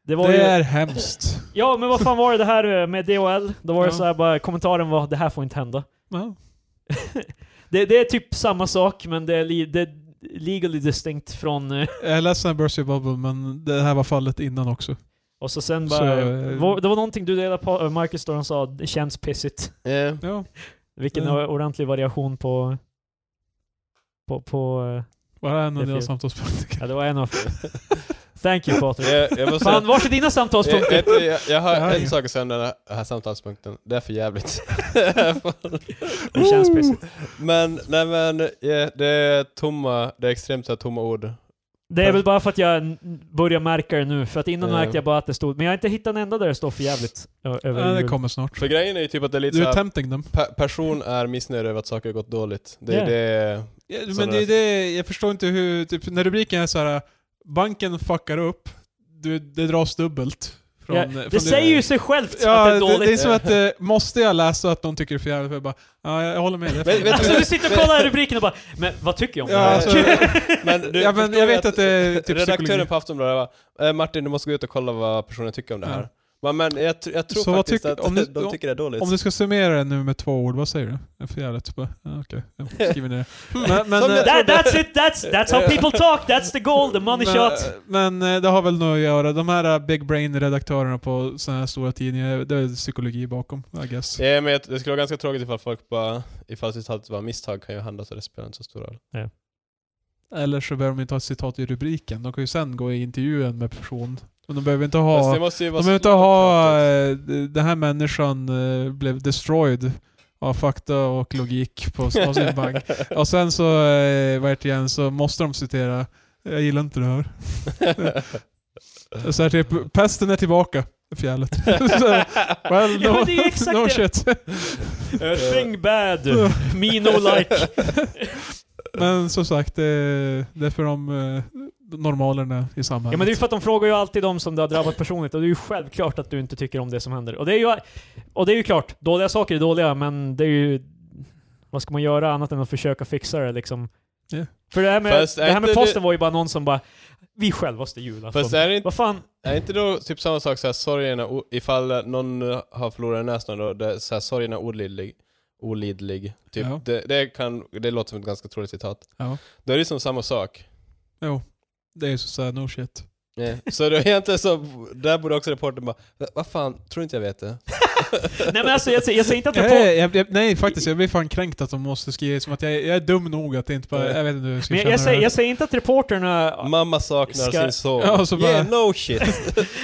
A: det var
C: Det
A: ju,
C: är hemskt.
A: Ja, men vad fan var det det här eh, med DHL? Då var det
C: Ja.
A: så här bara, kommentaren var det här får inte hända.
C: Ja.
A: Det, det är typ samma sak, men det är, li, det är legally distinct från... eh,
C: Jag är ledsen Burst Your Bubble, men det här var fallet innan också.
A: Och så sen bara...
C: Så,
A: eh,
C: eh,
A: var- det var någonting du delade på, eh, Marcus, då han sa det känns pissigt.
B: Yeah.
C: Ja.
A: Vilken
C: Mm.
A: ordentlig variation på... På... på eh,
C: Var det en
A: Det är
C: av dina
A: fel.
C: samtalspolitiker?
A: ja, det var en av... Thank you Patrik.
B: Jag, jag måste
A: Fan,
B: säga,
A: vars är dina
B: jag,
A: samtalspunkter?
B: vet du, jag, jag
C: Det här
B: har
C: är-
B: en sak att säga om den här- den här samtalspunkten. Det är för jävligt.
A: Det känns pissigt.
B: men, nej men, ja, det är tomma, det är extremt så här tomma ord.
A: Det är väl bara för att jag n- börjar märka det nu, för att innan
B: Ja.
A: märkte jag bara att det stod... Men jag har inte hittat en enda där det står för jävligt. ö- över
C: Ja, det
A: huvud.
C: kommer snart.
B: För grejen är ju typ att det är lite
C: Du är
B: såhär,
C: tempting them.
B: pe- person är missnöjd över att saker har gått dåligt. Det är
A: Ja.
B: det...
C: Ja,
B: Sådana
C: men det
B: där-
C: är det, jag förstår inte hur, typ, när rubriken är så här banken fuckar upp, du, det dras dubbelt. Från,
A: Ja,
C: från
A: det säger ju sig självt
C: ja,
A: att det är
C: det,
A: dåligt.
C: det är som att, eh, måste jag läsa att någon tycker det är för jävligt? För jag bara, ja, jag håller med. Det är för
B: Vet- vet
A: alltså, du sitter och kollar rubriken och bara Men vad tycker jag om
C: Ja,
A: det här?
C: alltså,
B: men
C: Ja, men
B: förstår
C: jag vet att det är typ psykologi.
B: Redaktören på Aftonbladet var eh, Martin, du måste gå ut och kolla vad personen tycker om det här.
C: Ja.
B: Men, men jag, tr- jag tror
C: Så vad
B: faktiskt
C: tycker-
B: att
C: om du-
B: de tycker det är dåligt.
C: Om du ska summera det nu med två ord, vad säger du? Det är för jävligt. Bara, ja, Okej, jag skriver ner det. Men, men,
B: Som jag
C: eh,
A: That, that's it, that's, that's how people talk, that's the goal, the money
C: men,
A: shot.
C: men eh, det har väl nog att göra. De här eh, big brain-redaktörerna på sådana här stora tidningar, det är psykologi bakom, I guess.
B: Ja, men jag- det skulle vara ganska tråkigt ifall folk bara, ifall citatet var misstag kan ju hända så det spelar inte så stor roll.
C: Eller så behöver de inte ha ett citat i rubriken. De kan ju sen gå i intervjun med person. Men de behöver inte
B: Fast
C: ha...
B: det måste ju
C: De
B: vara
C: behöver
B: så-
C: inte ha... eh, Den här människan eh, blev destroyed av fakta och logik på av sin bank. Och sen så, eh, vad heter det igen, så måste de citera Jag gillar inte det här. Så här typ, pesten är tillbaka. Fjället. eh, Så, well,
A: Ja,
C: no,
A: men det är ju exakt
C: no
A: det.
C: shit.
A: Uh, Thing bad, me no like.
C: Men som sagt, det är, det är för de eh, normalerna i samhället.
A: Ja men det är ju för att de frågar ju alltid de som det har drabbat personligt och det är ju självklart att du inte tycker om det som händer. Och det är ju, och det är ju klart, dåliga saker är dåliga men det är ju... Vad ska man göra annat än att försöka fixa det liksom?
C: Ja.
A: För det här med,
B: Fast är
A: det här med
B: inte
A: posten var ju bara någon som bara Vi självaste julafton.
B: Fast äh- är det inte,
A: Vad fan?
B: är inte då typ samma sak såhär sorgen är o- ifall någon eh, har förlorat en näsdan då, det, är så här, sorgen är olidlig. Olidlig. Typ.
C: Ja.
B: Det, det, kan, det låter som ett ganska troligt citat.
C: Ja.
B: Då är det som samma sak.
C: Jo. Det är ju såhär, no shit.
B: Ja. Så då egentligen så, där borde också reportern bara, "Va- vad fan, tror inte jag vet det?
A: Nej men alltså jag, säger- jag säger inte att jag
C: Nej, jag, jag, nej faktiskt, jag blir fan kränkt att de måste skriva som att jag, jag är dum nog att det inte bara, jag vet inte hur jag ska
A: Men jag,
C: känna
A: jag,
C: det
A: säger,
C: här.
A: jag säger inte att reporterna...
B: Mamma saknar
A: Ska-
B: sin son.
C: Ja, och så bara-
B: Yeah, no shit.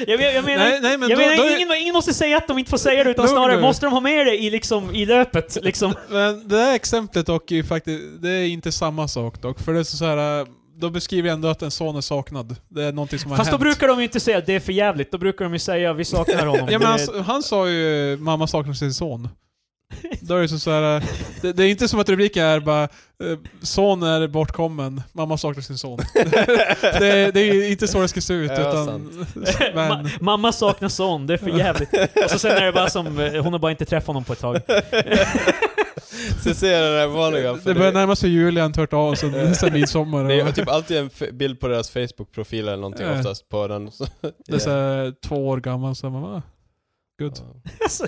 A: Jag, jag, jag menar,
C: Nej, nej, men
A: jag
C: då-
A: menar
C: då är-
A: ingen, ingen måste säga att de inte får säga det, utan
C: Lugn
A: snarare
C: nu.
A: måste de ha med det i, liksom, i löpet. Liksom.
C: Men det där exemplet dock är ju faktiskt, det är inte samma sak dock. För det är så här, eh, då beskriver jag ändå att en son är saknad. Det är någonting som har
A: Fast då
C: hänt.
A: brukar de ju inte säga att det är för jävligt. då brukar de ju säga vi saknar honom.
C: Ja men alltså,
A: Det-
C: han, han sa ju mamma saknar sin son. Då är det så här, det, det är inte som att rubriken är bara eh, son är bortkommen, mamma saknar sin son. det, det är ju inte så det ska se ut
B: Ja,
C: utan...
B: sant.
C: Men,
A: Ma- mamma saknar son, det är för jävligt. Och så sen är det bara som, eh, hon har bara inte träffat honom på ett tag.
B: Så ser jag den här vanliga. för
C: det börjar närma sig jul, jag har inte hört av sen, sen midsommar.
B: det är
C: Och-
B: typ alltid en f- bild på deras Facebook-profil eller någonting
C: Ja.
B: oftast på den. Så-
C: Det är så här, två år gammal, så man bara, good.
A: Alltså.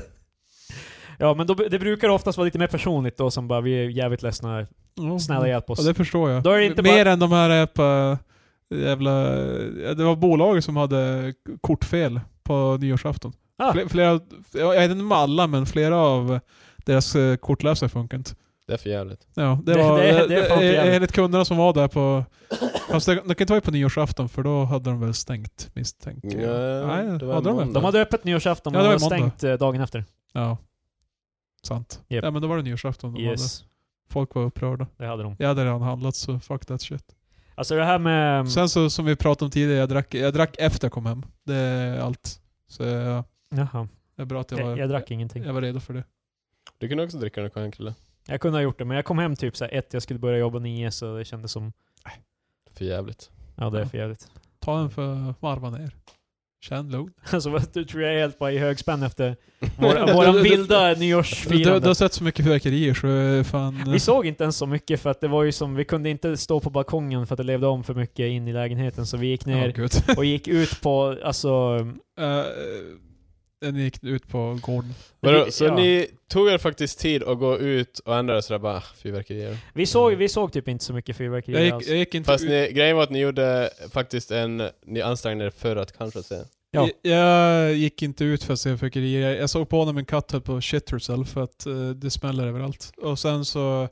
A: Ja men då, det brukar oftast vara lite mer personligt då som bara vi är jävligt ledsna,
C: Ja.
A: snälla hjälp
C: Ja,
A: oss.
C: det förstår jag.
A: Då är det inte
C: Mer än de här eh, jävla, eh, jävla... ja, Det var bolaget som hade kortfel på nyårsafton.
A: Ah.
C: Fle- Flera, av- jag vet inte om alla, men flera av deras eh, kortläsare funkar inte.
B: Det är för jävligt.
C: Ja, det
A: Det-
C: var,
A: det-
C: det,
A: det är fan för jävligt.
C: enligt kunderna som var där på... Fast det, det kan inte vara på nyårsafton för då hade de väl stängt misstänker jag.
B: Nej,
C: Nej,
B: det var
C: hade de väl?
B: måndag.
A: De hade öppet nyårsafton
C: Ja,
A: men
C: det var
A: var
C: i måndag.
A: stängt eh, dagen efter.
C: Ja. Sant.
A: Japp.
C: Ja men då var det nyårsafton de hade.
A: Yes,
C: Folk var upprörda.
A: det hade de.
C: Jag hade redan handlat så fuck that shit.
A: Alltså det här med...
B: Mm.
C: Sen så som vi pratade om tidigare, jag drack, jag drack efter jag kom hem. Det är allt. Så jag,
A: Jaha,
C: det är bra att jag var,
A: jag, jag drack ingenting.
C: jag var redo för det.
B: Du kunde också dricka när du kom hem Krille.
A: Jag kunde ha gjort det, men jag kom hem typ såhär ett, jag skulle börja jobba nio, så det kändes som...
B: För jävligt.
A: Ja, det är för jävligt.
C: Ta en för varva ner. Känn lugn.
A: Alltså vad- du tror jag är helt bara i högspänn efter vår, våran vilda
C: Du, du, du
A: nyårsfirande.
C: har sett så mycket fyrverkerier så eh, fan...
A: Vi såg inte ens så mycket för att det var ju som, vi kunde inte stå på balkongen för att det levde om för mycket in i lägenheten, så vi gick
C: Ja,
A: ner
C: gud.
A: och gick ut på, alltså...
C: Eh, Den gick ut på gården.
B: Vadå, så
A: Ja.
B: ni tog er faktiskt tid att gå ut och ändra det sådär bara, "Ah, fyrverkerier.
A: Vi såg, vi såg typ inte så mycket fyrverkerier
C: Jag gick,
A: alls.
C: jag gick inte
B: Fast
C: ut.
B: ni, grejen var att ni gjorde faktiskt en, ni ansträngde er för att kanske se.
A: Ja.
C: Jag, jag gick inte ut för att se fyrverkerier. Jag såg på när min katt höll på att shit herself för att eh, det smäller överallt. Och sen så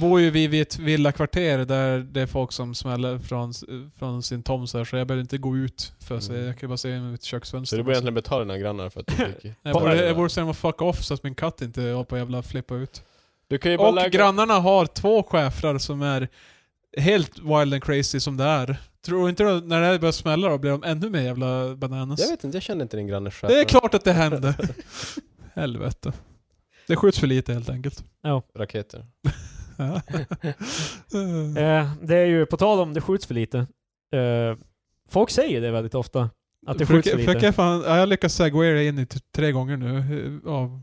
C: bor ju vi vid ett villakvarter där det är folk som smäller från, från sin toms här, så jag behöver inte gå ut för att se.
B: Mm.
C: Jag kan bara se med mitt
B: Så
C: köksfönster.
B: du borde egentligen betala dina grannar för att du fick...
C: jag borde, jag borde se dem att fuck off så att min katt inte håller på att jävla flippa ut.
B: Du kan ju bara
C: Och
B: lägga...
C: grannarna har två schäfrar som är helt wild and crazy som det är. Tror inte du när det här börjar smälla då blir de ännu mer jävla bananas?
B: Jag vet inte, jag känner inte din granne själv.
C: Det är
A: Alltså.
C: klart att det hände. Helvete. Det skjuts för lite helt enkelt.
B: Raketer.
C: Ja. Eh,
A: Eh, det är ju, på tal om det skjuts för lite. Eh, folk säger det väldigt ofta. Att det skjuts
C: Försöker-
A: för
C: försöker
A: lite.
C: jag fan, ja, jag lyckas segwaya det in i typ tre gånger nu eh, av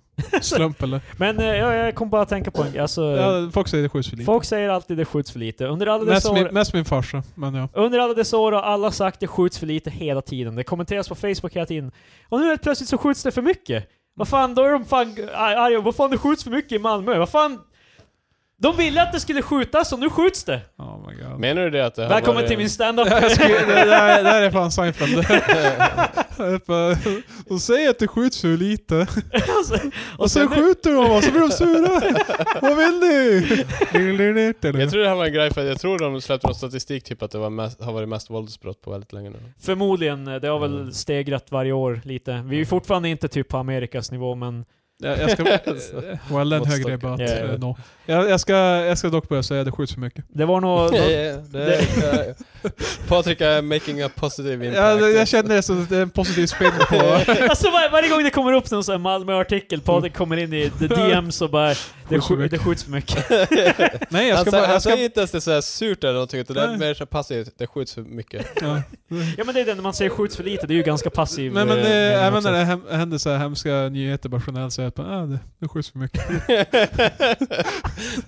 C: slump eller?
A: Men eh, jag, jag kom bara att tänka på en grej. Alltså,
C: Ja, folk säger det skjuts för lite.
A: Folk säger alltid det skjuts för lite. Under alla
C: mest,
A: dessa
C: min,
A: år,
C: mest min farsa, men ja.
A: under alla dessa år har alla sagt det skjuts för lite hela tiden. Det kommenteras på Facebook hela tiden. Och nu helt plötsligt så skjuts det för mycket. Vad fan, då är de fan ar- arga. Vad fan, det skjuts för mycket i Malmö. Vad fan? De ville att det skulle skjutas och nu skjuts det.
C: Oh my god.
B: Menar du det att det har
A: Välkommen
B: varit
A: till
B: en-
A: min standup.
C: Jag skulle- det, där, det där är fan Seinfeld. Jag är bara- De säger att det skjuts för lite, och sen skjuter de och så blir de sura. Vad vill ni?
B: Jag tror det här var en grej för att jag tror de släppte någon statistik typ att det var mest, har varit mest våldsbrott på väldigt länge nu.
A: Förmodligen. eh, Det har väl
B: Mm.
A: stegrat varje år lite. Vi är ju fortfarande inte typ på Amerikas nivå, men...
C: Jag, jag ska... well, den
B: Måttstocken.
C: högre är bara att
A: Ja, ja, ja.
C: eh, nå. Jag, jag, ska, jag ska dock börja säga att det skjuts för mycket.
A: Det var nog...
B: det- Patrik är making a positive impact.
C: Jag, jag känner det som att det är en positiv spin på...
A: Alltså var, varje gång det kommer upp någon sån här Malmö-artikel, Patrik kommer in i the DMs och bara det,
C: Skjuts för
A: sk-
C: mycket."
A: det skjuts för mycket.
C: Nej, jag
B: han
A: Alltså,
B: säger- han
C: ska bara... Jag
B: säger
C: ska,
B: Alltså, inte ens det såhär surt eller någonting utan det är
C: Nej.
B: mer så passivt, det skjuts för mycket.
C: ja.
A: Ja men det är det, när man säger skjuts för lite, det är ju ganska passiv.
C: Men, men
A: eh,
C: eh,
A: mening
C: även
A: också.
C: när det hem- händer så här hemska nyheter bara generellt så är jag bara ah, det, det skjuts för mycket.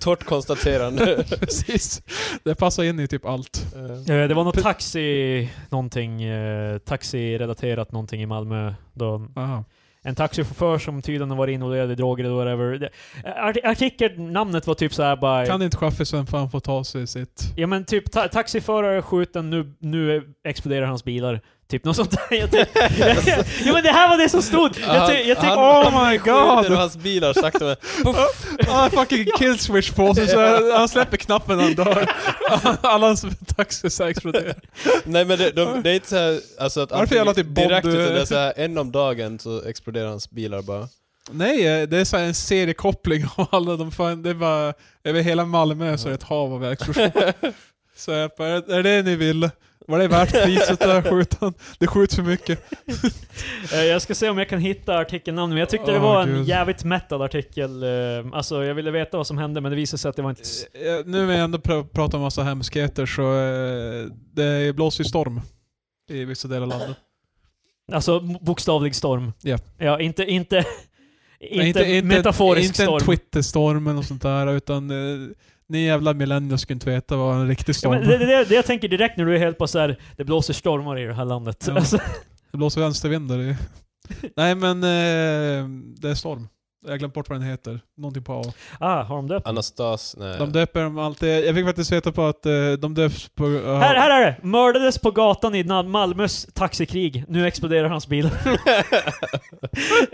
B: Torrt konstaterande.
C: Precis. Det passar in i typ allt.
A: Eh, Det var något taxi, någonting, eh, taxirelaterat någonting i Malmö. Då
C: Aha.
A: en taxichaufför som tydligen har varit involverad i droger eller whatever. Det- art- Artikelnamnet var typ så här bara...
C: Kan inte chaffisen fan få ta sig sitt...
A: Ja men typ ta taxiförare är skjuten, nu, nu exploderar hans bilar. Typ något sånt där. Jag tyck- ja men det här var det som stod! Jag, ty- jag oh tyck-
B: Alltså. Han-
A: Åh!
B: han
C: my
B: skjuter
C: god.
B: och hans bilar sakta men
C: Han har Ah, fucking kill switch på sig så han- han släpper knappen när han dör. Alla hans taxisar exploderar.
B: Nej men det, de, det är inte såhär, alltså att
C: Varför jävla typ Bond-
B: direkt utan det är såhär en om dagen så exploderar hans bilar bara.
C: Nej, eh, det är så här en seriekoppling av alla de fan, det är bara, över hela Malmö så är det ett hav av explosioner. Så jag bara, är det det ni vill? Var det värt priset att skjuta? han? Det skjuts för mycket.
A: Eh, Jag ska se om jag kan hitta artikelnamnet, men jag tyckte det
C: Åh,
A: var en
C: Gud.
A: jävligt metal artikel. eh, Alltså jag ville veta vad som hände, men det visade sig att det var inte... s-
C: Eh, Nu när jag ändå pr- pratar om massa hemskheter så eh, det blåser ju storm i vissa delar av landet.
A: Alltså m- bokstavlig storm.
C: Ja.
A: Ja, inte... Inte,
C: Nej,
A: inte, metaforisk
C: inte
A: storm.
C: en Twitterstorm eller något sånt där, utan eh, ni jävla millennials skulle inte veta vad en riktig
A: Ja,
C: storm
A: men det, det, det, det jag tänker direkt när du är helt på såhär, det blåser stormar i det här landet.
C: Ja.
A: Alltså,
C: Det blåser vänstervindar i... Nej men, eh, det är storm. Jag har glömt bort vad den heter. Någonting på A.
A: Ah, har de döpt
B: Anastas, nej.
C: De döper dem alltid. Jag fick faktiskt veta på att eh, de döps på... ja.
A: Här, här är det! Mördades på gatan i Na- Malmös taxikrig. Nu exploderar hans bil.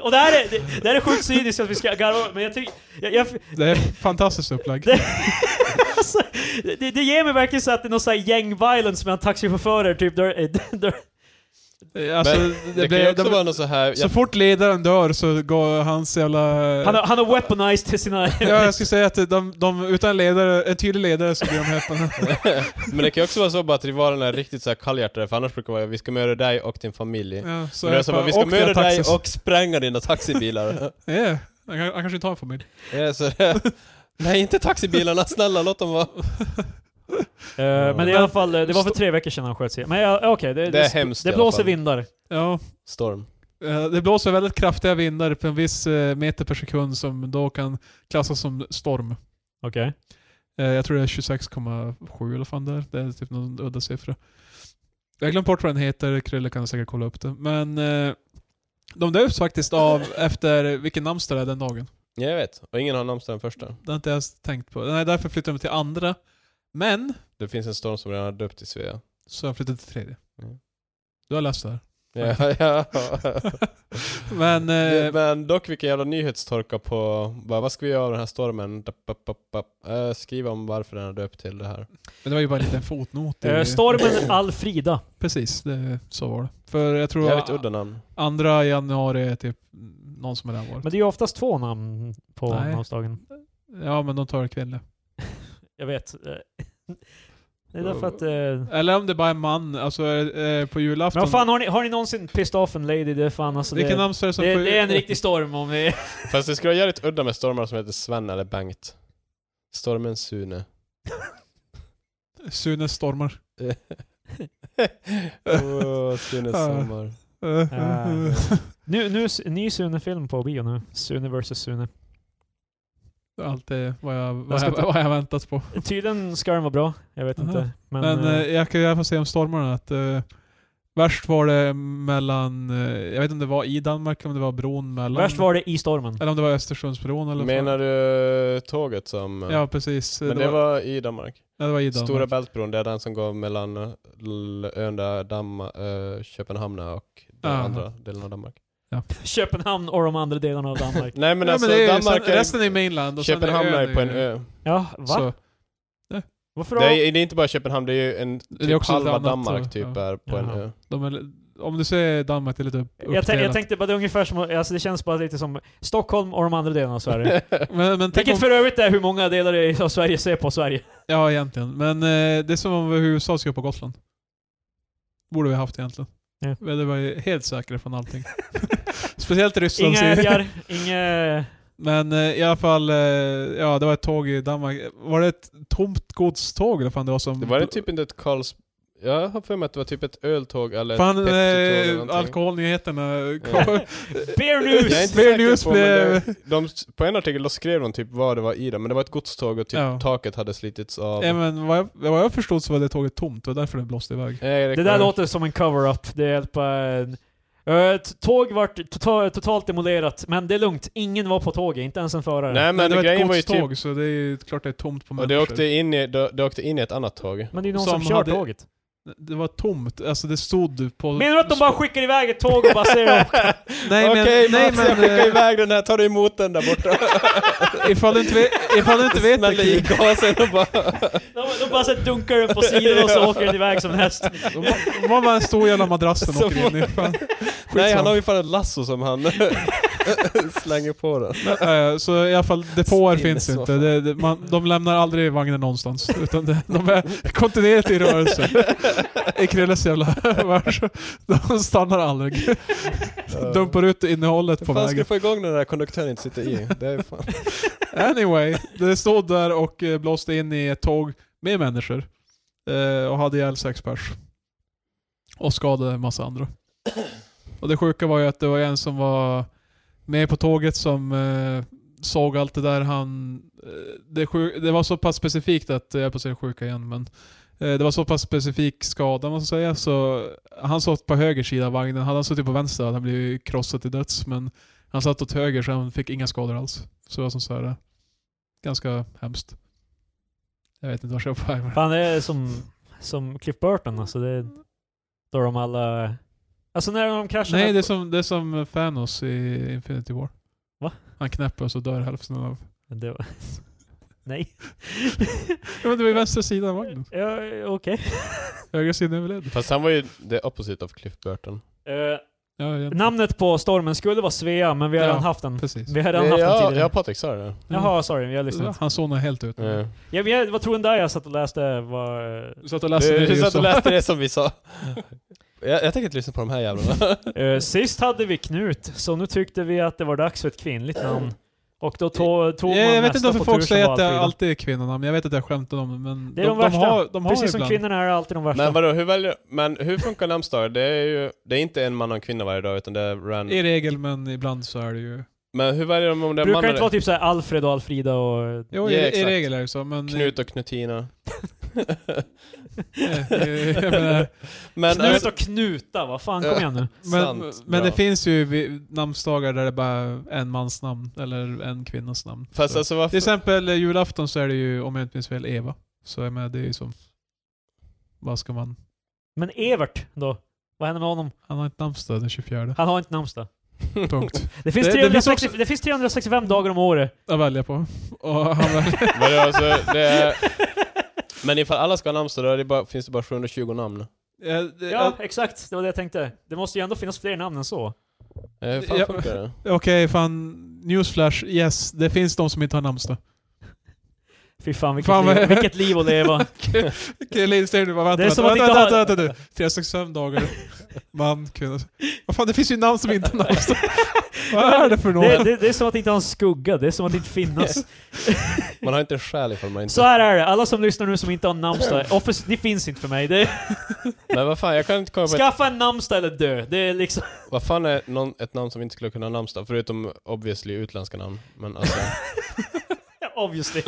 A: och det här är, det, det här är sjukt cyniskt att vi ska garva men jag tycker... Jag, jag,
C: Det är ett fantastiskt upplägg.
A: Det- alltså, det, det ger mig verkligen så att det är någon sån här gäng-violence mellan taxichaufförer, typ. Där, eh, där,
C: Alltså,
B: Men
C: det
B: det, kan ju
C: blir-
B: också
C: de-
B: vara något så här,
C: Så
B: jag,
C: fort ledaren dör så går hans jävla...
A: han, har, han har weaponized till sina...
C: Ja, jag skulle säga att de, de utan ledare, en tydlig ledare så blir de häpna.
B: men det kan ju också vara så bara att rivalerna är riktigt så här kallhjärtade, för annars brukar det vara vi ska mörda dig och din familj.
C: Ja, så
B: Men det är som
C: bara,
B: att vi ska
C: "Och dina
B: mörda dig
C: taxis."
B: och spränga dina taxibilar.
C: Ja, han, kan- han kanske tar en familj.
B: Ja, så, nej, inte taxibilarna, snälla låt dem vara.
A: Eh, men i alla fall, eh, det var för tre veckor sedan han sköts ihjäl. Men ja, okej, det,
B: Det är
A: det,
B: hemskt i
A: det
B: alla
A: blåser
B: fall.
A: vindar.
C: Ja,
B: Storm.
C: eh, det blåser väldigt kraftiga vindar på en viss eh, meter per sekund som då kan klassas som storm.
A: Okej.
C: Eh, Jag tror det är 26,7 eller fan där. Det är typ någon udda siffra. Jag har glömt bort vad den heter, Krille kan säkert kolla upp det. Men eh, de döps faktiskt av efter vilken namnsdag det är den dagen.
B: Ja, jag vet. Och ingen har namnsdag den första.
C: Det har inte jag ens tänkt på. Nej, därför flyttar de till andra. Men,
B: Det finns en storm som redan har döpt i Svea.
C: så har jag flyttat till tredje.
B: Mm.
C: Du har läst det här.
B: Ja, ja.
C: Men,
B: Det-
C: eh,
B: Men dock vilken jävla nyhetstorka på, bara, vad ska vi göra av den här stormen? Dap, dap, dap, dap. Eh, Skriv om varför den har döpt till det här.
C: men det var ju bara en liten fotnot. i-
A: Eh, stormen Alfrida.
C: Precis, det, så var det. För jag tror
B: Jävligt udda namn.
C: andra januari är typ någon som är där var.
A: Men det är ju oftast två namn på
C: Nej.
A: namnsdagen.
C: Ja, men de tar kvinnor.
A: Jag vet. eh, Det är därför att... eh,
C: Eller om det bara är man, alltså eh, på julafton.
A: Men vad fan, har ni, har ni någonsin pissed off en lady? Det är fan alltså...
C: vilken
A: det,
C: namnsdag är det som
A: det,
C: på-
A: det är en riktig storm om ni...
B: Fast det skulle vara jävligt udda med stormar som heter Sven eller Bengt. Stormen Sune.
C: Sunes stormar.
B: Åh, Sunes sommar.
A: Ah. Nu, nu, ny Sune-film på bio nu. Sune vs Sune.
C: Allt är vad jag,
A: Jag
C: vad
A: ska
C: jag,
A: ta-
C: vad jag väntat på.
A: Tydligen ska den vara bra. Jag vet
C: Aha.
A: inte. Men,
C: Men
A: eh,
C: eh, jag kan ju i alla fall säga om stormarna att eh, värst var det mellan, eh, jag vet inte om det var i Danmark, om det var bron mellan.
A: värst var det i stormen.
C: Eller om det var Östersundsbron eller vad fan.
B: Menar du tåget som... eh,
C: Ja precis.
B: Men det var i Danmark.
C: ja, det var i Danmark.
B: Stora Bältbron, det är den som går mellan eh, L- ön där Damm, eh, Köpenhamn och den
C: Ah.
B: andra delen av Danmark.
A: Köpenhamn och de andra delarna av Danmark.
B: Nej men
C: ja,
B: alltså
C: men det är,
B: Danmark
C: sen, resten är mainland och sen
B: Köpenhamn är
C: ön
B: på en
C: ju-
B: ö.
A: ja, va?
C: Så,
A: Varför
B: Det
A: då?
B: är, det är inte bara Köpenhamn, det är ju en typ
C: är också lite
B: halva
C: annat,
B: Danmark
C: så,
B: typ
C: ja.
B: är på
A: Jaha.
B: en ö.
C: de är, om du säger Danmark, det är lite upp,
A: jag, tän- jag
C: uppdelat.
A: tänkte bara det är ungefär som, alltså det känns bara lite som Stockholm och de andra delarna av Sverige.
C: Men, men tänk om,
A: Vilket för övrigt är hur många delar i- av Sverige ser på Sverige.
C: Ja, egentligen. Men eh, det är som om USA skulle på Gotland. Borde vi haft egentligen.
A: Ja.
C: Men det var ju helt säkra från allting. Speciellt Ryssland.
A: Inga
C: säger-
A: älgar, inga...
C: Men eh, i alla fall, eh, ja det var ett tåg i Danmark. Var det ett tomt godståg eller fan det var som...
B: Det var det typ inte ett Karls... Jag har för mig att det var typ ett öltåg eller ett
C: Fan,
B: Pepsi-tåg eller
C: eh,
B: någonting.
C: alkoholnyheterna.
A: Bear
B: Jag är
A: news!
B: inte
C: Bear
B: säker
C: news
B: på, men det-
C: blev-
B: de, på en artikel då skrev de typ vad det var i det, men det var ett godståg och typ
C: Ja.
B: taket hade slitits av...
C: ja, men vad jag, vad jag förstod så var det tåget tomt och därför det blåste iväg.
B: Nej,
A: Det där låter som en cover-up. Det är bara en... Eh, t- Tåg vart tota- totalt demolerat, men det är lugnt. Ingen var på tåget, inte ens en förare.
B: Nej men,
C: det var ett
B: grejen var ju
C: godståg
B: typ...
C: så det är ju klart det är tomt på
B: Och det
C: människor.
B: åkte, in i, det, det åkte in i ett annat tåg.
A: Men det är ju någon som,
C: Som
A: kör
C: hade-
A: tåget.
C: Det var tomt, alltså det stod på...
A: Menar du att de bara skickar iväg ett tåg och bara säger åka?
C: Nej men...
B: Okej
C: nej,
B: Mats, jag
C: men
B: skickar
C: eh,
B: iväg den här, tar du emot den där borta?
C: ifall du inte vet, ifall du inte vet det
B: Smäller i
C: Kid,
B: gasen och bara...
A: De, de bara så här dunkar den på sidan och så åker den iväg som en häst.
C: Då var- var bara en stor jävla madrass den
B: Så
C: åker in i. Fan.
B: Nej
C: Skitsamma.
B: han har ju fan ett lasso som han slänger på den.
C: Eh, Så i alla fall, depåer
B: Stinn i
C: finns inte.
B: soffan.
C: Det, det, man, de lämnar aldrig vagnen någonstans. Utan det, de är kontinuerligt i rörelse. I Krilles jävla värld. De stannar aldrig. Dumpar ut innehållet
B: Hur
C: på
B: fan ska du
C: vägen.
B: få igång den där konduktören inte sitter i? Det är fan...
C: Anyway, det stod där och eh, blåste in i ett tåg med människor. Eh, Och hade ihjäl sex pers. Och skadade en massa andra. Och det sjuka var ju att det var en som var med på tåget som eh, såg allt det där han... Eh, det, sju- det var så pass specifikt att, eh, jag höll på att säga sjuka igen men. Eh, det var så pass specifik skada man ska säga så han satt på höger sida av vagnen. Hade han suttit på vänster hade han blivit krossad till döds men Han satt åt höger så han fick inga skador alls. Så det var som så här, eh, ganska hemskt. Jag vet inte vart jag var på väg med det.
A: Fan, det är som, som Cliff Burton alltså. Det är, då de alla... Alltså när de kraschar...
C: Nej, det är, som, det är som Thanos i Infinity War.
A: Va?
C: Han knäpper och så dör hälften av...
A: det var... Nej.
C: Ja, men det var ju vänstra sidan av vagnen.
A: Ja, okej.
C: Högra sidan överlevde.
B: Fast han var ju the opposite of Cliff Burton.
A: Eh,
C: Ja, egentligen.
A: namnet på stormen skulle vara Svea, men vi har
C: Ja.
A: redan haft den.
C: Precis. Mm.
A: Vi har redan haft den
B: Ja,
A: tidigare.
B: ja, Patrik sa det.
A: Jaha, sorry. Jag lyssnade
C: Han zonar helt ut.
B: Mm.
C: Mm.
A: Ja, men jag, vad tror du där jag satt och läste var...
C: Du satt och
B: Du,
C: läste det
B: du
C: just
B: satt och
C: då.
B: läste det som vi sa. Jag, jag tänker inte lyssna på de här jävlarna.
A: Eh, sist hade vi Knut, så nu tyckte vi att det var dags för ett kvinnligt namn. Och då to- tog man
C: Jag, jag vet
A: nästa
C: inte varför
A: på
C: folk
A: tur som
C: säger
A: var
C: att det
A: Alfrida.
C: alltid är kvinnonamn. Jag vet att jag skämtar om det, men
A: Det är de värsta.
C: har, de har
A: Precis som
C: ibland.
A: kvinnorna är alltid de värsta.
B: Men vadå, hur väljer, men hur funkar namnsdagar? Det är ju, det är inte en man och en kvinna varje dag utan det är
C: I
B: random.
C: regel, men ibland så är det ju...
B: Men hur väljer de om det är
A: Brukar
B: man
A: det inte vara
B: eller
A: typ såhär Alfred och Alfrida och...
B: Ja,
C: Jo, i, i
B: exakt.
C: regel är det så, men...
B: Knut och Knutina?
C: eh, eh, jag menar,
B: Men,
A: Knut
C: eh,
B: alltså,
A: och Knuta, vad fan kom igen nu.
C: men,
B: Sant,
C: men det
B: bra.
C: finns ju vid- namnsdagar där det bara är en mans namn, eller en kvinnas namn.
B: Fast
C: så.
B: alltså
C: Till
B: varför?
C: exempel eh, julafton så är det ju, om jag inte minns fel, Eva. Så jag menar, det är ju som... Vad ska man...
A: Men Evert då? Vad händer med honom?
C: Han har ett namnsdag den 24.
A: Han har inte namnsdag.
C: Punkt.
A: Det finns,
C: Det- det
A: 360,
C: finns också-
A: det finns 365 dagar om året.
C: Att välja på. Och han väl,
B: Vadå, alltså, det är, men ifall alla ska ha namnsdag då är det bara, finns det bara 720 namn.
C: Eh, det-
A: Ja, exakt. Det var det jag tänkte. Det måste ju ändå finnas fler namn än så.
B: Eh, Hur fan
C: Ja.
B: funkar det?
C: Okej, fan. Newsflash. Yes, det finns de som inte har namnsdag.
A: Fy fan vilket,
C: Fan,
A: liv,
C: vad-
A: vilket liv att leva.
C: Krille säger du bara vänta,
A: Det är som
C: vänta,
A: att
C: vänta,
A: inte ha-
C: vänta, vänta, vänta, nu. 365 dagar. Man, kvinna. Vad fan, det finns ju namn som inte har namnsdag. Vad är det för något?
A: Det, det, det är som att inte ha en skugga, det är som att inte finnas.
B: Man har inte en själ ifall man inte...
A: Så här är det, alla som lyssnar nu som inte har namnsdag, Office, det finns inte för mig. Det är,
B: Men vad fan, jag kan inte komma på ett,
A: skaffa en namnsdag eller dö. Det är liksom...
B: vad fan är någon, ett namn som inte skulle kunna ha namnsdag? Förutom obviously utländska namn. Men alltså.
A: Obviously.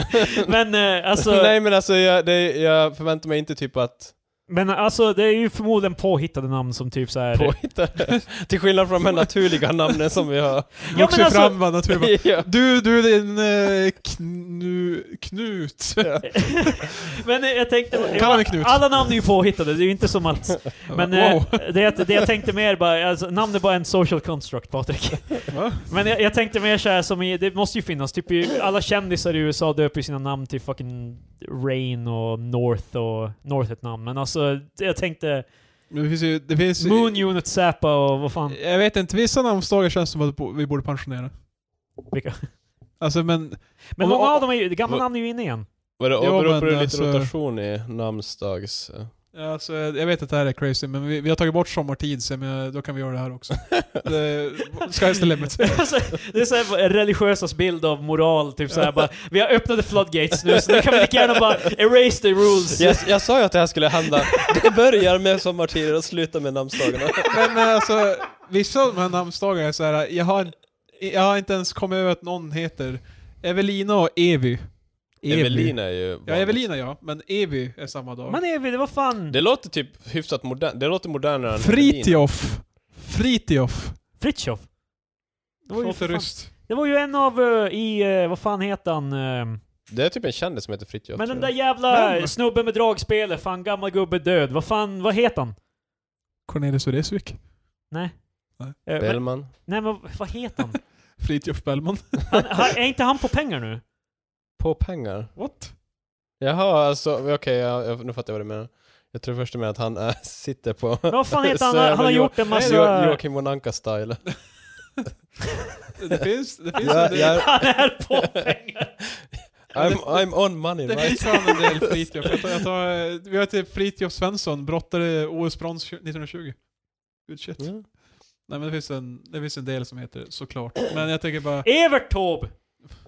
A: Men eh, alltså...
B: Nej men alltså jag, det, jag förväntar mig inte typ att
A: Men alltså det är ju förmodligen påhittade namn som typ så här.
B: påhitta det. Till skillnad från de här naturliga namnen som vi har.
A: men
C: Vuxit
A: alltså-
C: fram va, naturligt.
B: ja.
C: Du, du din eh, knu, Knut.
A: Men eh, jag tänkte...
C: Kalla mig Knut.
A: Alla namn är ju påhittade, det är ju inte som att... Men eh,
C: wow.
A: det, jag- det jag tänkte mer bara, alltså, namn är bara en social construct Patrik.
C: Va?
A: Men jag, jag tänkte mer såhär som i, det måste ju finnas, typ i, alla kändisar i USA döper ju sina namn till fucking Rain och North och North är ett namn. Men alltså det- jag tänkte
C: Men det finns ju... Det finns,
A: Moon Unit Zappa och vad fan.
C: Jag vet inte, vissa namnsdagar känns som att vi borde pensionera.
A: Vilka?
C: Alltså men...
A: Men
C: Om-
A: många
C: om-
A: av dem är ju, gamla
B: om-
A: namn är ju inne igen.
B: Vadå,
C: Jo,
B: åberopar
C: men
B: du lite
C: alltså-
B: rotation i namnsdags...
C: Ja, Alltså, jag vet att det här är crazy, men vi, vi har tagit bort sommartid, så jag menar, då kan vi göra det här också. det, sky's the limit.
A: Alltså, det är såhär religiösas bild av moral, typ såhär bara Vi har öppnat the floodgates nu så nu kan vi lika gärna bara erase the rules.
B: Jag, jag sa ju att det här skulle hända. Det börjar med sommartider och slutar med namnsdagarna.
C: men, men alltså, vissa av de här namnsdagarna är så här, jag har, jag har inte ens kommit över att någon heter Evelina och Evy. Evy.
B: Evelina är ju...
C: Ja,
B: vanligt.
C: Evelina ja, men Evy är samma dag.
A: Men Evi, det var fan...
B: Det låter typ hyfsat modernt. Det låter modernare än Evelina.
C: Fritiof. Fritiof.
A: Fritiof. Det var, ju
C: Låter
A: för fan,
C: ryskt.
A: det var ju en av eh, i, eh, vad fan heter han? eh,
B: Det är typ en kändis som heter Fritiof.
A: Men
B: tror
A: den där
B: jag.
A: jävla
C: Men-
A: snubben med dragspelet, fan gammal gubbe död. Vad fan, vad heter han?
C: Cornelis Vreeswijk.
A: Eh, men,
B: Bellman.
A: nej men vad heter han?
C: Fritiof Bellman.
A: han han- är inte han på pengar nu?
B: På pengar.
C: What?
B: Jaha, alltså okej, jag, jag, nu fattar jag vad du menar. Jag tror först du menar att han äh, sitter på...
A: Men vad fan heter han?
B: Så jävla
A: Han har
B: Jo-
A: gjort Alltså- en massa...
B: Jo, Joakim von Anka-style.
C: Det finns... Det finns,
B: Ja,
C: det,
B: ja.
A: Han är på pengar!
B: I'm, I'm on money
C: det
B: right?
C: finns fan en del Fritiof. Jag tar, jag tar, eh, vi har typ Fritiof Svensson, brottare OS-brons 1920. Good shit.
B: Mm.
C: Nej men det finns, en, det finns en del som heter det, såklart. Men jag tänker bara...
A: Evert Taube!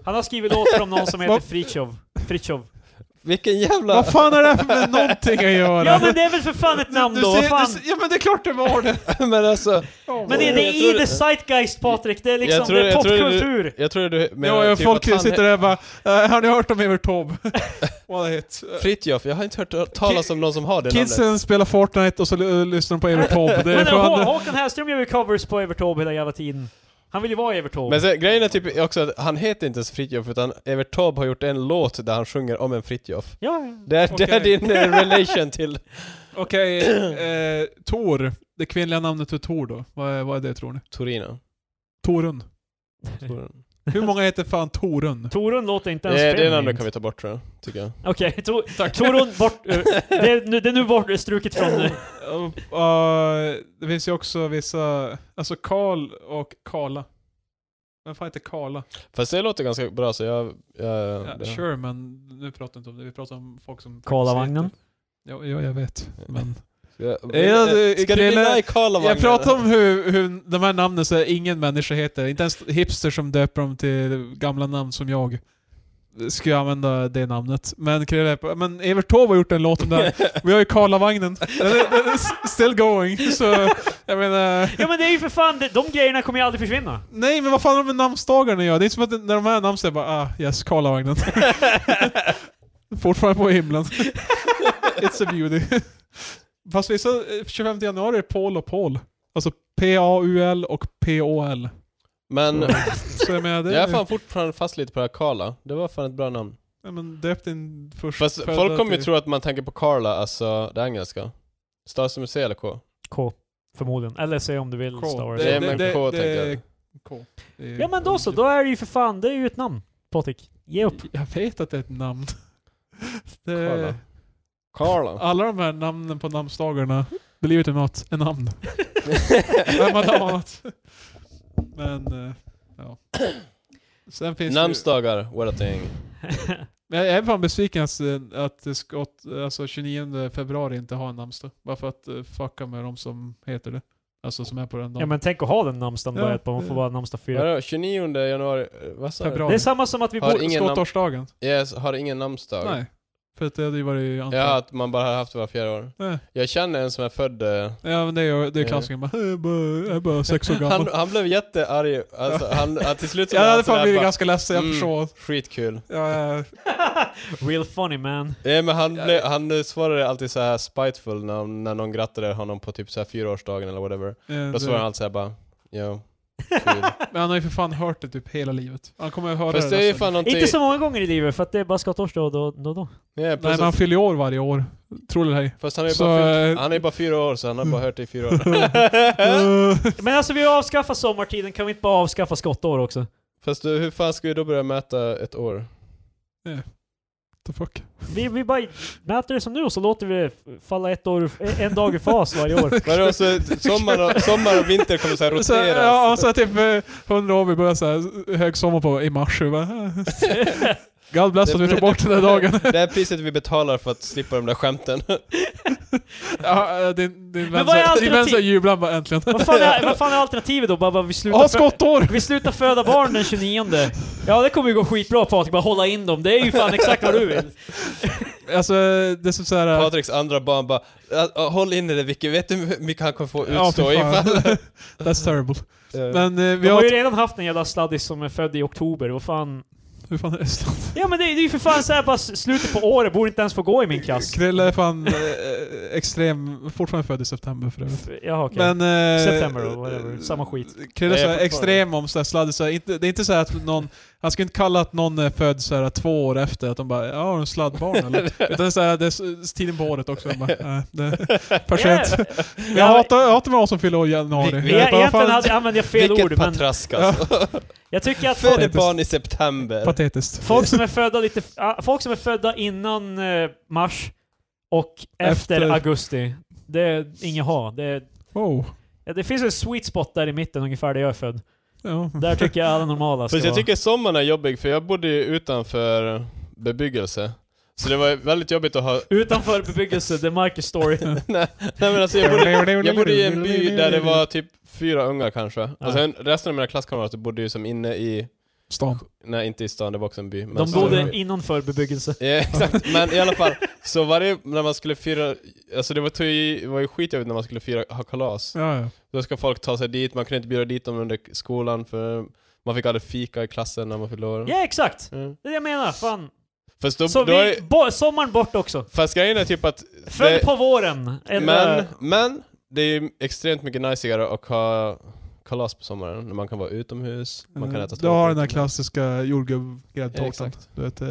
A: Han har skrivit låtar om någon som heter
C: Vad-
A: Fritjof. Fritjof.
B: Vilken jävla...
C: Vad fan har det här med någonting att göra?
A: Ja men det är väl för fan ett namn
C: du,
A: då,
C: ser-
A: vad fan?
C: du ser- ja men det är klart det var det!
B: men alltså,
C: Ja,
A: Men det, det
B: Jag
A: är
B: tror
A: i
B: det-
A: the zeitgeist Patrik, det är liksom,
B: tror-
A: det är
B: jag tror det-
A: popkultur!
B: jag tror du menar typ
C: ja, ja,
A: typ
C: folk
B: att han
C: sitter där och bara "Eh, Har ni hört om Evert Taube? What a hit.
B: he- Fritjof, jag har inte hört talas om någon som har det namnet.
C: Kidsen spelar Fortnite och så l- lyssnar de på Evert Taube. Det är
A: Men
C: fan...
A: Hå- Håkan Hellström gör ju covers på Evert Taube hela jävla tiden. Han vill ju vara Evert Taube.
B: Men sen, grejen är typ också att han heter inte ens Fritjof utan Evert Taube har gjort en låt där han sjunger om en Fritjof.
A: Ja, ja.
B: Det är, det är
C: Okej.
B: din eh, relation till...
C: Okej, eh, Tor. Det kvinnliga namnet för Tor då. Vad är, vad är det tror ni?
B: Torino.
C: Torun.
B: Torun.
C: Hur många heter fan Torun?
A: Torun låter inte
B: Eh, Det,
A: ens
B: är- det är
A: feminint.
B: namnet kan vi ta bort tror jag, tycker jag.
A: Okej, to, Torun bort... eh, det, är nu, det är nu bort struket från... eh,
C: Och, eh, det finns ju också vissa, alltså Karl och Karla. Vem fan heter Karla?
B: Fast det låter ganska bra så jag... jag
C: Ja,
B: det-
C: sure, men nu pratar vi inte om det. Vi pratar om folk som...
A: Karlavagnen.
C: Ja, ja, jag vet. Men...
B: jag,
C: Ja, det-
B: eh, ska du
C: Krille-
B: vinna i Karlavagnen?
C: alltså, Jag pratar om hur, hur de här namnen så här, ingen människa heter. Inte ens hipster som döper dem till gamla namn som jag. Skulle använda det namnet. Men, Krille- men Evert Taube har gjort en låt om det här. Vi har ju Karlavagnen. Den är, den är s- still going. Så jag menar...
A: Ja men det är ju för fan, det, de grejerna kommer ju aldrig försvinna.
C: Nej men vad fan har de med namnsdagarna att göra? Det är inte som att det- när de här namnsdagarna bara ah yes, Karlavagnen. Fortfarande på himlen. It's a beauty. Fast vissa, eh, 25 januari är Paul och Paul. Alltså P-A-U-L och P-O-L.
B: Men
C: Så jag menar det
B: jag är fan fortfarande fast lite på det här Karla. Det var fan ett bra namn.
C: Nej, men döpt din första
B: Fast folk kommer ju tro att man tänker på Karla, alltså det engelska. Stavas det med C eller K?
A: K. Förmodligen. Eller säg om du vill Star Wars.
B: Det är med K, tänker jag.
C: K. Det är-
A: Ja men då så, då är det ju för fan, det är ju ett namn. Patrik. Ge upp.
C: Jag vet att det är ett namn. Det-
B: Karla. Karla.
C: Alla de här namnen på namnsdagarna blir ju till något, en namn. Vem hade anat? Men, eh, ja. Sen finns det
B: Namnsdagar, what a thing.
C: ju, Jag är fan besviken att, eh, att Scott, alltså 29 februari inte har en namnsdag. Bara för att eh, fucka med de som heter det. Alltså som är på den dagen.
A: Ja men tänk att ha den namnsdagen
C: Ja,
A: bara ett på, man får
C: det-
A: bara namnsdag fyra.
B: Vadå, 29 januari, eh, vad sa du?
C: Februari.
A: Det är samma som att vi
B: Har
A: bor...
B: ingen namn-
C: Skottårsdagen.
B: Yes, har ingen namnsdag.
C: Nej. För att det hade ju varit antal.
B: Ja, att man bara har haft det var fjärde år.
C: Nej.
B: Jag känner en som är född... eh,
C: Ja men det är ju det är klassiken bara, jag är bara, jag är bara sex år gammal.
B: Han, han blev jättearg. Alltså, han, han, till slut så
C: jag
B: blev han
C: hade
B: sådär
C: fan blivit
B: bara,
C: ganska ledsen, jag
B: Mm.
C: förstår.
B: skitkul.
C: Ja, ja.
A: Real funny man.
B: Nej men han, blev, han eh, svarade alltid så här spiteful när, när någon grattade honom på typ så här fyraårsdagen eller whatever.
C: ja,
B: Då
C: det-
B: svarade han alltid såhär bara, jo, kul.
C: Men han har ju för fan hört det typ hela livet. Han kommer att höra
B: Fast det är ju
C: resten.
B: fan någonting...
A: Inte så många gånger i livet för att det är bara skottårsdag och då, då, då.
B: Nej,
C: Nej
B: plus
C: men han
B: att,
C: fyller ju år varje år. Tror det ej.
B: fast han är ju
C: så, Mm.
B: bara, fyllt-
C: eh,
B: han är bara fyra år så han har bara hört det i fyra år.
C: Eh,
A: Men alltså vi avskaffar sommartiden, kan vi inte bara avskaffa skottår också?
B: Fast du, hur fan ska vi då börja mäta ett år?
C: the fuck.
A: Vi, vi bara mäter det som nu och så låter vi det falla ett år, en dag i fas varje år.
B: Vadå, så sommar och, sommar och vinter kommer såhär
C: Så, ja, och
B: roteras?
C: så typ eh, 100 år, vi börjar såhär högsommar på i mars. Vi bara, eh. God bless att vi tog bort den där dagen.
B: Det är priset vi betalar för att slippa de där skämten.
C: ja, eh, din, din
A: Men
C: vän
A: vad är
C: så- din vän
A: alternativ?
C: så jublar bara äntligen.
A: Vad fan är, vad fan är alternativet då? Bara, bara vi, slutar
C: Ja,
A: fö-
C: skottår!
A: vi slutar föda barn den 29 Ja det kommer ju gå skitbra Patrik, bara hålla in dem. Det är ju fan exakt vad du vill.
C: Alltså det är som eh, såhär...
B: Patriks andra barn bara "Ah, ah, Håll inne det Vicky, vet du hur mycket han kommer få
C: Ja, fy
B: utstå
C: fan.
B: ifall...
C: That's terrible.
B: Eh,
C: Men eh, vi
A: Vi har ju
C: har...
A: redan haft en jävla sladdis som är född i oktober, vad fan...
C: Hur fan är det Estland?
A: Ja men det, det är ju för fan såhär bara s- slutet på året, borde inte ens få gå i min klass.
C: Krille är fan eh, extrem, fortfarande född i september för övrigt.
A: Jaha okej.
C: Men... Eh,
A: September och whatever, samma skit.
C: Krille
B: Nej,
C: är
B: jag
C: såhär
B: får
C: extrem om såhär sladdisar. Inte, det är inte så här att någon... Han skulle inte kalla att någon är född såhär två år efter, att de bara ja, har du en sladdbarn eller? Utan det är såhär, det är s- tiden på året också. De bara, äh, det är för sent.
A: Ja,
C: Men Jag hatar, jag hatar med oss som fyller år i januari.
B: Vi- vi
A: Ja,
C: Jag bara, vad
A: Egentligen
C: fan,
A: hade, använde jag fel
B: Vilket
A: ord, men
B: patrask alltså.
A: jag tycker att
B: Föder
A: folk,
B: barn i september.
C: Patetiskt.
A: folk som är födda lite... f- ah, folk som är födda innan eh, mars och efter,
C: Efter.
A: augusti, det är inget ha. Det, är-
C: Wow.
A: ja, det finns en sweet spot där i mitten ungefär där jag är född.
C: Ja.
A: Där tycker jag alla normala ska
B: Fast jag
A: vara.
B: tycker sommaren är jobbig för jag bodde ju utanför bebyggelse. Så det var ju väldigt jobbigt att ha...
A: Utanför bebyggelse, det är Marcus story.
B: Nej, nej men alltså jag bodde, jag bodde i en by där det var typ fyra ungar kanske.
A: Ja.
B: Och sen resten av mina klasskamrater bodde ju som inne i...
C: Stan.
B: Nej inte i stan, det var också en by. men
A: De
B: så-
A: bodde innanför bebyggelse.
B: Ja, Eh, exakt, men i alla fall. Så varje, när man skulle fira, alltså det var, tog ju- det var ju skitjobbigt när man skulle fira, ha kalas.
C: Ja, ja.
B: Då ska folk ta sig dit, man kunde inte bjuda dit dem under skolan för man fick aldrig fika i klassen när man fyllde år.
A: Ja exakt!
B: Mm.
A: Det är det jag menar, fan.
B: Fast, då,
A: Så
B: då
A: vi,
B: är,
A: bo, sommaren bort också.
B: fast grejen är typ att...
A: Född
B: det-
A: på våren. Eller,
B: men, men, det är ju extremt mycket najsigare att ha kalas på sommaren när man kan vara utomhus, man
A: Mm.
B: kan äta
C: Du har
B: tårta
C: den där
B: utomhus.
C: klassiska jordgubb-gräddtårtan.
B: exakt.
C: Du vet, eh,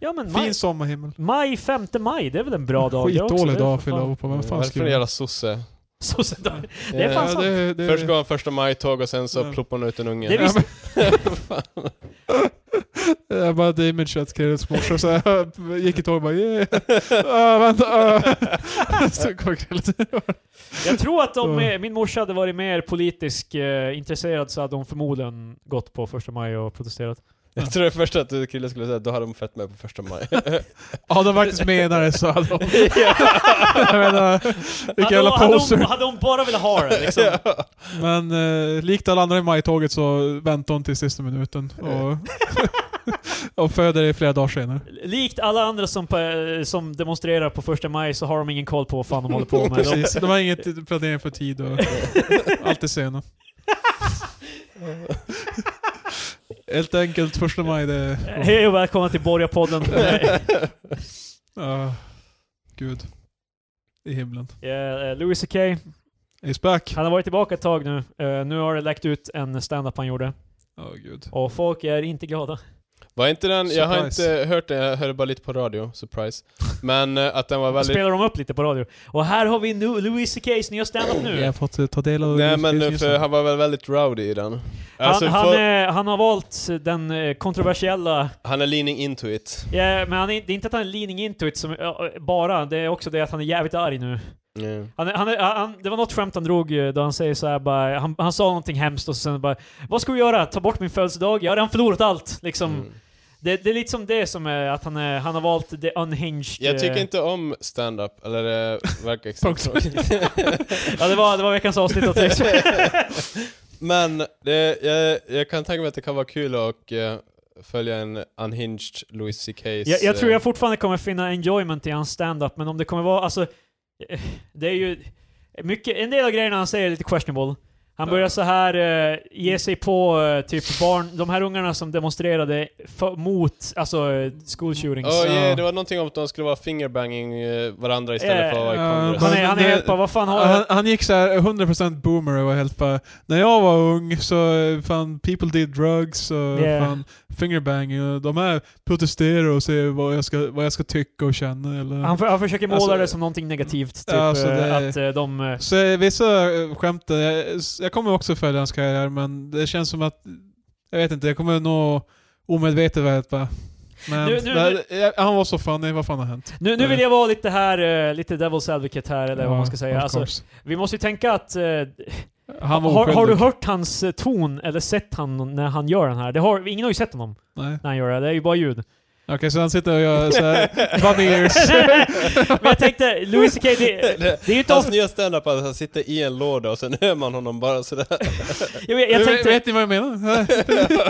A: Ja men maj,
C: fin sommarhimmel.
A: maj 5 maj, det är väl en bra dag det också? Det är
C: Skitdålig
A: för
C: dag
A: fan-
C: att fylla år på. Vem fan
B: Varför en
C: skulle...
B: jävla sosse?
A: Sossedag.
B: Det
A: är fan sant.
C: det, det,
B: Först går han första maj-tåg och sen så
C: Ja.
B: ploppar han ut en unge.
A: Det
C: Ja,
A: visste
C: men, det är bara ett image att Krills morsa så jag gick i tåg och bara yeah. Ah, vänta. ah. så kom Krills.
A: Jag tror att om eh, min morsa hade varit mer politisk eh, intresserad så hade hon förmodligen gått på första maj och protesterat.
B: Jag tror det första att du Krille skulle säga, då har de fett med på första maj.
C: Ja de faktiskt menar det sa de. jag menar, vilka
A: hade,
C: jävla
A: hon, hade, hon,
C: poser.
A: hade hon bara velat ha det liksom.
C: Men eh, likt alla andra i majtåget så väntar hon till sista minuten och, och föder i flera dagar senare.
A: Likt alla andra som, pa- som demonstrerar på första maj så har de ingen koll på vad fan de håller på med. De,
C: Precis, det var inget planering för tid och allt är sena. Helt enkelt, första maj det...
A: hej och välkomna till Borgarpodden. Eh,
C: Ah, gud. I himlen.
A: eh, Louis CK,
C: Is back.
A: han har varit tillbaka ett tag nu. Eh, nu har det läckt ut en standup han gjorde.
C: Ja, gud.
A: Och folk är inte glada.
B: Var inte den, jag har
C: Surprise.
B: inte hört den, jag hörde bara lite på radio, surprise. Men eh, att den var väldigt...
A: Spelar de upp lite på radio. Och här har vi nu Louis CK's nya standup nu.
C: Jag har fått eh, ta del av...
B: Nej men eh,
C: just
B: för
C: nu.
B: han var väl väldigt rowdy i den.
A: Han,
B: Alltså,
A: han,
B: han, är...
A: eh, han har valt den eh, kontroversiella,
B: han är leaning into it.
A: Ja, men han är, det är inte att han är leaning into it som, ja, eh, bara, det är också det att han är jävligt arg nu.
B: Yeah.
A: Han, är- han, är- han, det var något skämt han drog eh, då han säger så här, bara, han, han sa någonting hemskt och sen bara Vad ska vi göra? Ta bort min födelsedag? Jag har redan förlorat allt! Liksom.
B: Mm.
A: Det, det är lite som det som är att han, är, han har valt the unhinged...
B: Jag tycker
A: eh,
B: inte om stand-up, eller det verkar extremt
C: Punkt.
B: tråkigt.
A: Ja, det var, det var veckans avsnitt av Tex.
B: Men det, jag, jag kan tänka mig att det kan vara kul att eh, följa en unhinged Louis CK's...
A: jag, jag tror
B: eh,
A: jag fortfarande kommer finna enjoyment i hans stand-up, men om det kommer vara, alltså... eh, Det är ju... Mycket, en del av grejerna han säger är lite questionable. Han börjar så här eh, ge sig på eh, typ barn, de här ungarna som demonstrerade för, mot, alltså eh, school shootings.
B: Åh,
C: Ja.
B: yeah, det var någonting om att de skulle vara fingerbanging eh, varandra istället
A: Yeah.
B: för att vara i
C: Ja,
B: kongress.
A: Han är,
C: Men
A: han är
C: det-
A: helt bara, vad fan har
C: han, han gick så här 100% boomer och var helt bara När jag var ung så eh, fan people did drugs och
A: Yeah.
C: fan fingerbanging och de här protesterar och säger vad jag ska, vad jag ska tycka och känna eller
A: Han, för, han försöker måla
C: Alltså-
A: det som någonting negativt, typ
C: Alltså,
A: eh,
C: det-
A: att eh, de... eh,
C: Så eh, vissa eh, skämt, eh, s- jag kommer också följa hans karriär men det känns som att Jag vet inte, jag kommer nog omedvetet vara helt bara men
A: Nu- nu-
C: det- eh, han var så funny, vad fan har hänt?
A: Nu, nu vill jag vara lite här, eh, lite devil's advocate här, eller vad man ska säga.
C: of
A: Alltså,
C: course.
A: vi måste ju tänka att... eh,
C: han var
A: har, har du
C: oskyldig.
A: hört hans eh, ton, eller sett han när han gör den här? Det har, ingen har ju sett honom
C: Nej.
A: när han gör det, det är ju bara ljud.
C: Okej, så han sitter och gör såhär, bunny ears.
A: Men jag tänkte, Louis CK, det, det är ju inte
B: Hans
C: Alltså,
A: ofta...
B: nya standup är att han sitter i en låda och sen hör man honom bara sådär.
A: Jag, jag, jag,
C: vet,
A: tänkte,
C: vet ni vad jag menar?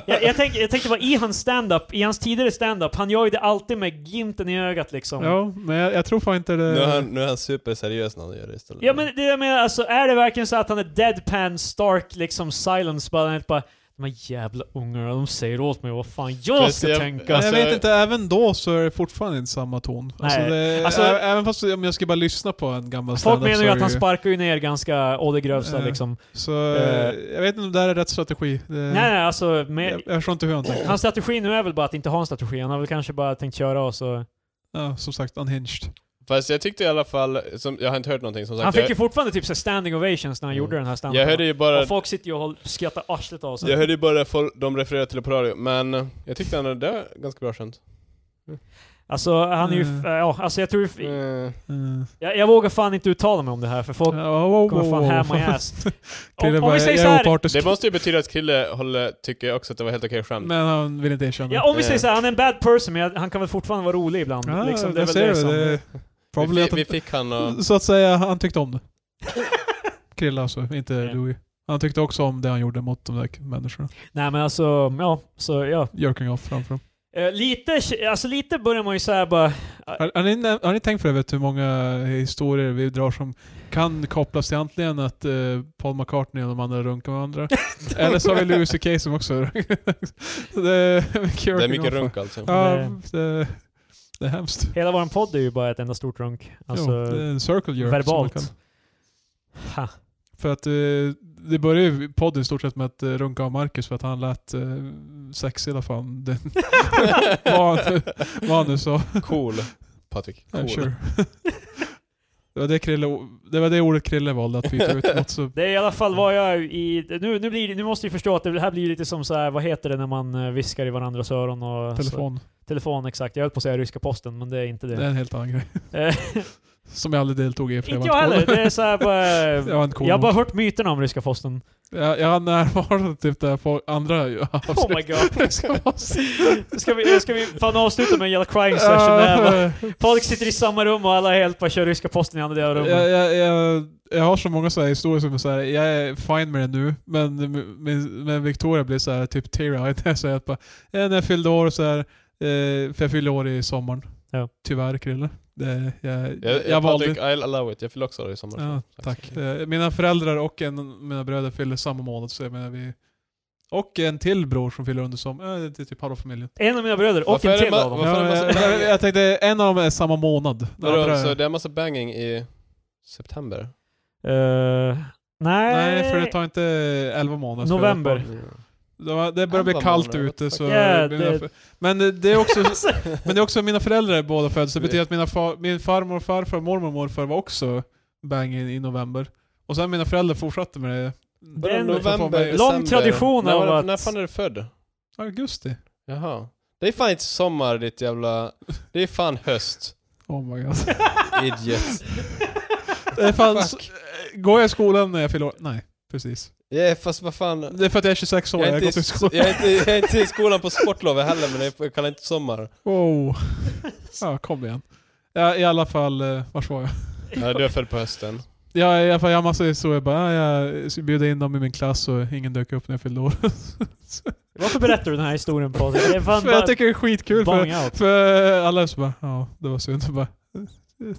A: jag, jag, tänkte, jag tänkte bara i hans stand-up, i hans tidigare stand-up, han gör ju det alltid med glimten i ögat liksom. Ja.
C: Ja, men jag, jag tror fan inte det...
B: Nu är han, nu är han superseriös när han gör det istället.
A: men det jag menar, alltså är det verkligen så att han är deadpan, stark, liksom silence, bara, han är bara de här jävla ungarna, de säger åt mig vad fan jag ska
B: Speciellt-
A: tänka.
C: Men
B: alltså-
C: jag vet inte, även då så är det fortfarande inte samma ton. Alltså
A: Nej.
C: det,
A: Alltså-
C: ä- även fast om jag ska bara lyssna på en gammal
A: Folk
C: standup
A: menar
C: så
A: ju
C: är
A: att
C: det
A: han sparkar ju ner ganska å det grövsta
C: Eh.
A: liksom.
C: Så
A: Eh.
C: jag vet inte om det här är rätt strategi. Det,
A: Nej, nej, alltså
C: Jag,
A: med,
C: jag förstår inte hur han tänker.
A: Hans strategi nu är väl bara att inte ha en strategi. Han har väl kanske bara tänkt köra och så...
C: Ja, som sagt, unhinged.
B: Fast jag tyckte i alla fall, som, jag har inte hört någonting som sagt.
A: Han fick ju
B: jag,
A: fortfarande typ så här standing ovations när han
B: Mm.
A: gjorde den här standupen.
B: jag hörde ju bara,
A: Och folk sitter ju och håll- skrattar arslet av sig.
B: jag hörde ju bara folk, de refererade till det på radio, men jag tyckte han hade- det var ganska bra skämt.
A: Alltså han är ju...
C: Mm.
A: äh, Ja, alltså jag tror...
B: Mm.
C: Mm.
A: Jag, jag vågar fan inte uttala mig om det här för folk
C: Ja, wow, wow,
A: kommer fan
C: wow.
A: hamma i ass.
C: Krille
A: Om, om
C: bara,
A: vi säger
C: jag
A: så
C: är
A: här,
C: opartisk.
B: Det måste ju betyda att Krille håller, tycker också att det var helt okej skämt.
C: Men han vill inte erkänna.
A: ja, om vi
B: Eh.
A: säger så här, han är en bad person men jag, han kan väl fortfarande vara rolig ibland.
C: Ja,
A: liksom, det är
C: jag
A: väl
C: ser
A: det,
C: det.
A: som...
C: det probably
B: vi,
C: att
B: fi-
C: han,
B: vi fick han och...
C: Så att säga, han tyckte om det. Krille alltså, inte
A: Ja.
C: Louis. Han tyckte också om det han gjorde mot de där människorna.
A: Nej men alltså, ja. Så ja.
C: Jerking off framför dem.
A: Eh, lite, alltså lite börjar man ju såhär bara...
C: Har, har, ni, nä- har ni tänkt för det, vet, du, hur många historier vi drar som kan kopplas till antingen att eh, Paul McCartney och de andra runkar varandra? eller så har vi Louis CK som också Så det, är mycket
B: Det är
C: jerking
B: mycket
C: off.
B: runk alltså.
C: Ja,
A: eh,
C: det, det är hemskt.
A: Hela vår podd är ju bara ett enda stort runk. Alltså,
C: jo, det är en circle jerk. som man
A: verbalt.
C: kan-
A: Ha.
C: För att eh, det började ju podden i stort sett med att eh, runka av Marcus för att han lät eh, sexig i alla fall. Det, vad, han, vad han nu sa.
B: Cool. Patrik.
C: Ja,
B: Cool.
C: Sure. det, var det, Krille, det var det ordet Krille valde att byta ut mot. Så,
A: Det är i alla fall vad jag i... Nu, nu, blir, det- nu måste vi förstå att det här blir lite som så här, vad heter det när man eh, viskar i varandras öron och... Så,
C: telefon.
A: telefon, exakt. Jag höll på att säga ryska posten, men det är inte det.
C: Det är en helt annan grej.
A: Eh,
C: Som jag aldrig deltog i. för
A: inte
C: var
A: jag
C: cool.
A: heller. Det är så här bara...
C: Jag var inte cool
A: jag har
C: nog.
A: bara hört myterna om ryska posten.
C: Jag, jag har närvarat typ där folk, andra ju har
A: Oh my god.
C: Ska vara så-
A: Ska vi, ska vi fan avsluta med en jävla crying session där? bara-
C: Eh,
A: Folk sitter i samma rum och alla helt bara kör ryska posten i andra rummet.
C: jag, jag, jag, jag har så många så här historier som är så här, jag är fine med det nu, men, men, men Victoria blir så här typ teary-eyed när jag säger att bara, eh, när jag fyllde år så här, eh, för jag fyllde år i sommaren.
A: Ja.
C: Tyvärr Krille. Det, jag,
B: Jag, jag,
C: jag valde...
B: Patrik, I'll allow it. Jag fyller också år i sommar.
C: Ja,
B: så.
C: tack. Eh, Mina föräldrar och en av mina bröder fyller samma månad, så jag menar vi... Och en till bror som fyller under som, eh, det är typ halva familjen.
A: En av mina bröder och
B: Varför
A: en
B: är det
A: till
B: ma-
A: av dem.
B: varför-
C: Ja,
B: är alltså, det
C: jag,
B: massa-
C: jag, jag tänkte, en av dem är samma månad. Den andra
B: Vadå,
C: är-
B: så det är massa banging i september?
A: Eh, nej,
C: Nej, för det tar inte 11 månader. för
A: November.
C: att- Det, var, det börjar bli
B: 11
C: kallt
B: månader,
C: ute så...
B: fuck.
A: Ja,
C: mina
A: det-
C: för- Men det det är också... men det är också mina föräldrar är båda födda, så det betyder att mina far, min farmor och farfar, mormor och morfar var också bang i, i november. Och sen mina föräldrar fortsatte med det.
B: Vadå,
A: Den-
B: november,
C: Lång
B: december?
A: tradition
B: när,
A: av
B: var-
A: att-
B: När fan är du född?
C: Augusti.
B: Jaha. Det är fan inte sommar ditt jävla... Det är fan höst.
C: Oh my god.
B: Idiot.
C: Det fanns, går jag i skolan när jag fyller år? Nej, precis.
B: Ja, fast vad fan.
C: Det är för att jag är 26 år,
B: Jag
C: jag
B: är,
C: har gått
B: inte
C: i
B: i,
C: skolan.
B: jag, är inte, jag är inte i skolan på sportlovet heller men jag kallar inte sommar.
C: Wow. Ja, kom igen. Ja, I alla fall, eh, vars var jag?
B: Ja, du är född på hösten.
C: Ja, i alla fall, jag har massa historier. Bara, ja, jag ska bjuda in dem i min klass och ingen dök upp när jag fyllde år.
A: Varför berättar du den här historien på Det är fan
C: För jag
A: bara
C: tycker det är skitkul. För,
A: bang out.
C: för alla är så bara, ja, det var synd. Jag Bara,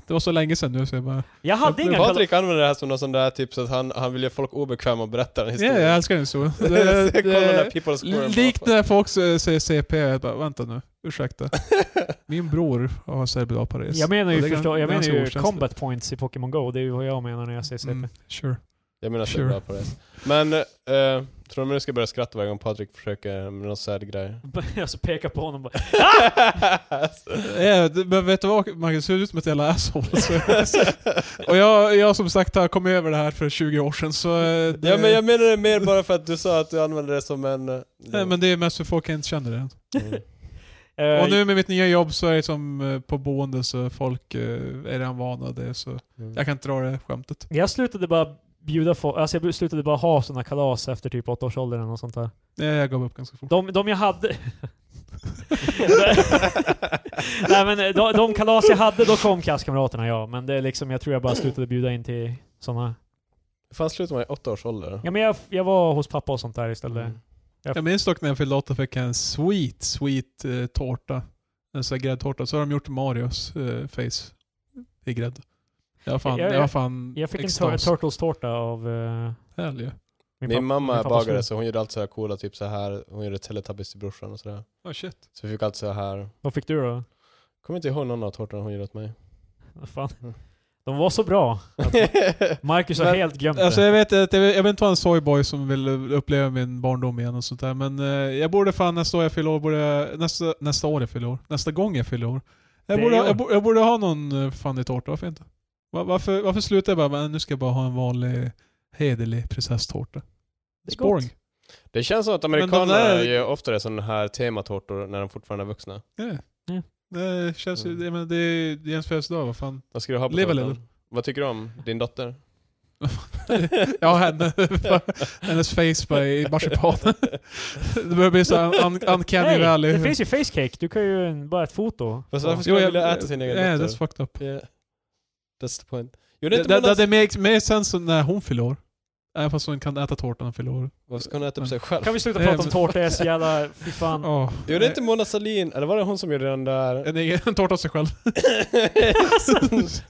C: det var så länge sedan nu så jag bara,
A: Jag hade
B: Men
A: inga kalla...
B: Patrik använder det här som någon sån där typ så att han, han vill göra folk obekväma och berätta en
C: ja,
B: historia.
C: jag älskar den historien.
B: Det,
C: Det-
B: Kolla den där
C: det-
B: people scoren.
C: Likt när folk så- säger CP, jag bara, vänta nu, ursäkta. Min bror har cerebral pares.
A: Jag menar ju,
C: Och det är
A: förstå,
C: gan-
A: jag menar
C: ganska
A: ju
C: okänsligt.
A: combat points i Pokémon Go, det är ju vad jag menar när jag säger CP.
C: Mm, sure.
B: Jag menar att
C: Sure.
B: jag är bra på det. Men, eh, tror du nu ska börja skratta varje gång Patrik försöker med någon sad grej?
A: alltså pekar på honom bara.
C: Ja, Eh, det- Men vet du vad Marcus, du ser ut som ett jävla asshole. Så. och jag, jag som sagt har kommit över det här för 20 år sedan så... eh, Det,
B: ja men jag menar det mer bara för att du sa att du använder det som en... eh,
C: Nej, men det är mest för folk jag inte känner det.
B: Mm.
A: Eh,
C: Och nu med mitt nya jobb så är det som eh, på boende så folk eh, är redan vana det så
B: Mm.
C: jag kan inte dra det skämtet.
A: Jag slutade bara bjuda folk, alltså jag slutade bara ha såna kalas efter typ åtta års ålder eller något sånt där.
C: Nej, Eh, jag gav upp ganska fort.
A: De, de jag hade... Nej men de, de kalas jag hade, då kom klasskamraterna ja. Men det är liksom, jag tror jag bara slutade bjuda in till såna.
B: Fan slutade man i åtta års ålder?
A: Ja men jag, jag var hos pappa och sånt där istället.
B: Mm.
C: Jag minns dock när jag fyllde åtta fick jag en sweet, sweet eh, tårta. En sån här gräddtårta. Så har de gjort Marios eh, face i grädde. Jag var fan,
A: Jag-
C: jag, var fan
A: Jag fick en tur
C: extas.
A: Turtles-tårta av eh,
C: Härlig.
A: min, pappa-
B: Min mamma är
A: pappas
B: bagare
A: bror.
B: så hon gjorde alltid så här coola, typ så här hon gjorde Teletubbies till brorsan och sådär.
C: Oh, shit.
B: Så vi fick alltid så här
A: Vad fick du då?
B: kommer inte ihåg någon av tårtorna hon gjorde åt mig.
A: Vad Fan.
B: Mm.
A: De var så bra. Marcus har
C: Men-
A: helt glömt
C: Alltså
A: det.
C: jag vet att jag vill, jag vill inte vara en soyboy som vill uppleva min barndom igen och sånt där. Men eh, jag borde fan nästa år jag fyller år, borde, jag- nästa, nästa år jag fyller år, nästa gång jag fyller år. Jag,
A: Det
C: borde,
A: är i år.
C: jag, borde, jag borde ha någon eh, fan i tårta, varför inte? Var, varför, varför slutar jag bara med nu ska jag bara ha en vanlig hederlig prinsesstårta?
A: Det är gott.
C: Boring.
B: Det känns som att
C: de
B: amerikanerna
C: där-
B: gör oftare sådana här tematårtor när de fortfarande är vuxna.
C: Ja.
A: Ja.
C: Det känns ju,
B: Mm.
C: det, men det är ju ens födelsedag, vad fan.
B: Vad ska du ha på
C: Leva
B: tårtan?
C: lever.
B: Vad tycker du om din dotter?
C: Ja, henne. Hennes face bara i marsipanen. Det börjar bli så här un- uncanny
A: Nej,
C: valley.
A: det finns ju facecake. Du kan ju en- bara ett foto.
B: Fast varför
C: Jo,
B: skulle man
C: jag-
B: vilja äta sin egen
C: yeah,
B: dotter?
C: that's fucked up.
B: Yeah. That's the point. Gjorde
C: Det,
B: inte man
C: det,
B: någon...
C: det makes mer sense när hon fyller år. Även fast hon kan äta tårtan när hon fyller år.
B: Varför ska hon äta upp
C: Mm.
B: sig själv?
A: Kan vi sluta
C: Nej,
A: prata om
C: men-
A: tårta? Jag är så jävla... Fy fan.
B: Mm.
C: Oh.
B: Gjorde inte Mona Sahlin, eller var det hon som gjorde den där?
C: Eh, en, egen- en tårta av sig själv.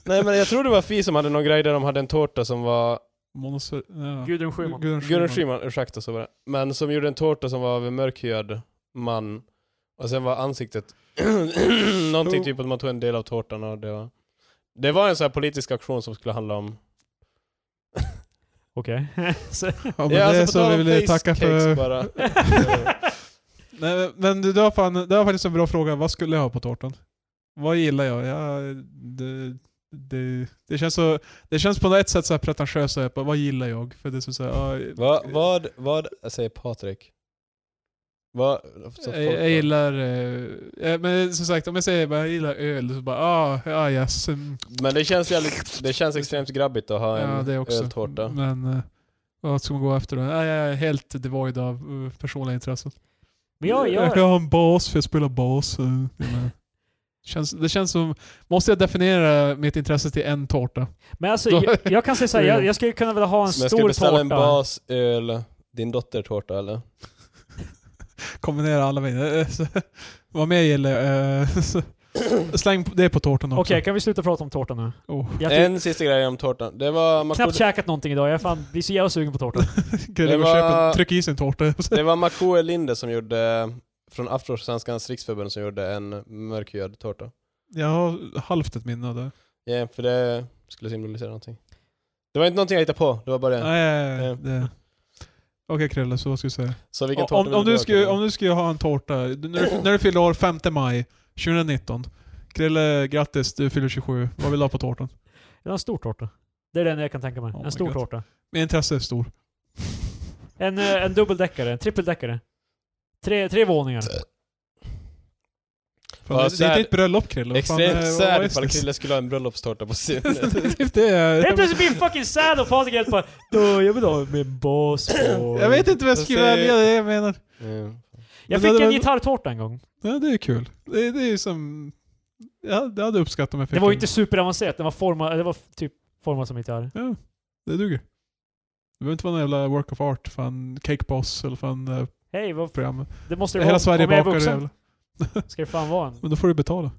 B: Nej men jag tror det var Fi som hade någon grej där de hade en tårta som var,
C: Monos, ja.
A: Gudrun Schyman.
C: Gudrun
B: Gudrun Schyman, ursäkta så var det, men som gjorde en tårta som var av en mörkhyad man och sen var ansiktet någonting
C: Oh.
B: typ att man tog en del av tårtan och det var Det var en sån här politisk aktion som skulle handla om
A: Okej. Så-
C: Ja, alltså, men det är
B: på tal
C: så vi
B: om
C: vill tacka
B: facecakes
C: för...
B: Bara.
C: Nej, men- men du, det, var fan, det var faktiskt en bra fråga. Vad skulle jag ha på tårtan? Vad gillar jag? jag det, det, det, känns så, det känns på något sätt så här pretentiöst. Så här, bara, vad gillar jag? För det är som så här, ja,
B: Va, vad, vad säger Patrik? Vad, så
C: jag, jag gillar... eh, ja, men som sagt, om jag säger bara, jag gillar öl, så bara ah, ah yes. mm,
B: Men det känns jävligt, det känns extremt grabbigt att ha en
C: ja, det också.
B: öltårta.
C: Men eh, vad ska man gå efter då? Ja, jag är helt devoid av eh, personliga intressen.
A: Men jag,
C: jag
A: jag,
C: kan ha en bas, för jag spelar bas. eh, men- känns, det känns som... Måste jag definiera mitt intresse till en tårta?
A: men alltså, jag, jag kan säga såhär, jag, jag skulle kunna vilja ha en
B: Men jag ska
A: stor
B: beställa en
A: tårta.
B: bas, öl, din dotter tårta eller?
C: Kombinera alla viner. Eh, så- Vad mer gillar jag? Eh, så- Släng det på tårtan också.
A: Okej, kan vi sluta prata om tårta nu?
C: Oh,
A: Jag har typ
B: En sista grej om tårtan. Det var,
A: knappt
B: Makoud-
A: käkat någonting idag, jag fan blir så jävla sugen på tårta.
C: kan
B: Det
C: du gå
B: var-
C: och köpa, tryck i sig en tårta.
B: det var Makoe Linde som gjorde, från Afrosvenskans riksförbund som gjorde en mörkhyad tårta.
C: Jag har halvt ett minne av det.
B: Ja, för det skulle symbolisera någonting. Det var inte någonting jag hittade på, det var bara det.
C: Nej,
B: Eh.
C: det... Okej Krille, så vad ska du säga?
B: Så vilken tårta
C: Om,
B: vill
C: om, du
B: ha,
C: skulle,
B: Karin?
C: om du skulle ha en tårta, du- när du, när du fyller år 5 maj 2019. Krille, grattis, du fyller 27. Vad vill du ha på tårtan?
A: Jag har en stor tårta. Det är den jag kan tänka mig.
C: Oh
A: en
C: my
A: stor
C: God.
A: tårta.
C: Min intresse är stor.
A: En, eh, en dubbeldäckare, en trippeldäckare. Tre, tre våningar.
C: Fan,
B: Ja,
C: det, det är
B: sär-
C: inte ett bröllop Krille. Vad fan, eh,
B: Extremt
C: vad-
B: sär
C: vad är
B: ifall
C: det?
B: Krille skulle ha en bröllopstårta på sin.
C: Typ det är-
A: Helt plötsligt blir fucking sad och Patrik helt bara "Då, jag vill ha med en bas på...
C: Jag vet inte vad jag ska
B: Jag säger-
C: välja, det är det jag menar.
B: Mm.
A: Jag
C: Men det
A: fick
C: hade
A: en
C: väl-
A: gitarrtårta en gång.
C: Ja, det är kul. Det, det är ju som... Ja, det hade jag uppskattat om jag fick
A: Det var ju
C: en.
A: inte superavancerat, den var formad, det var typ formad som gitarr.
C: Ja, det duger. Det behöver inte vara någon jävla work of art, fan Cake Boss eller fan det här
A: Hej, vad...
C: programmet.
A: Det måste det vara.
C: Hela Sverige
A: Om jag är
C: bakar
A: vuxen
C: jävla.
A: Ska det fan vara en?
C: Men då får du betala.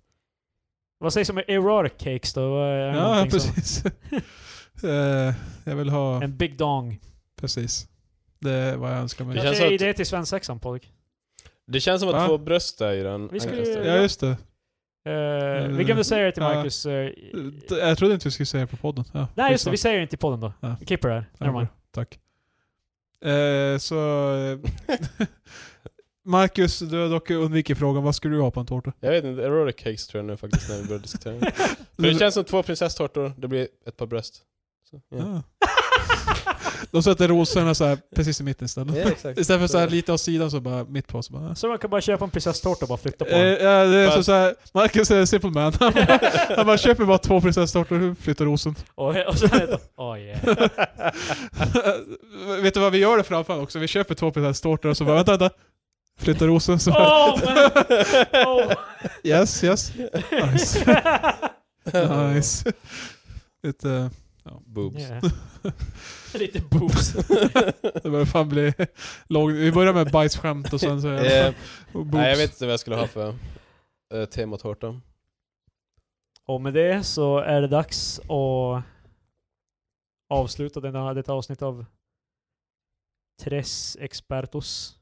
A: Vad sägs om erotic cakes då? Vad är det
C: Ja,
A: någonting som-
C: precis. Eh, jag vill ha...
A: En big dong.
C: Precis. Det är vad jag önskar
B: Det
A: Det
C: mig.
B: känns
A: känns är
B: att-
A: idé till svensexan Eh, Patrik.
B: Det känns som att
C: Va?
B: två bröst är i den.
A: Vi skulle
B: Ankas det.
A: ju-
C: Ja, just det.
A: Eh, vi glömde säga det till
C: Mm. Ja.
A: Marcus. eh,
C: D- Jag trodde inte vi skulle säga det på podden. Ja,
A: Nej just det,
C: skitsamma.
A: vi säger det inte i podden då.
C: Ja.
A: Vi klipper det här.
C: Ja,
A: Nevermind.
C: bra. Tack. Eh, så... eh, Marcus, du har dock undvikit frågan. Vad skulle du ha på en tårta?
B: Jag vet inte, erotic cakes tror jag nu faktiskt när vi börjar diskutera. det. För det känns som två prinsesstårtor, det blir ett par bröst. Så, ja.
C: Ja. De Ah. sätter rosorna så här precis i mitten istället.
B: Ja, exakt.
C: Istället för så här lite åt sidan så bara mitt på. Så bara,
A: Så man kan bara köpa en prinsesstårta och bara flytta på
C: Eh,
A: den.
C: ja, det är
B: Fast-
C: som så här, Marcus är en simple man. Han bara, han bara köper bara två prinsesstårtor och flyttar rosen.
A: Och, och så är det... Oh, yeah.
C: Vet du vad vi gör det framför också? Vi köper två prinsesstårtor och så bara vänta, vänta. Flyttar rosen. Så bara,
A: Oh, men, oh.
C: Yes, yes. Nice. nice. Lite,
B: Boobs.
A: Yeah. Lite boobs.
C: det börjar fan bli långt. Vi börjar med bajsskämt och sen så...
B: Eh,
C: och boobs.
B: nej, jag vet inte vad jag skulle ha för eh, tematårta.
A: Och med det så är det dags att avsluta denna, detta avsnitt av Tres Expertos.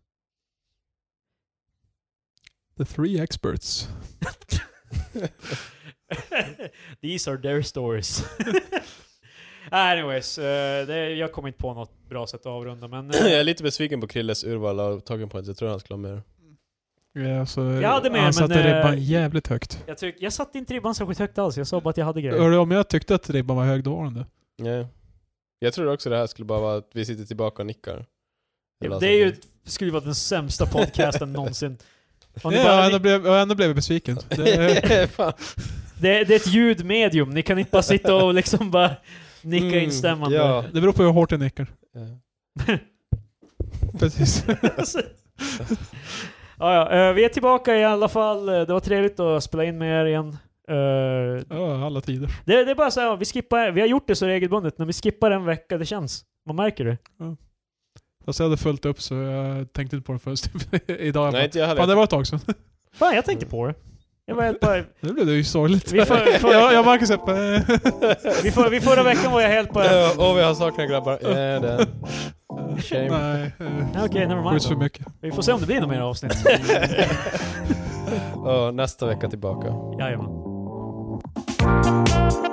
C: The three experts.
A: These are their stories. Anyways, eh, det, jag kommer inte på något bra sätt att avrunda men... eh,
B: jag är lite besviken på Krilles urval av talking points, jag tror han skulle ha mer.
C: Ja, så
A: Jag hade med,
C: han
A: men,
C: satte
A: eh,
C: ribban jävligt högt.
A: Jag, tyck, jag satte inte ribban särskilt högt alls, jag sa bara att jag hade grejer.
C: Hörde du, om jag tyckte att ribban var hög, då var den det.
B: Nej. Jag tror också det här skulle bara vara att vi sitter tillbaka och nickar. Eller
A: Det är ju,
B: någonting.
A: skulle vara den sämsta podcasten någonsin. Om ni
C: Ja,
A: bara-
C: och ändå blev, och ändå blev jag besviken. Det,
B: Fan.
A: Det, det är ett ljudmedium, ni kan inte bara sitta och liksom bara nicka
B: Mm,
A: instämmande.
B: Ja.
C: det beror på hur hårt jag nickar.
B: Ja.
C: Precis.
A: Ja, ja, eh, vi är tillbaka i alla fall, Eh, det var trevligt att spela in med er igen. Eh,
C: Ja, alla tider.
A: det, det är bara så här, vi skippar, vi har gjort det så regelbundet, när vi skippar en vecka, det känns. Man märker det.
C: Fast jag hade följt upp så jag tänkte inte på det förrän typ idag.
B: Nej, inte jag heller.
C: Fan, det var ett tag sedan.
A: Fan, jag tänkte på det. Jag var helt bara,
C: Nu blev det ju sorgligt.
A: vi för,
C: Jag, jag och
A: för,
C: Marcus upp.
A: vi för, vi förra veckan var jag helt bara...
B: Ja, Åh, vi har saknat grabbar. Ja, det. Shame.
C: Nej.
A: Ja,
C: eh,
A: Okej, never
C: Skjuts för
A: mind.
C: mycket.
A: Vi får se om det blir några mer avsnitt.
B: Åh, nästa vecka tillbaka.
A: Jajamän.